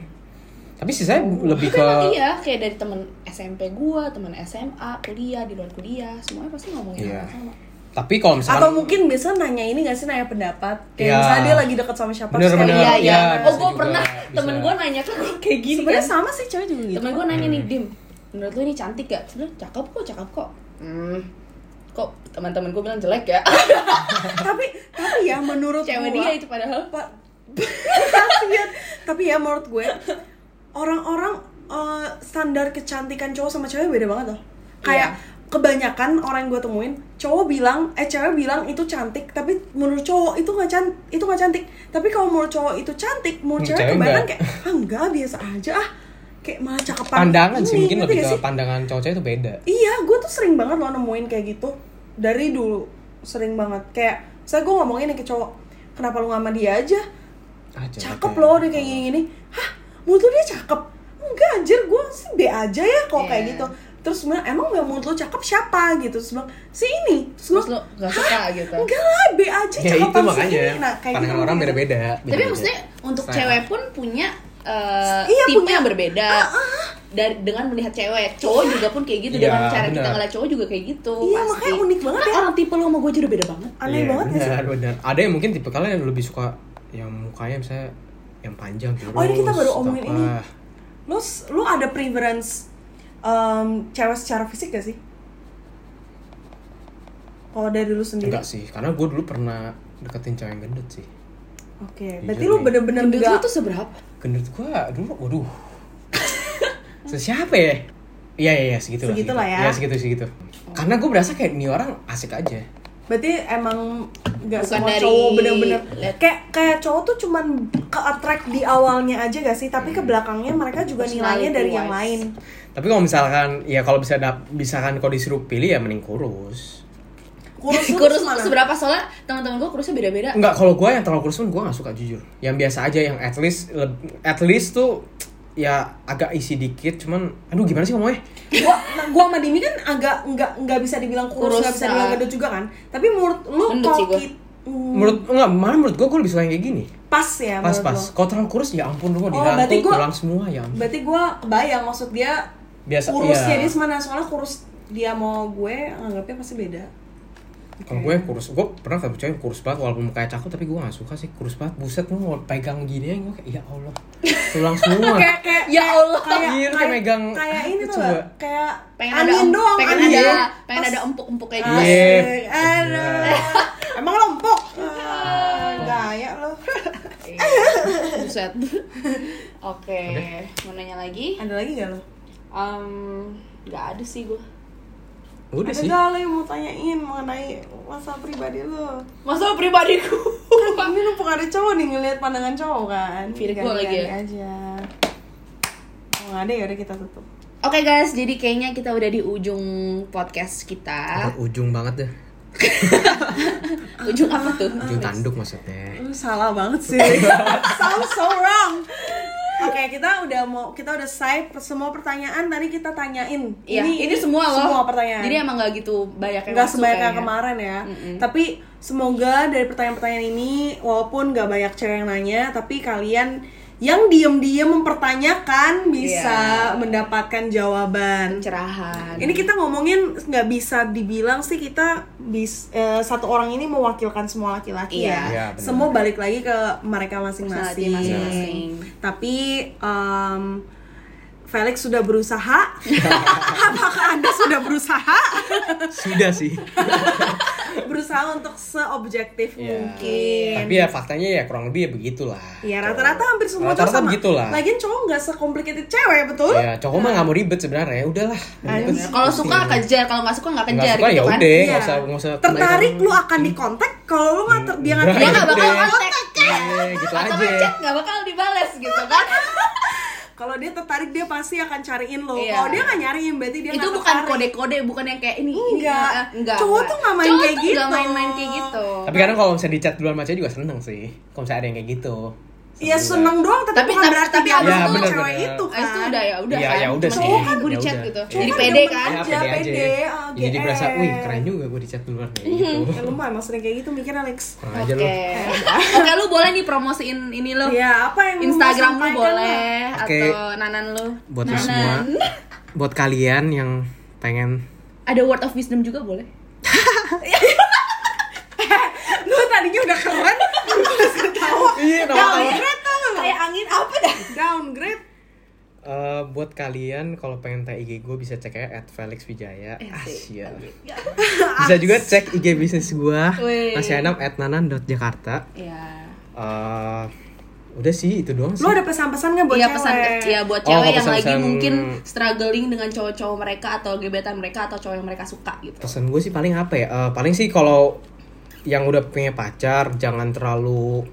Speaker 3: Tapi sih saya lebih
Speaker 1: tapi
Speaker 3: ke
Speaker 1: emang iya kayak dari temen SMP gua temen SMA kuliah di luar kuliah semuanya pasti ngomongin hal
Speaker 3: Iya.
Speaker 1: yang sama
Speaker 3: tapi kalau misalnya
Speaker 2: atau mungkin biasa nanya ini gak sih nanya pendapat kayak
Speaker 3: Iya.
Speaker 2: misalnya dia lagi deket sama siapa
Speaker 3: Bener,
Speaker 2: terus kayak,
Speaker 3: bener.
Speaker 1: iya iya
Speaker 3: iya,
Speaker 1: oh
Speaker 3: bisa
Speaker 1: gua
Speaker 3: juga,
Speaker 1: pernah
Speaker 3: bisa.
Speaker 1: temen gua nanya ke gua kayak gini
Speaker 2: iya, sebenarnya
Speaker 1: kan
Speaker 2: sama sih cewek juga gitu
Speaker 1: temen gua nanya nih
Speaker 3: Hmm.
Speaker 1: dim menurut lu ini cantik gak sebenarnya cakep kok cakep kok hmm kok teman-teman gua bilang jelek ya
Speaker 2: tapi tapi ya menurut
Speaker 1: cewek
Speaker 2: gua,
Speaker 1: dia itu padahal
Speaker 2: Pa- Kasian. Tapi ya menurut gue orang-orang eh, standar kecantikan cowok sama cewek beda banget loh. Kayak
Speaker 3: Iya.
Speaker 2: kebanyakan orang yang gue temuin cowok bilang eh cewek bilang itu cantik tapi menurut cowok itu nggak cantik itu nggak cantik tapi kalau menurut cowok itu cantik menurut
Speaker 3: Hmm,
Speaker 2: cewek,
Speaker 3: cewek
Speaker 2: kebanyakan
Speaker 3: nggak.
Speaker 2: kayak ah enggak biasa aja ah kayak malah cakepan
Speaker 3: pandangan sih
Speaker 2: ini,"
Speaker 3: mungkin
Speaker 2: ngerti
Speaker 3: lebih
Speaker 2: nggak
Speaker 3: ke
Speaker 2: sih?
Speaker 3: pandangan cowok-cewek itu beda.
Speaker 2: Iya, gue tuh sering banget loh nemuin kayak gitu dari dulu sering banget kayak saya gue ngomongin nih ke cowok kenapa lu nggak sama dia aja
Speaker 3: Ah, jelek
Speaker 2: cakep
Speaker 3: ya.
Speaker 2: loh dia kayak gini gini hah menurut lu dia cakep enggak anjir gue sih B aja ya kok kayak
Speaker 1: Iya.
Speaker 2: gitu terus gue bilang, emang yang menurut lu cakep siapa gitu terus bilang si ini terus,
Speaker 1: terus
Speaker 2: gue
Speaker 1: lo gak suka gitu
Speaker 2: enggak lah B aja
Speaker 3: Ya
Speaker 2: cakep
Speaker 3: itu makanya
Speaker 2: Nah,
Speaker 3: pandangan
Speaker 2: gitu.
Speaker 3: orang beda-beda.
Speaker 1: tapi
Speaker 3: beda-beda.
Speaker 1: maksudnya untuk
Speaker 3: Style.
Speaker 1: cewek pun punya eh,
Speaker 2: Iya,
Speaker 1: tipe
Speaker 2: punya. ah,
Speaker 1: yang berbeda dari dengan melihat cewek cowok juga pun kayak gitu
Speaker 3: Iya,
Speaker 1: dengan cara kita
Speaker 3: benar.
Speaker 1: ngeliat cowok juga kayak gitu
Speaker 2: Iya,
Speaker 1: pasti.
Speaker 2: makanya unik banget
Speaker 1: Kan
Speaker 2: ya.
Speaker 1: orang tipe lo sama gue aja udah beda banget
Speaker 2: aneh banget ya sih
Speaker 3: Iya, benar, benar. Ada yang mungkin tipe kalian lebih suka yang mukanya misalnya yang panjang terus.
Speaker 2: Oh, ini kita baru
Speaker 3: atau
Speaker 2: omongin
Speaker 3: apa.
Speaker 2: ini. lu s- lu ada preference em, cewek secara fisik gak sih kalau dari lu sendiri
Speaker 3: Enggak
Speaker 2: oke
Speaker 3: sih, karena gue dulu pernah deketin cewek yang gendut sih
Speaker 2: berarti
Speaker 3: Jujur
Speaker 2: lu
Speaker 3: nih.
Speaker 2: bener-bener
Speaker 1: menurut lo
Speaker 2: enggak
Speaker 1: tuh seberapa
Speaker 3: Gendut gue dulu, waduh Sesiapa ya? Iya, iya, iya, segitu lah
Speaker 2: Segitu lah ya.
Speaker 3: Iya, segitu, segitu Karena gue berasa kayak ini orang asik aja
Speaker 2: Berarti emang gak
Speaker 1: Bukan
Speaker 2: semua
Speaker 1: dari-
Speaker 2: cowok bener-bener
Speaker 1: Let-
Speaker 2: kayak kayak cowok tuh cuman ke attract di awalnya aja gak sih, tapi
Speaker 1: Hmm.
Speaker 2: ke belakangnya mereka juga nilainya dari yang lain.
Speaker 1: Personality
Speaker 3: Tapi kalau misalkan, ya kalau bisa dap, misalkan kalau disuruh pilih ya mending kurus
Speaker 2: Kurus lu
Speaker 1: kurus lo
Speaker 2: mana?
Speaker 1: seberapa soalnya teman-teman gue kurusnya beda-beda
Speaker 3: Enggak, kalau gue yang terlalu kurus pun gue gak suka jujur Yang biasa aja, yang at least, leb- at least tuh ya agak isi dikit cuman aduh gimana sih ngomongnya
Speaker 2: Gua nah, gua sama Dimi kan agak nggak nggak bisa dibilang kurus,
Speaker 1: Kurus,
Speaker 2: nggak bisa dibilang
Speaker 1: ah.
Speaker 2: gendut juga kan. Tapi menurut lu
Speaker 1: Gendut
Speaker 2: kalau
Speaker 1: sih gua.
Speaker 2: kit- hmm,
Speaker 3: menurut enggak malah menurut gue gue lebih suka yang kayak gini
Speaker 2: pas ya
Speaker 3: pas
Speaker 2: menurut
Speaker 3: pas
Speaker 2: lu?
Speaker 3: kalau terlalu kurus ya ampun lu mau
Speaker 2: Oh,
Speaker 3: dirangkul
Speaker 2: berarti gua-
Speaker 3: tulang semua ya ampun.
Speaker 2: Berarti gua kebayang maksud dia
Speaker 3: Biasa,
Speaker 2: kurusnya
Speaker 3: iya.
Speaker 2: dia semana soalnya kurus dia mau gue anggapnya pasti beda.
Speaker 3: Kalau gue kurus, gue pernah ketemu cewek yang kurus banget walaupun mukanya cakep tapi gue gak suka sih kurus banget. Buset lu mau pegang gini aja gue kayak ya Allah. Tulang semua.
Speaker 2: kayak kayak
Speaker 1: ya Allah
Speaker 2: kayak
Speaker 3: Anjir, kayak
Speaker 2: kayak-
Speaker 3: megang
Speaker 2: kayak ini tuh
Speaker 3: coba.
Speaker 2: nggak? kayak
Speaker 1: pengen ada
Speaker 2: angin
Speaker 1: em-
Speaker 2: doang
Speaker 1: pengen
Speaker 2: angin.
Speaker 1: ada
Speaker 2: Pas-
Speaker 1: pengen ada empuk-empuk kayak
Speaker 2: Ah,
Speaker 1: gitu
Speaker 3: Iya.
Speaker 2: eh, aduh. emang lempok
Speaker 1: Iya.
Speaker 2: gaya lo
Speaker 1: buset oke mau nanya lagi
Speaker 2: ada lagi gak lo
Speaker 1: Em, nggak ada sih gue
Speaker 3: Udah
Speaker 2: ada
Speaker 3: sih.
Speaker 2: gak lo yang mau tanyain mengenai masa pribadi lo
Speaker 1: masalah pribadiku Kan
Speaker 2: ini lo ada cowok nih ngelihat pandangan cowok kan
Speaker 1: Feed gua
Speaker 2: Ganti-ganti
Speaker 1: lagi ya?
Speaker 2: aja kalau nggak ada ya udah kita tutup
Speaker 1: Oke guys, jadi kayaknya kita udah di ujung podcast kita.
Speaker 3: Ke ujung banget deh.
Speaker 1: Ujung apa tuh?
Speaker 3: Ujung tanduk maksudnya.
Speaker 2: lu salah banget sih sounds so wrong Oke, kita udah mau kita udah save semua pertanyaan tadi kita tanyain.
Speaker 1: Iya, ini, semua loh.
Speaker 2: Semua pertanyaan.
Speaker 1: Jadi emang gak gitu banyak yang
Speaker 2: nggak
Speaker 1: masuk
Speaker 2: sebanyak yang
Speaker 1: kayaknya.
Speaker 2: kemarin ya. Tapi semoga dari pertanyaan-pertanyaan ini walaupun nggak banyak cewek yang nanya, tapi kalian yang diem-diem mempertanyakan bisa
Speaker 1: Iya.
Speaker 2: mendapatkan jawaban.
Speaker 1: Pencerahan.
Speaker 2: Ini kita ngomongin nggak bisa dibilang sih kita bis, eh, satu orang ini mewakilkan semua laki-laki
Speaker 1: Iya.
Speaker 3: Iya,
Speaker 2: ya.
Speaker 3: benar.
Speaker 2: Semua balik lagi ke mereka
Speaker 1: Personality
Speaker 2: masing-masing.
Speaker 1: masing-masing.
Speaker 2: Tapi em, Felix sudah berusaha. Apakah Anda sudah berusaha?
Speaker 3: Sudah sih.
Speaker 2: Berus- berusaha untuk seobjektif
Speaker 3: Iya.
Speaker 2: mungkin
Speaker 3: Tapi ya faktanya ya kurang lebih ya begitulah.
Speaker 2: Iya rata-rata hampir semua cowok
Speaker 3: Rata-rata
Speaker 2: sama.
Speaker 3: begitulah.
Speaker 2: Lagian cowok nggak sekomplikated cewek betul?
Speaker 3: Ya, cowok mah nggak mau ribet sebenarnya. ya Udahlah.
Speaker 2: kan
Speaker 3: ribet.
Speaker 1: Iya, Kalau suka kejar, kalau nggak suka nggak kejar
Speaker 3: Iya. Nggak suka,
Speaker 1: gitu
Speaker 3: ya
Speaker 1: kan.
Speaker 3: udah.
Speaker 2: Iya.
Speaker 3: nggak usah- nggak usah
Speaker 2: Tertarik lu akan dikontak kalau lu nggak ter dia nggak
Speaker 3: Nggak,
Speaker 1: Dia Iya, nggak
Speaker 3: Ya
Speaker 1: bakal
Speaker 3: udah.
Speaker 1: kontak kan.
Speaker 3: Iya, gitu
Speaker 1: Atau
Speaker 3: aja.
Speaker 1: chat nggak bakal dibales gitu kan.
Speaker 2: Kalau dia tertarik dia pasti akan cariin lo.
Speaker 1: Iya.
Speaker 2: Kalau dia nggak nyariin berarti dia
Speaker 1: itu
Speaker 2: nggak
Speaker 1: bukan
Speaker 2: tertarik.
Speaker 1: kode-kode, bukan yang kayak ini. ini,
Speaker 2: Nggak.
Speaker 1: eh, nggak,
Speaker 2: Cowok tuh nggak main
Speaker 1: Cowok
Speaker 2: kayak
Speaker 1: tuh nggak
Speaker 2: gitu.
Speaker 1: main-main kayak gitu.
Speaker 3: Tapi kadang kalau misalnya dicat duluan sama cewek juga seneng sih. Kalau misalnya ada yang kayak gitu.
Speaker 2: Iya seneng doang tapi,
Speaker 1: Tapi-
Speaker 2: bukan
Speaker 1: tapi-
Speaker 2: berarti
Speaker 1: tapi
Speaker 2: dia mau
Speaker 1: abis itu-
Speaker 2: sama
Speaker 3: Iya,
Speaker 2: cewek
Speaker 3: bener-bener.
Speaker 2: itu kan.
Speaker 1: Ah, itu udah ya udah
Speaker 3: Iya,
Speaker 1: kan.
Speaker 3: ya udah
Speaker 1: Cuman
Speaker 3: sih.
Speaker 1: kayak, "Ih, gue
Speaker 3: Ya
Speaker 1: dicat
Speaker 3: udah.
Speaker 1: gitu.
Speaker 3: Iya.
Speaker 1: Jadi
Speaker 2: Cuman
Speaker 1: pede
Speaker 2: demen
Speaker 1: kan.
Speaker 2: aja.
Speaker 3: Ya, pede aja.
Speaker 2: pede, ah,
Speaker 3: Jadi
Speaker 2: GR.
Speaker 3: berasa, wih keren juga gue dicat duluan kayak gitu.
Speaker 2: Ya lu mah emang sering kayak gitu mikir Alex.
Speaker 3: Kurang aja
Speaker 1: Oke.
Speaker 3: lu.
Speaker 1: Oke, lu boleh nih promosiin ini lo.
Speaker 2: Ya apa yang lu mau
Speaker 1: Instagram lu
Speaker 2: sampaikan lah?
Speaker 1: boleh
Speaker 3: Oke.
Speaker 1: atau nanan lu.
Speaker 3: Buat lu
Speaker 1: nanan.
Speaker 3: semua. Buat kalian yang pengen
Speaker 1: Ada word of wisdom juga boleh.
Speaker 2: Lu tadinya udah keren, lu terus ketawa.
Speaker 3: Iya, nama
Speaker 2: Downgrade tuh lu.
Speaker 1: Kayak angin apa dah?
Speaker 2: Downgrade.
Speaker 3: Eh, buat kalian kalau pengen tag IG gue bisa cek aja at Felix
Speaker 1: Eh,
Speaker 3: Wijaya Asia.
Speaker 1: Iya.
Speaker 3: Bisa juga cek IG bisnis gue
Speaker 1: Wih.
Speaker 3: masih enam at nanan.jakarta.
Speaker 1: Iya.
Speaker 3: Eh, udah sih itu doang sih.
Speaker 2: Lu ada pesan-pesan nggak buat
Speaker 1: Iya
Speaker 2: cewek?
Speaker 1: pesan ya buat
Speaker 3: Oh,
Speaker 1: cewek yang
Speaker 3: pesan-pesan-
Speaker 1: lagi mungkin struggling dengan cowok-cowok mereka atau gebetan mereka atau cowok yang mereka suka gitu.
Speaker 3: Pesan gue sih paling apa ya? Eh, paling sih kalau yang udah punya pacar jangan terlalu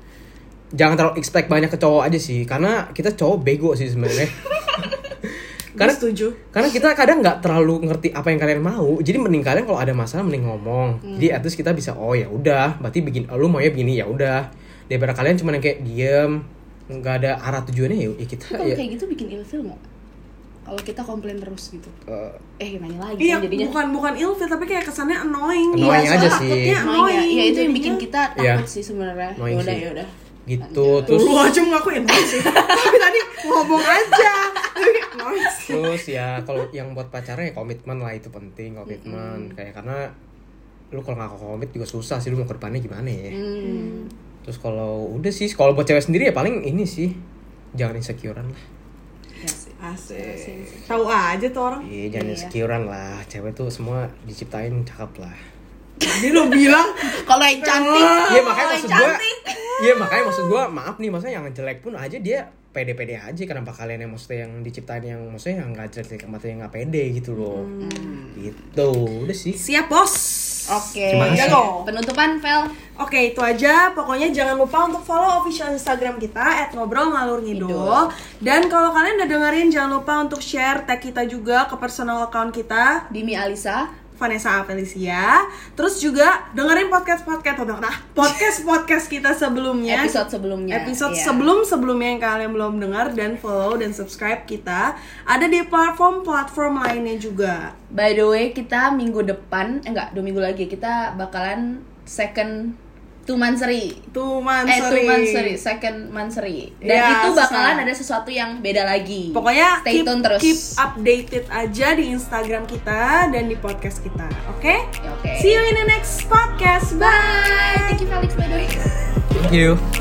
Speaker 3: jangan terlalu expect banyak ke cowok aja sih karena kita cowok bego sih sebenarnya.
Speaker 2: Gue
Speaker 3: karena
Speaker 2: setuju.
Speaker 3: karena kita kadang nggak terlalu ngerti apa yang kalian mau jadi mending kalian kalau ada masalah mending ngomong jadi at least kita bisa oh ya udah berarti bikin oh, lu maunya begini ya udah daripada kalian cuma yang kayak diem nggak ada arah tujuannya ya, ya kita
Speaker 1: Tapi kalau
Speaker 3: ya,
Speaker 1: kayak gitu bikin ilfil nggak? Kalau kita komplain terus gitu.
Speaker 3: eh,
Speaker 1: Eh nanya lagi
Speaker 2: Iya,
Speaker 1: kan jadinya.
Speaker 2: bukan bukan ilfil tapi kayak kesannya annoying.
Speaker 3: Annoying
Speaker 2: Iya,
Speaker 3: aja
Speaker 2: soalnya
Speaker 3: sih.
Speaker 2: Takutnya
Speaker 1: Annoying ya.
Speaker 2: annoying.
Speaker 1: Iya, itu yang bikin
Speaker 2: jadinya-
Speaker 1: kita takut
Speaker 3: Iya.
Speaker 1: sih sebenarnya.
Speaker 3: Annoying
Speaker 1: Yaudah
Speaker 3: sih.
Speaker 1: yaudah.
Speaker 3: gitu
Speaker 1: Lanjut.
Speaker 3: terus
Speaker 2: Lu aja ngakuin annoying sih. Tapi tadi ngomong aja. Tapi annoying sih.
Speaker 3: terus ya kalau yang buat pacarnya ya komitmen lah itu penting komitmen kayak karena lu kalau nggak komit juga susah sih lu mau ke depannya gimana ya
Speaker 1: Hmm.
Speaker 3: terus kalau udah sih kalau buat cewek sendiri ya paling ini sih jangan insecurean lah
Speaker 1: Iya sih.
Speaker 2: Asik. Tahu aja tuh orang.
Speaker 3: Iya, jangan insecurean lah. Cewek tuh semua diciptain cakep lah.
Speaker 2: Tadi lu bilang
Speaker 1: Kalau yang cantik,
Speaker 3: Iya
Speaker 1: kalau
Speaker 3: makanya
Speaker 1: yang
Speaker 3: maksud gua.
Speaker 1: Oh, cantik.
Speaker 3: Iya makanya maksud gua, maaf nih maksudnya yang jelek pun aja dia pede-pede aja kenapa kalian yang maksudnya yang diciptain yang maksudnya yang nggak jelek amat yang nggak pede gitu loh gitu udah sih
Speaker 2: siap bos.
Speaker 1: Oke.
Speaker 3: Terima kasih.
Speaker 2: Jago.
Speaker 1: Penutupan Vel.
Speaker 2: Oke itu aja, pokoknya jangan lupa untuk follow official Instagram kita at ngobrol ngalur ngidul Dan kalau kalian udah dengerin jangan lupa untuk share tag kita juga ke personal account kita
Speaker 1: Dimi Alisa.
Speaker 2: Vanessa Apelicia Terus juga dengerin podcast-podcast nah, podcast-podcast kita sebelumnya
Speaker 1: Episode sebelumnya.
Speaker 2: Iya. Episode
Speaker 1: Iya.
Speaker 2: sebelum-sebelumnya yang kalian belum dengar dan follow dan subscribe kita Ada di platform-platform lainnya juga
Speaker 1: By the way, kita minggu depan, eh enggak, dua minggu lagi kita bakalan second two monthsary.
Speaker 2: Tuh
Speaker 1: Eh, two
Speaker 2: Mansuri
Speaker 1: monthsary, second monthsary. Dan
Speaker 2: Ya,
Speaker 1: itu bakalan
Speaker 2: susah.
Speaker 1: ada sesuatu yang beda lagi.
Speaker 2: Pokoknya
Speaker 1: stay
Speaker 2: keep,
Speaker 1: tune terus.
Speaker 2: keep updated aja di Instagram kita dan di podcast kita, oke?
Speaker 1: Ya, Oke.
Speaker 2: See you in the next podcast. Bye.
Speaker 1: Bye. Thank you Felix by the way.
Speaker 3: thank you